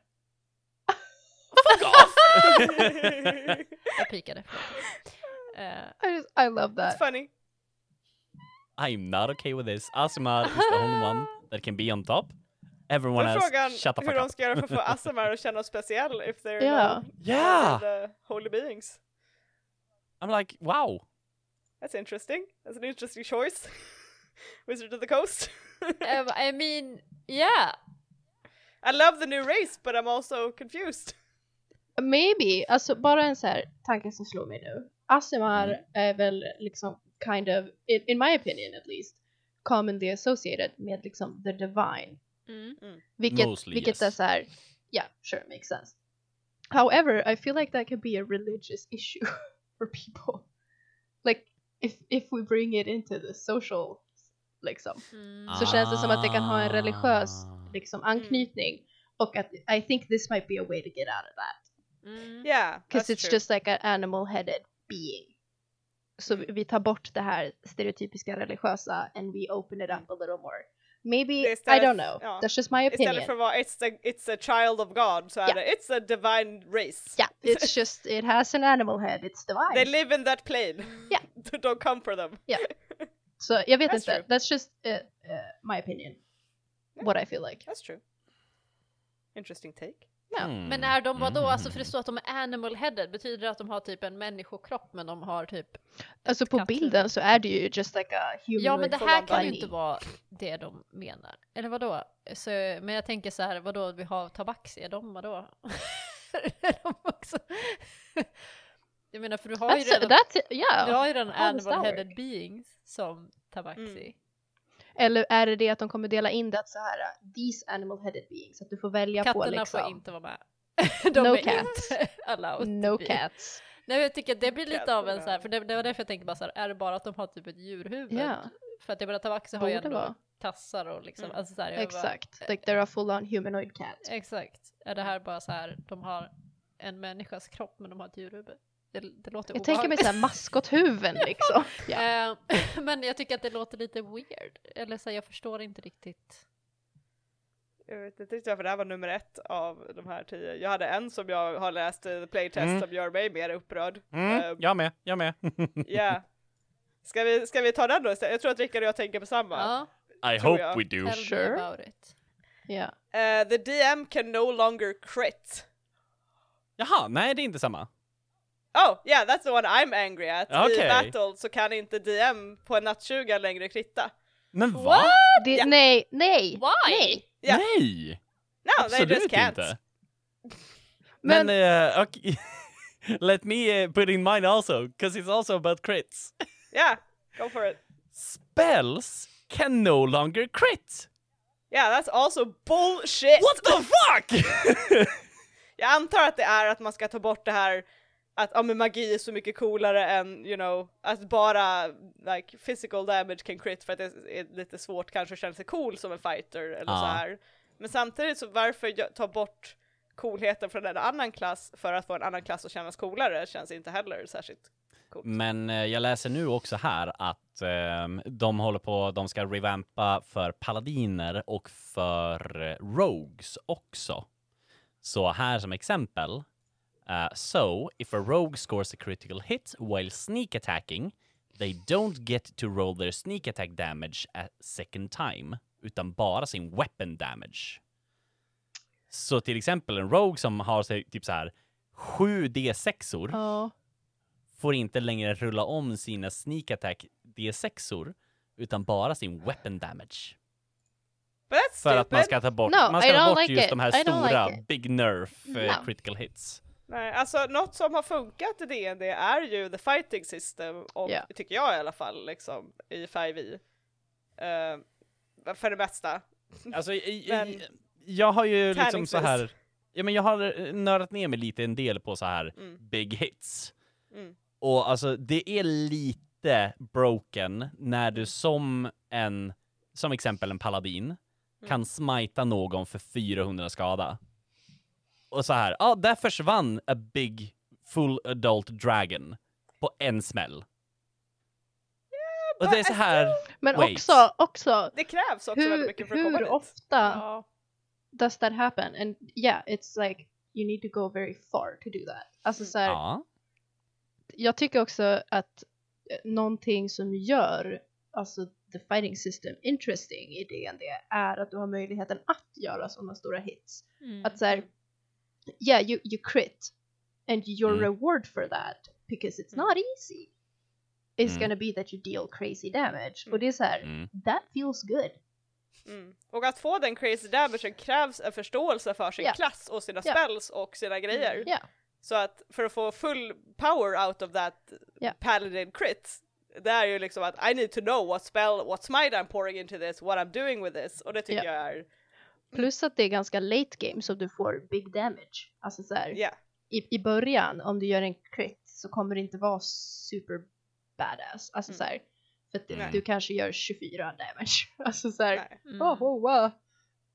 Speaker 4: Jag pikade. Uh,
Speaker 3: I, just, I love
Speaker 1: It's
Speaker 3: that.
Speaker 1: funny.
Speaker 2: I'm not okay with this. Asimar is the only one that can be on top.
Speaker 1: Då
Speaker 2: Everyone
Speaker 1: är
Speaker 2: else,
Speaker 1: frågan
Speaker 2: shut the
Speaker 1: hur
Speaker 2: fuck
Speaker 1: de
Speaker 2: up.
Speaker 1: ska göra för att få ASMR att kännas speciell if they're
Speaker 3: Ja.
Speaker 1: not
Speaker 2: Yeah!
Speaker 1: the holy beings.
Speaker 2: I'm like, wow.
Speaker 1: That's interesting. That's an interesting choice. Wizard of the Coast.
Speaker 4: I mean, yeah.
Speaker 1: I love the new race but I'm also confused.
Speaker 3: Maybe, alltså bara en så här tanke som slår mig nu. Asimar är väl liksom kind of, in, in my opinion at least, commonly associated med liksom the divine. Vilket,
Speaker 2: Mostly,
Speaker 3: vilket
Speaker 2: yes.
Speaker 3: är så här, yeah, sure, makes sense. However, I feel like that could be a religious issue for people. Like, if, if we bring it into the social, liksom.
Speaker 4: Mm,
Speaker 3: så känns det som att det kan ha en religiös
Speaker 2: Ah.
Speaker 3: liksom, anknytning. Och att I think this might be a way to get out of that.
Speaker 4: mm.
Speaker 1: Yeah,
Speaker 3: Because
Speaker 1: that's
Speaker 3: Mm. it's
Speaker 1: true.
Speaker 3: just like an animal headed being. Så
Speaker 1: Mm.
Speaker 3: vi- vi tar bort det här stereotypiska religiösa and we open it up a little more. Maybe,
Speaker 1: Mm. Det är
Speaker 3: I
Speaker 1: istället-
Speaker 3: don't know,
Speaker 1: ja.
Speaker 3: that's just my
Speaker 1: Istället
Speaker 3: opinion.
Speaker 1: för att vara it's a, it's a child of God så är
Speaker 3: Ja.
Speaker 1: det it's a divine race.
Speaker 3: Yeah, it's just, it has an animal head, it's divine.
Speaker 1: They live in that plane.
Speaker 3: Ja.
Speaker 1: Don't come for them.
Speaker 3: Så jag vet
Speaker 1: That's
Speaker 3: inte,
Speaker 1: true.
Speaker 3: that's just uh, uh, my opinion. What I feel like.
Speaker 1: That's true. Interesting take.
Speaker 2: Mm.
Speaker 4: Men är de vadå?
Speaker 2: Mm.
Speaker 4: Alltså för det står att de är animal headed. Betyder det att de har typ en människokropp men de har typ...
Speaker 3: Alltså på
Speaker 4: Katthuvud.
Speaker 3: bilden så är det ju just like a human
Speaker 4: Ja men det
Speaker 1: full
Speaker 4: här
Speaker 1: on
Speaker 4: kan ju
Speaker 3: body.
Speaker 4: inte vara det de menar. Eller vadå? Så, men jag tänker så här, vadå vi har tabaxi, är de vadå? är de också... jag menar för du har ju
Speaker 3: Alltså, That's,
Speaker 4: redan,
Speaker 3: that's it, yeah.
Speaker 4: du har ju redan
Speaker 3: How does that
Speaker 4: animal headed
Speaker 3: work?
Speaker 4: beings som tabaxi.
Speaker 1: Mm.
Speaker 3: Eller är det det att de kommer dela in det att så här, uh, these animal headed beings, att du får välja på
Speaker 4: Katterna
Speaker 3: liksom.
Speaker 4: får inte vara med. De
Speaker 3: No
Speaker 4: är
Speaker 3: cats.
Speaker 4: inte allowed to
Speaker 3: No
Speaker 4: be.
Speaker 3: cats.
Speaker 4: Nej men jag tycker att det blir lite av en
Speaker 1: Katterna.
Speaker 4: så här, för det, det var därför jag tänkte bara så här, är det bara att de har typ ett djurhuvud?
Speaker 3: Ja.
Speaker 4: För att jag menar tabaxi har ju
Speaker 3: Borde
Speaker 4: ändå
Speaker 3: vara.
Speaker 4: tassar och liksom,
Speaker 1: Mm.
Speaker 4: alltså så här, jag
Speaker 3: Exakt.
Speaker 1: eh,
Speaker 3: Like they're a full on humanoid cat.
Speaker 4: Bara, exakt. Är det här bara så här, de har en människas kropp men de har ett djurhuvud? Det, det låter
Speaker 3: Jag tänker mig
Speaker 4: obehagligt.
Speaker 3: såhär maskothuvuden liksom. Ja.
Speaker 4: Eh, men jag tycker att det låter lite weird. Eller så här, jag förstår inte riktigt.
Speaker 1: Jag vet inte riktigt varför det här var nummer ett av de här tio. Jag hade en som jag har läst eh, playtest
Speaker 2: Mm.
Speaker 1: som gör mig mer upprörd.
Speaker 2: Mm,
Speaker 1: Ehm,
Speaker 2: jag med, jag med.
Speaker 1: Ja. Ska vi, ska vi ta den då istället? Jag tror att Rickard och jag tänker på samma.
Speaker 4: Ja,
Speaker 2: I
Speaker 1: Tror
Speaker 2: hope
Speaker 1: jag.
Speaker 2: we do.
Speaker 4: tell
Speaker 3: sure?
Speaker 4: me about it.
Speaker 3: Ja.
Speaker 1: Eh, the DM can no longer crit.
Speaker 2: Jaha, nej det är inte samma.
Speaker 1: Oh, yeah, that's the one I'm angry at. I
Speaker 2: Okej.
Speaker 1: battle så kan inte DM på en nattsuga längre kritta.
Speaker 2: Men va?
Speaker 3: Det,
Speaker 1: Ja.
Speaker 3: Nej, nej,
Speaker 4: Why?
Speaker 3: nej.
Speaker 1: Ja.
Speaker 2: Nej!
Speaker 1: No, they
Speaker 2: Absolut
Speaker 1: just can't.
Speaker 2: inte.
Speaker 3: Men,
Speaker 2: Men, eh, okej. let me eh, put in mine also, because it's also about crits.
Speaker 1: Yeah, go for it.
Speaker 2: Spells can no longer crit!
Speaker 1: Yeah, that's also bullshit!
Speaker 2: What the fuck!
Speaker 1: Jag antar att det är att man ska ta bort det här att ja, men magi är så mycket coolare än you know, att bara like physical damage can crit för att det är lite svårt kanske att känna sig cool som en fighter eller
Speaker 2: Ja.
Speaker 1: så här. Men samtidigt så varför jag- ta bort coolheten från en annan klass för att få en annan klass att kännas coolare känns inte heller särskilt coolt.
Speaker 2: Men eh, jag läser nu också här att ehm, de håller på, de ska revampa för paladiner och för eh, rogues också. Så här som exempel. eh, so, if a rogue scores a critical hit while sneak attacking, they don't get to roll their sneak attack damage a second time, utan bara sin weapon damage. Så till exempel en rogue som har sig typ så här 7 D6or
Speaker 3: ja.
Speaker 2: får inte längre rulla om sina sneak attack D6or utan bara sin weapon damage.
Speaker 1: But that's
Speaker 2: För
Speaker 1: stupid!
Speaker 2: att man ska ta bort,
Speaker 3: No,
Speaker 2: man
Speaker 3: I
Speaker 2: ska
Speaker 3: don't
Speaker 2: ta bort
Speaker 3: like
Speaker 2: just
Speaker 3: it.
Speaker 2: de här
Speaker 3: I don't like
Speaker 2: stora
Speaker 3: it.
Speaker 2: big nerf eh,
Speaker 3: No.
Speaker 2: critical hits.
Speaker 1: Nej, alltså något som har funkat i D&D är ju the fighting system, och
Speaker 3: Ja.
Speaker 1: tycker jag i alla fall, liksom, i 5e. Eh, för det mesta.
Speaker 2: Alltså, i- i-
Speaker 1: Men-
Speaker 2: jag har ju liksom
Speaker 1: Tärningsvis.
Speaker 2: så här, ja men jag har eh, nördat ner mig lite en del på så här
Speaker 1: Mm.
Speaker 2: big hits.
Speaker 1: Mm.
Speaker 2: Och alltså det är lite broken när du som en, som exempel en paladin,
Speaker 1: Mm.
Speaker 2: kan smita någon för 400 skada. Och så här, ja där försvann a big full adult dragon på en smäll. Och det är så här,
Speaker 3: men
Speaker 2: Wait.
Speaker 3: också, också
Speaker 1: Det krävs också väldigt mycket
Speaker 3: hur,
Speaker 1: för att komma
Speaker 3: hur
Speaker 1: dit.
Speaker 3: ofta
Speaker 4: Ja.
Speaker 3: does that happen? And yeah, it's like you need to go very far to do that. Alltså
Speaker 1: Mm.
Speaker 3: så här,
Speaker 2: ja.
Speaker 3: jag tycker också att eh, någonting som gör alltså the fighting system interesting i D&D är att du har möjligheten att göra sådana stora hits.
Speaker 4: Mm.
Speaker 3: Att såhär, yeah you, you crit and your
Speaker 2: Mm.
Speaker 3: reward for that because it's
Speaker 4: Mm.
Speaker 3: not easy is
Speaker 2: Mm.
Speaker 3: gonna be that you deal crazy damage.
Speaker 1: Mm.
Speaker 3: Och det är såhär,
Speaker 2: Mm.
Speaker 3: that feels good.
Speaker 1: Mm. Och att få den crazy damagen krävs en förståelse för sin
Speaker 3: Ja.
Speaker 1: klass och sina
Speaker 3: Ja.
Speaker 1: spells och sina grejer.
Speaker 4: Mm.
Speaker 3: Ja.
Speaker 1: Så att för att få full power out of that
Speaker 3: Ja.
Speaker 1: paladin crit, det är ju liksom att I need to know what spell, what smite I'm pouring into this, what I'm doing with this. Och det tycker
Speaker 3: Ja.
Speaker 1: jag är,
Speaker 3: Plus att det är ganska late game så du får big damage. Alltså såhär,
Speaker 1: ja.
Speaker 4: Mm.
Speaker 3: i, i början, om du gör en crit så kommer det inte vara super badass. Alltså
Speaker 1: Mm.
Speaker 3: så här, för att du,
Speaker 2: Nej.
Speaker 3: du kanske gör 24 damage. Alltså så här,
Speaker 1: Nej.
Speaker 4: Mm.
Speaker 3: oh, oh, wow.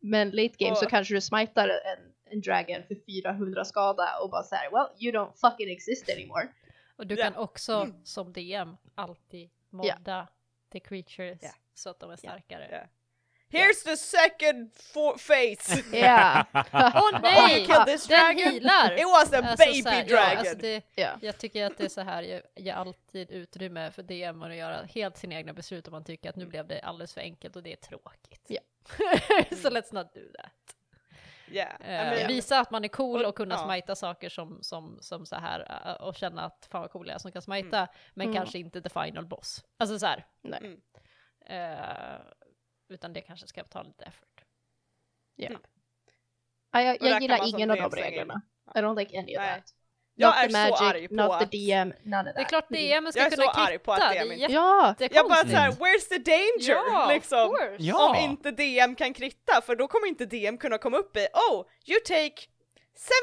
Speaker 3: Men late game så
Speaker 1: Och-
Speaker 3: kanske du smitar en, en dragon för 400 skada och bara så här, well you don't fucking exist anymore.
Speaker 4: Och du
Speaker 1: Ja.
Speaker 4: kan också som DM alltid modda the creatures
Speaker 1: Ja.
Speaker 4: så att de är starkare.
Speaker 1: Ja. Here's the second fo- face!
Speaker 3: Yeah.
Speaker 4: Åh
Speaker 1: Oh,
Speaker 4: nej!
Speaker 1: you killed this
Speaker 4: Den
Speaker 1: dragon?
Speaker 4: healar!
Speaker 1: It was a
Speaker 4: Alltså,
Speaker 1: baby
Speaker 4: så här, ja,
Speaker 1: dragon!
Speaker 4: alltså det,
Speaker 3: Ja.
Speaker 4: Jag tycker att det är så här, jag ger alltid utrymme för DM att göra helt sina egna beslut om man tycker att nu blev det alldeles för enkelt och det är tråkigt.
Speaker 3: Ja.
Speaker 4: så
Speaker 1: Mm.
Speaker 4: let's not do that.
Speaker 1: yeah.
Speaker 4: Eh,
Speaker 1: I mean,
Speaker 4: Visa att man är cool
Speaker 1: Och-
Speaker 4: och kunna
Speaker 1: ja.
Speaker 4: smita saker som, som, som så här eh, och känna att fan vad cool jag är som kan smita, men
Speaker 3: Mm.
Speaker 4: kanske inte the final boss. Alltså så här.
Speaker 3: Nej.
Speaker 1: Mm.
Speaker 4: Eh, utan det kanske ska ta lite effort.
Speaker 3: Ja, jag
Speaker 1: Och där
Speaker 3: jag
Speaker 1: kan
Speaker 3: gillar
Speaker 1: man som
Speaker 3: ingen av
Speaker 1: DM
Speaker 3: de
Speaker 1: slänga in.
Speaker 3: reglerna. I don't like any of
Speaker 1: Nej.
Speaker 3: that.
Speaker 1: Jag
Speaker 3: not
Speaker 1: är
Speaker 3: the
Speaker 1: så
Speaker 3: magic,
Speaker 1: arg på
Speaker 3: not
Speaker 1: att-
Speaker 3: the DM, none of that.
Speaker 4: Det är klart DM ska
Speaker 1: Jag är
Speaker 4: kunna
Speaker 1: så arg
Speaker 4: kvitta,
Speaker 1: på att
Speaker 4: det är
Speaker 1: DM
Speaker 4: jättekonstigt.
Speaker 3: Ja!
Speaker 1: jag bara såhär,
Speaker 2: Mm.
Speaker 1: where's the danger?
Speaker 4: Ja,
Speaker 1: liksom.
Speaker 4: of course.
Speaker 2: Ja.
Speaker 1: Om inte DM kan kritta, för då kommer inte DM kunna komma upp i Oh, you take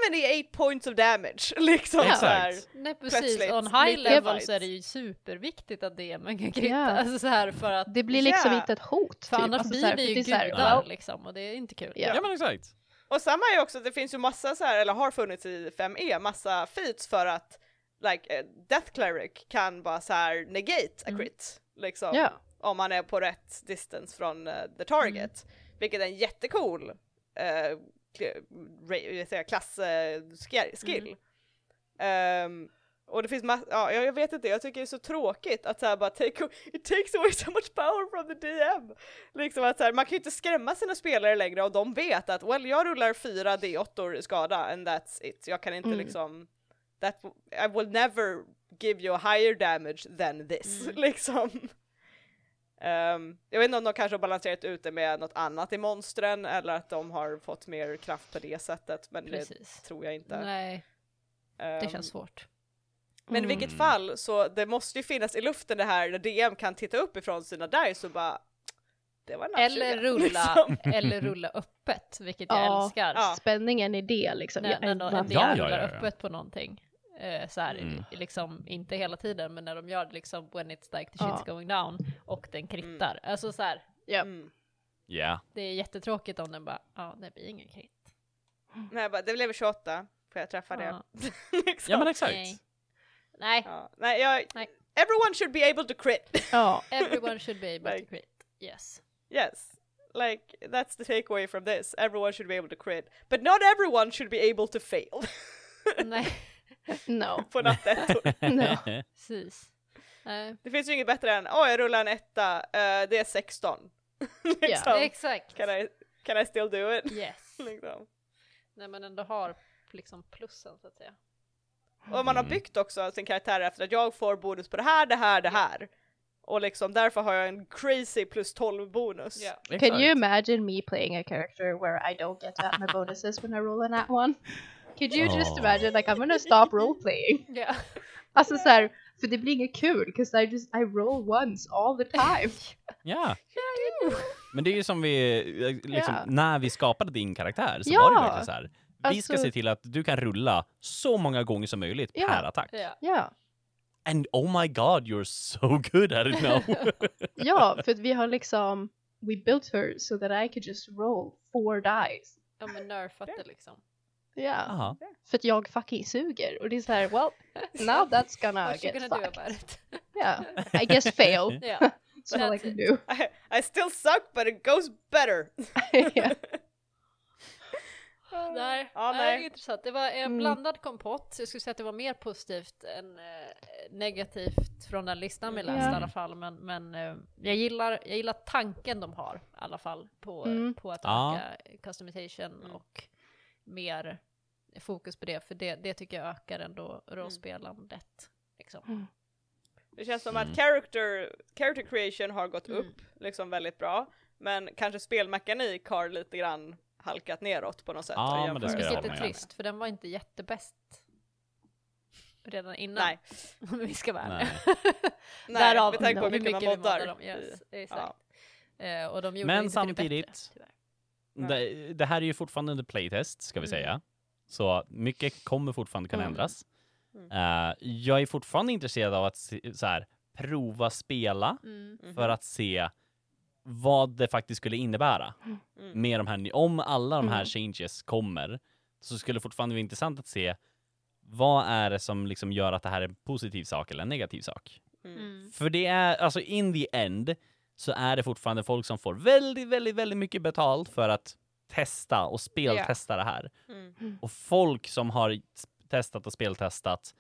Speaker 1: 78 points of damage. Liksom
Speaker 4: Ja.
Speaker 1: så här.
Speaker 2: Exakt.
Speaker 4: Nej precis,
Speaker 1: Plötsligt,
Speaker 4: on high
Speaker 1: lite
Speaker 4: level
Speaker 1: vibes.
Speaker 4: så är det ju superviktigt att DM kan kritta.
Speaker 3: Ja.
Speaker 4: Alltså så här för att,
Speaker 3: Det blir liksom
Speaker 1: Ja.
Speaker 3: inte ett hot.
Speaker 4: för
Speaker 3: typ.
Speaker 4: annars
Speaker 3: Alltså, så
Speaker 4: blir
Speaker 3: här,
Speaker 4: vi
Speaker 3: för
Speaker 4: ju
Speaker 3: det är så här,
Speaker 4: gudar
Speaker 3: well,
Speaker 4: liksom och det är inte kul.
Speaker 3: Ja.
Speaker 2: Ja men exakt.
Speaker 1: Och samma är också att det finns ju massa så här, eller har funnits i 5e, massa feats för att like eh, Death Cleric kan bara så här negate a
Speaker 4: Mm.
Speaker 1: crit. Liksom.
Speaker 3: Ja.
Speaker 1: Om man är på rätt distance från eh, the target. Vilket är en jättecool eh, kl- ra- jag säger, klass eh, sker- skill. Ehm, och det finns massor, ja jag jag vet inte, jag tycker det är så tråkigt att såhär bara take, it takes away so much power from the DM. Liksom att så här, man kan ju inte skrämma sina spelare längre och de vet att well jag rullar fyra D8 i skada and that's it, jag kan inte
Speaker 3: Mm.
Speaker 1: liksom that, I will never give you a higher damage than this
Speaker 4: Mm.
Speaker 1: liksom. Ehm, jag vet inte om de kanske har balanserat ut det med något annat i monstren eller att de har fått mer kraft på det sättet men det
Speaker 4: Precis.
Speaker 1: tror jag inte.
Speaker 4: Nej, det
Speaker 1: Ehm,
Speaker 4: känns svårt.
Speaker 1: men i
Speaker 3: Mm.
Speaker 1: vilket fall så det måste ju finnas i luften det här när DM kan titta upp ifrån sina dice och bara det var en
Speaker 4: Eller
Speaker 1: nattkyrka",
Speaker 4: rulla,
Speaker 1: liksom.
Speaker 4: eller rulla öppet, vilket jag
Speaker 3: mm. Ja.
Speaker 4: älskar.
Speaker 1: Ja.
Speaker 3: spänningen i det liksom.
Speaker 4: När,
Speaker 3: Jag-
Speaker 4: när någon- en
Speaker 3: man-
Speaker 4: del
Speaker 2: Ja, ja,
Speaker 4: rullar
Speaker 2: ja, ja.
Speaker 4: öppet på någonting. Eh, så här,
Speaker 2: Mm.
Speaker 4: liksom, inte hela tiden, men när de gör det liksom when it's like the
Speaker 3: Ja.
Speaker 4: shit's going down och den krittar. Alltså så här,
Speaker 1: Mm.
Speaker 2: Ja.
Speaker 4: det är jättetråkigt om den bara, ja det blir ingen kritt.
Speaker 1: Nej, jag bara, det blev 28 för jag träffade.
Speaker 4: Ja.
Speaker 1: liksom.
Speaker 2: Ja men
Speaker 4: Nej.
Speaker 2: exakt.
Speaker 4: Nej,
Speaker 1: Ja, nej, jag,
Speaker 4: Nej.
Speaker 1: Everyone should be able to crit.
Speaker 3: Ja.
Speaker 4: Everyone should be able to
Speaker 1: Like-
Speaker 4: crit. Yes.
Speaker 1: yes. Like that's the takeaway from this. Everyone should be able to crit. But not everyone should be able to fail.
Speaker 4: Nej,
Speaker 3: No.
Speaker 1: På nattettor.
Speaker 3: No.
Speaker 4: precis. Eh, Nej,
Speaker 1: det finns ju inget bättre än åh jag rullar en etta, eh, det är 16. liksom.
Speaker 4: exakt.
Speaker 1: can, I, can I still do it?
Speaker 4: Yes.
Speaker 1: liksom.
Speaker 4: När man ändå har liksom plussen så att säga.
Speaker 1: Och man har
Speaker 2: Mm.
Speaker 1: byggt också sin karaktär efter att jag får bonus på det här, det här, det här. Och liksom därför har jag en crazy plus 12 bonus.
Speaker 3: Can you imagine me playing a character where I don't get to have my bonuses when I roll a nat one? Could you just
Speaker 2: Aw.
Speaker 3: imagine like I'm gonna stop role playing?
Speaker 4: Ja.
Speaker 3: Alltså såhär, för det blir inget kul because I just I roll once all the time.
Speaker 2: Ja. Men det är ju som vi, eh, liksom,
Speaker 3: Ja.
Speaker 2: när vi skapade din karaktär så
Speaker 3: Ja.
Speaker 2: var det verkligen så här. Vi ska
Speaker 3: Alltså-
Speaker 2: se till att du kan rulla så många gånger som möjligt
Speaker 3: Ja.
Speaker 2: per attack.
Speaker 4: Ja.
Speaker 3: Ja,
Speaker 2: And oh my god, you're so good at it now.
Speaker 3: ja för att vi har liksom We built her so that I could just roll four dice.
Speaker 4: ja men nerfat det liksom.
Speaker 3: Ja,
Speaker 2: Aha.
Speaker 3: för att jag fucking suger. Och det är såhär, well, now that's gonna
Speaker 4: What you
Speaker 3: get
Speaker 4: gonna do
Speaker 3: fucked.
Speaker 4: about it?
Speaker 3: Yeah, I guess fail.
Speaker 4: Ja.
Speaker 3: That's all I can
Speaker 4: That's
Speaker 3: do.
Speaker 1: I, I still suck but it goes better.
Speaker 3: yeah.
Speaker 4: Nej,
Speaker 1: Ja,
Speaker 4: nej.
Speaker 1: nej.
Speaker 4: intressant. Det var en
Speaker 3: Mm.
Speaker 4: blandad kompott. Jag skulle säga att det var mer positivt än eh, negativt från den listan vi läste
Speaker 3: Ja.
Speaker 4: i alla fall. Men, men eh, jag, gillar, jag gillar tanken de har i alla fall på,
Speaker 3: Mm.
Speaker 4: på att
Speaker 2: Ja.
Speaker 4: öka customization
Speaker 1: Mm.
Speaker 4: och mer fokus på det. För det, det tycker jag ökar ändå rollspelandet. Liksom.
Speaker 1: Det känns som
Speaker 2: Mm.
Speaker 1: att character, character creation har gått
Speaker 4: Mm.
Speaker 1: upp liksom väldigt bra, men kanske spelmekanik har lite grann halkat neråt på något sätt.
Speaker 2: Ja,
Speaker 1: i
Speaker 2: men det ska
Speaker 1: jämförelse.
Speaker 2: jag
Speaker 4: Vilket
Speaker 2: hålla
Speaker 4: är
Speaker 2: med
Speaker 4: trist, för den var inte jättebäst redan innan.
Speaker 1: Nej.
Speaker 4: Om vi ska vara
Speaker 2: Nej.
Speaker 4: ärliga.
Speaker 1: Nej,
Speaker 4: Därav
Speaker 1: med tanke på
Speaker 4: hur
Speaker 1: hur mycket man moddar.
Speaker 4: dem. Yes, exakt.
Speaker 1: Ja.
Speaker 4: Eh, och de gjorde
Speaker 2: Men
Speaker 4: inte till Det
Speaker 2: samtidigt-
Speaker 4: bättre, tyvärr.
Speaker 2: Det, det här är ju fortfarande en playtest, ska vi
Speaker 4: Mm.
Speaker 2: säga. Så mycket kommer fortfarande kunna
Speaker 4: Mm.
Speaker 2: ändras.
Speaker 1: Mm.
Speaker 2: Eh, jag är fortfarande intresserad av att se, så här, prova spela
Speaker 4: Mm-hmm.
Speaker 1: Mhm.
Speaker 3: Mm.
Speaker 2: för att se vad det faktiskt skulle innebära
Speaker 1: Mm.
Speaker 2: med de här. ny- Om alla de här
Speaker 3: Mm.
Speaker 2: changes kommer så skulle det fortfarande vara intressant att se vad är det som liksom gör att det här är en positiv sak eller en negativ sak?
Speaker 1: Mm.
Speaker 2: För det är, alltså in the end, så är det fortfarande folk som får väldigt, väldigt, väldigt mycket betalt för att testa och speltesta det här.
Speaker 1: Mm.
Speaker 2: Och folk som har s- testat och speltestat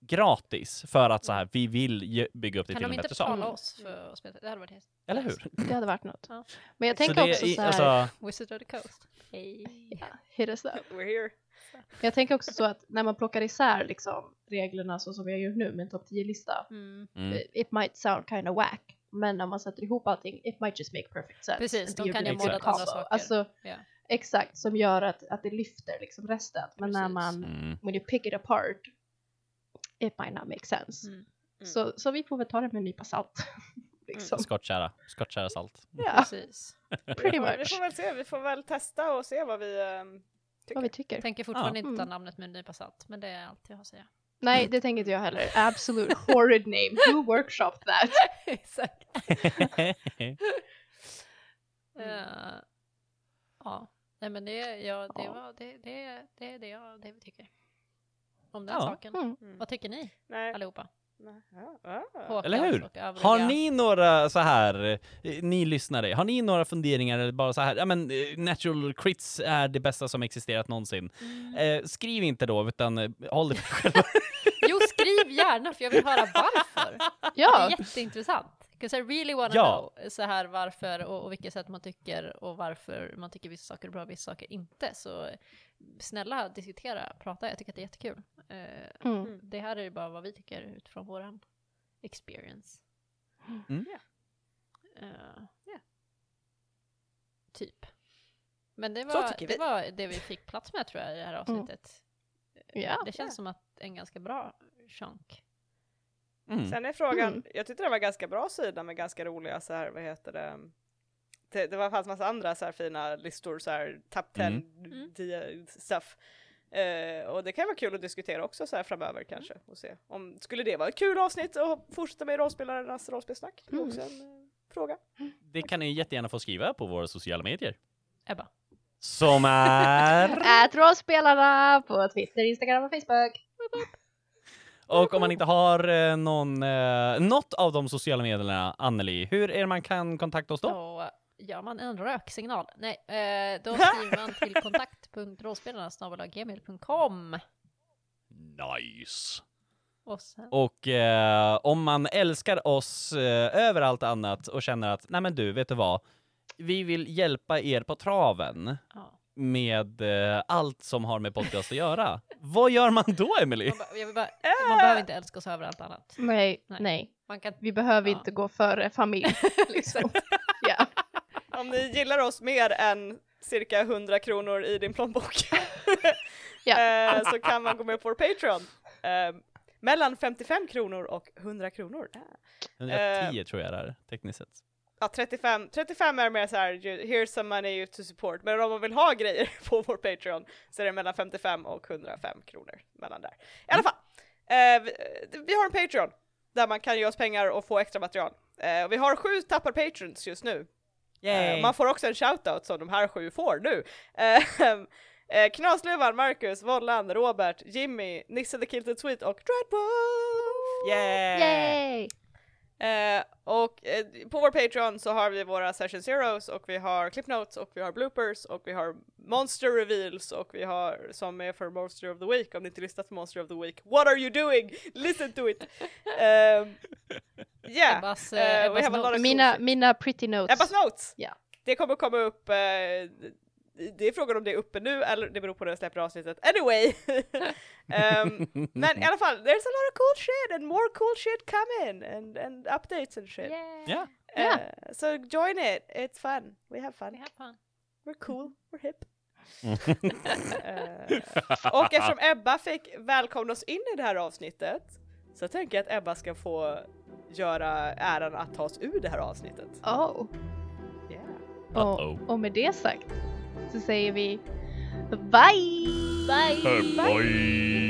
Speaker 2: gratis för att så här, vi vill ge- bygga upp det
Speaker 4: Kan
Speaker 2: till en
Speaker 4: de inte
Speaker 2: bättre sak.
Speaker 4: betala oss för att spela? Det hade varit helt...
Speaker 2: Eller hur?
Speaker 3: Det hade varit något.
Speaker 4: Ja.
Speaker 3: Men jag
Speaker 2: Så
Speaker 3: tänker
Speaker 2: det
Speaker 3: också
Speaker 2: är-
Speaker 3: så här,
Speaker 2: alltså,
Speaker 4: Wizard of the Coast. Hej.
Speaker 3: ja, hit us up.
Speaker 1: We're here.
Speaker 3: Jag tänker också så att när man plockar isär liksom, reglerna så som vi har gjort nu med en topp 10-lista,
Speaker 4: Mm.
Speaker 2: mm,
Speaker 3: it might sound kind of whack, men när man sätter ihop allting, it might just make perfect sense.
Speaker 4: Precis,
Speaker 3: And
Speaker 4: de
Speaker 3: be a
Speaker 4: kan
Speaker 3: really
Speaker 2: ju
Speaker 3: good
Speaker 2: modda
Speaker 3: combo.
Speaker 4: andra saker.
Speaker 3: Alltså,
Speaker 4: Ja.
Speaker 3: Exakt, som gör att, att det lyfter liksom resten. Men när
Speaker 4: Precis.
Speaker 3: man,
Speaker 2: mm.
Speaker 3: when you pick it apart, it might not make sense.
Speaker 4: Mm.
Speaker 1: Mm.
Speaker 3: Så, så vi får väl ta det med en nypa salt. liksom.
Speaker 2: Skottkärra, skottkärra salt.
Speaker 3: Ja,
Speaker 4: Precis.
Speaker 3: pretty
Speaker 1: Ja, vi
Speaker 3: much.
Speaker 1: får väl se, vi får väl testa och se vad vi ehm,
Speaker 3: Vad vi tycker.
Speaker 4: Tänker fortfarande
Speaker 3: Ja.
Speaker 4: inte ta
Speaker 3: Mm.
Speaker 4: namnet med en nypa salt, men det är allt jag har att säga.
Speaker 3: Nej, det tänker inte jag heller. Absolute horrid name. Who workshopped that?
Speaker 4: Exakt.
Speaker 1: Mm.
Speaker 4: Eh, ja, nej men det, ja, det,
Speaker 3: Ja.
Speaker 4: Var, det, det, det är det, jag, det vi tycker. Om den
Speaker 2: Ja.
Speaker 4: saken.
Speaker 3: Mm.
Speaker 4: Vad tycker ni
Speaker 1: Nej.
Speaker 4: allihopa?
Speaker 1: Nej. Ja, ja.
Speaker 4: Håkan
Speaker 2: Eller hur?
Speaker 4: och övriga.
Speaker 2: Har ni några så här, eh, ni lyssnare, har ni några funderingar eller bara så här, ja men eh, natural crits är det bästa som existerat någonsin.
Speaker 4: Mm.
Speaker 2: Eh, skriv inte då, utan eh, håll det för er själva.
Speaker 4: Jo, skriv gärna för jag vill höra varför. Det
Speaker 3: Ja,
Speaker 4: är jätteintressant. Because I really wanna
Speaker 2: Ja.
Speaker 4: know så här varför och, och vilka sätt man tycker och varför man tycker vissa saker är bra och vissa saker inte. Så snälla diskutera, prata, jag tycker att det är jättekul. Eh,
Speaker 3: mm.
Speaker 4: det här är ju bara vad vi tycker utifrån våran experience.
Speaker 2: Mm.
Speaker 1: Ja.
Speaker 4: Eh, ja. Typ. Men det
Speaker 1: Så
Speaker 4: var,
Speaker 1: tycker
Speaker 4: det
Speaker 1: vi.
Speaker 4: var det vi fick plats med tror jag i det här
Speaker 3: Mm.
Speaker 4: avsnittet.
Speaker 3: ja.
Speaker 4: Det känns
Speaker 1: Ja.
Speaker 4: som att en ganska bra chunk.
Speaker 2: Mm.
Speaker 1: Sen är frågan,
Speaker 3: Mm.
Speaker 1: jag tyckte det var ganska bra sida med ganska roliga så här, vad heter det? Det, det var, fanns massa andra så här fina listor, så här top 10
Speaker 4: Mm.
Speaker 1: di- stuff. Eh, och det kan vara kul att diskutera också så här
Speaker 4: Mm.
Speaker 1: framöver kanske och se om skulle det vara ett kul avsnitt att fortsätta med i rollspelarnas rollspelsnack? Det är
Speaker 3: Mm.
Speaker 1: också en eh, fråga.
Speaker 2: Det kan ni jättegärna få skriva på våra sociala medier.
Speaker 4: Ebba.
Speaker 2: Som är...
Speaker 3: Ät rollspelarna på Twitter, Instagram och Facebook.
Speaker 2: Och om man inte har eh, någon, eh, något av de sociala medierna, Anneli, hur är det man kan kontakta oss då?
Speaker 4: Då gör man en röksignal. Nej, eh, då skriver man till kontakt.rollspelarna.gmail.com
Speaker 2: Nice.
Speaker 4: och sen
Speaker 2: Och eh, om man älskar oss eh, över allt annat och känner att, nej men du, vet du vad? Vi vill hjälpa er på traven
Speaker 4: ja.
Speaker 2: med eh, allt som har med podcast att göra. Vad gör man då, Emily?
Speaker 4: man, bara- jag vill bara, man behöver inte älska oss över allt annat.
Speaker 3: Nej,
Speaker 4: Nej.
Speaker 3: nej.
Speaker 4: Man kan
Speaker 3: Vi behöver
Speaker 4: Ja.
Speaker 3: inte gå före familj. Liksom. ja.
Speaker 1: Om ni gillar oss mer än cirka 100 kronor i din plånbok
Speaker 3: Ja.
Speaker 1: eh, så kan man gå med på vår Patreon. Eh, mellan 55 kronor och 100 kronor.
Speaker 2: 110 tror jag det är, tekniskt sett.
Speaker 1: Ja, 35, 35 är mer så här, ju- here's some money to support, men om man vill ha grejer på vår Patreon så är det mellan 55 och 105 kronor mellan där. I alla fall, eh, vi, eh, vi har en Patreon där man kan ge oss pengar och få extra material. Eh, och vi har sju tappar patrons just nu. Eh, man får också en shoutout som de här sju får nu. Eh, eh, Knasluvan, Marcus, Vollan, Robert, Jimmy, Nisse the Kilted Sweet och Dreadwolf!
Speaker 2: Yay!
Speaker 3: Yay!
Speaker 1: Eh, och eh, på vår Patreon så har vi våra session zeros och vi har clip notes och vi har bloopers och vi har monster reveals och vi har som är för monster of the week om ni inte lyssnat på monster of the week what are you doing listen to it um, yeah
Speaker 4: Ebbas,
Speaker 1: eh,
Speaker 4: eh,
Speaker 1: we have a lot
Speaker 4: Ebbas
Speaker 1: of-
Speaker 3: Mina, mina pretty notes.
Speaker 1: Ebbas notes
Speaker 3: Ja.
Speaker 1: det kommer komma upp eh, det är frågan om det är uppe nu eller det beror på när jag släpper avsnittet anyway um, men i alla fall there's a lot of cool shit and more cool shit coming and, and updates and shit
Speaker 2: Yeah.
Speaker 3: Yeah.
Speaker 1: Uh, so join it. It's fun. We have fun.
Speaker 4: Vi har fan.
Speaker 1: We're cool. We're hip. Eh, och eftersom Ebba fick välkomna oss in i det här avsnittet så tänker jag att Ebba ska få göra äran att ta oss ur det här avsnittet.
Speaker 3: Oh.
Speaker 1: Yeah.
Speaker 2: Uh-oh.
Speaker 3: Och, och med det sagt så säger vi bye!
Speaker 4: Bye!
Speaker 2: Bye.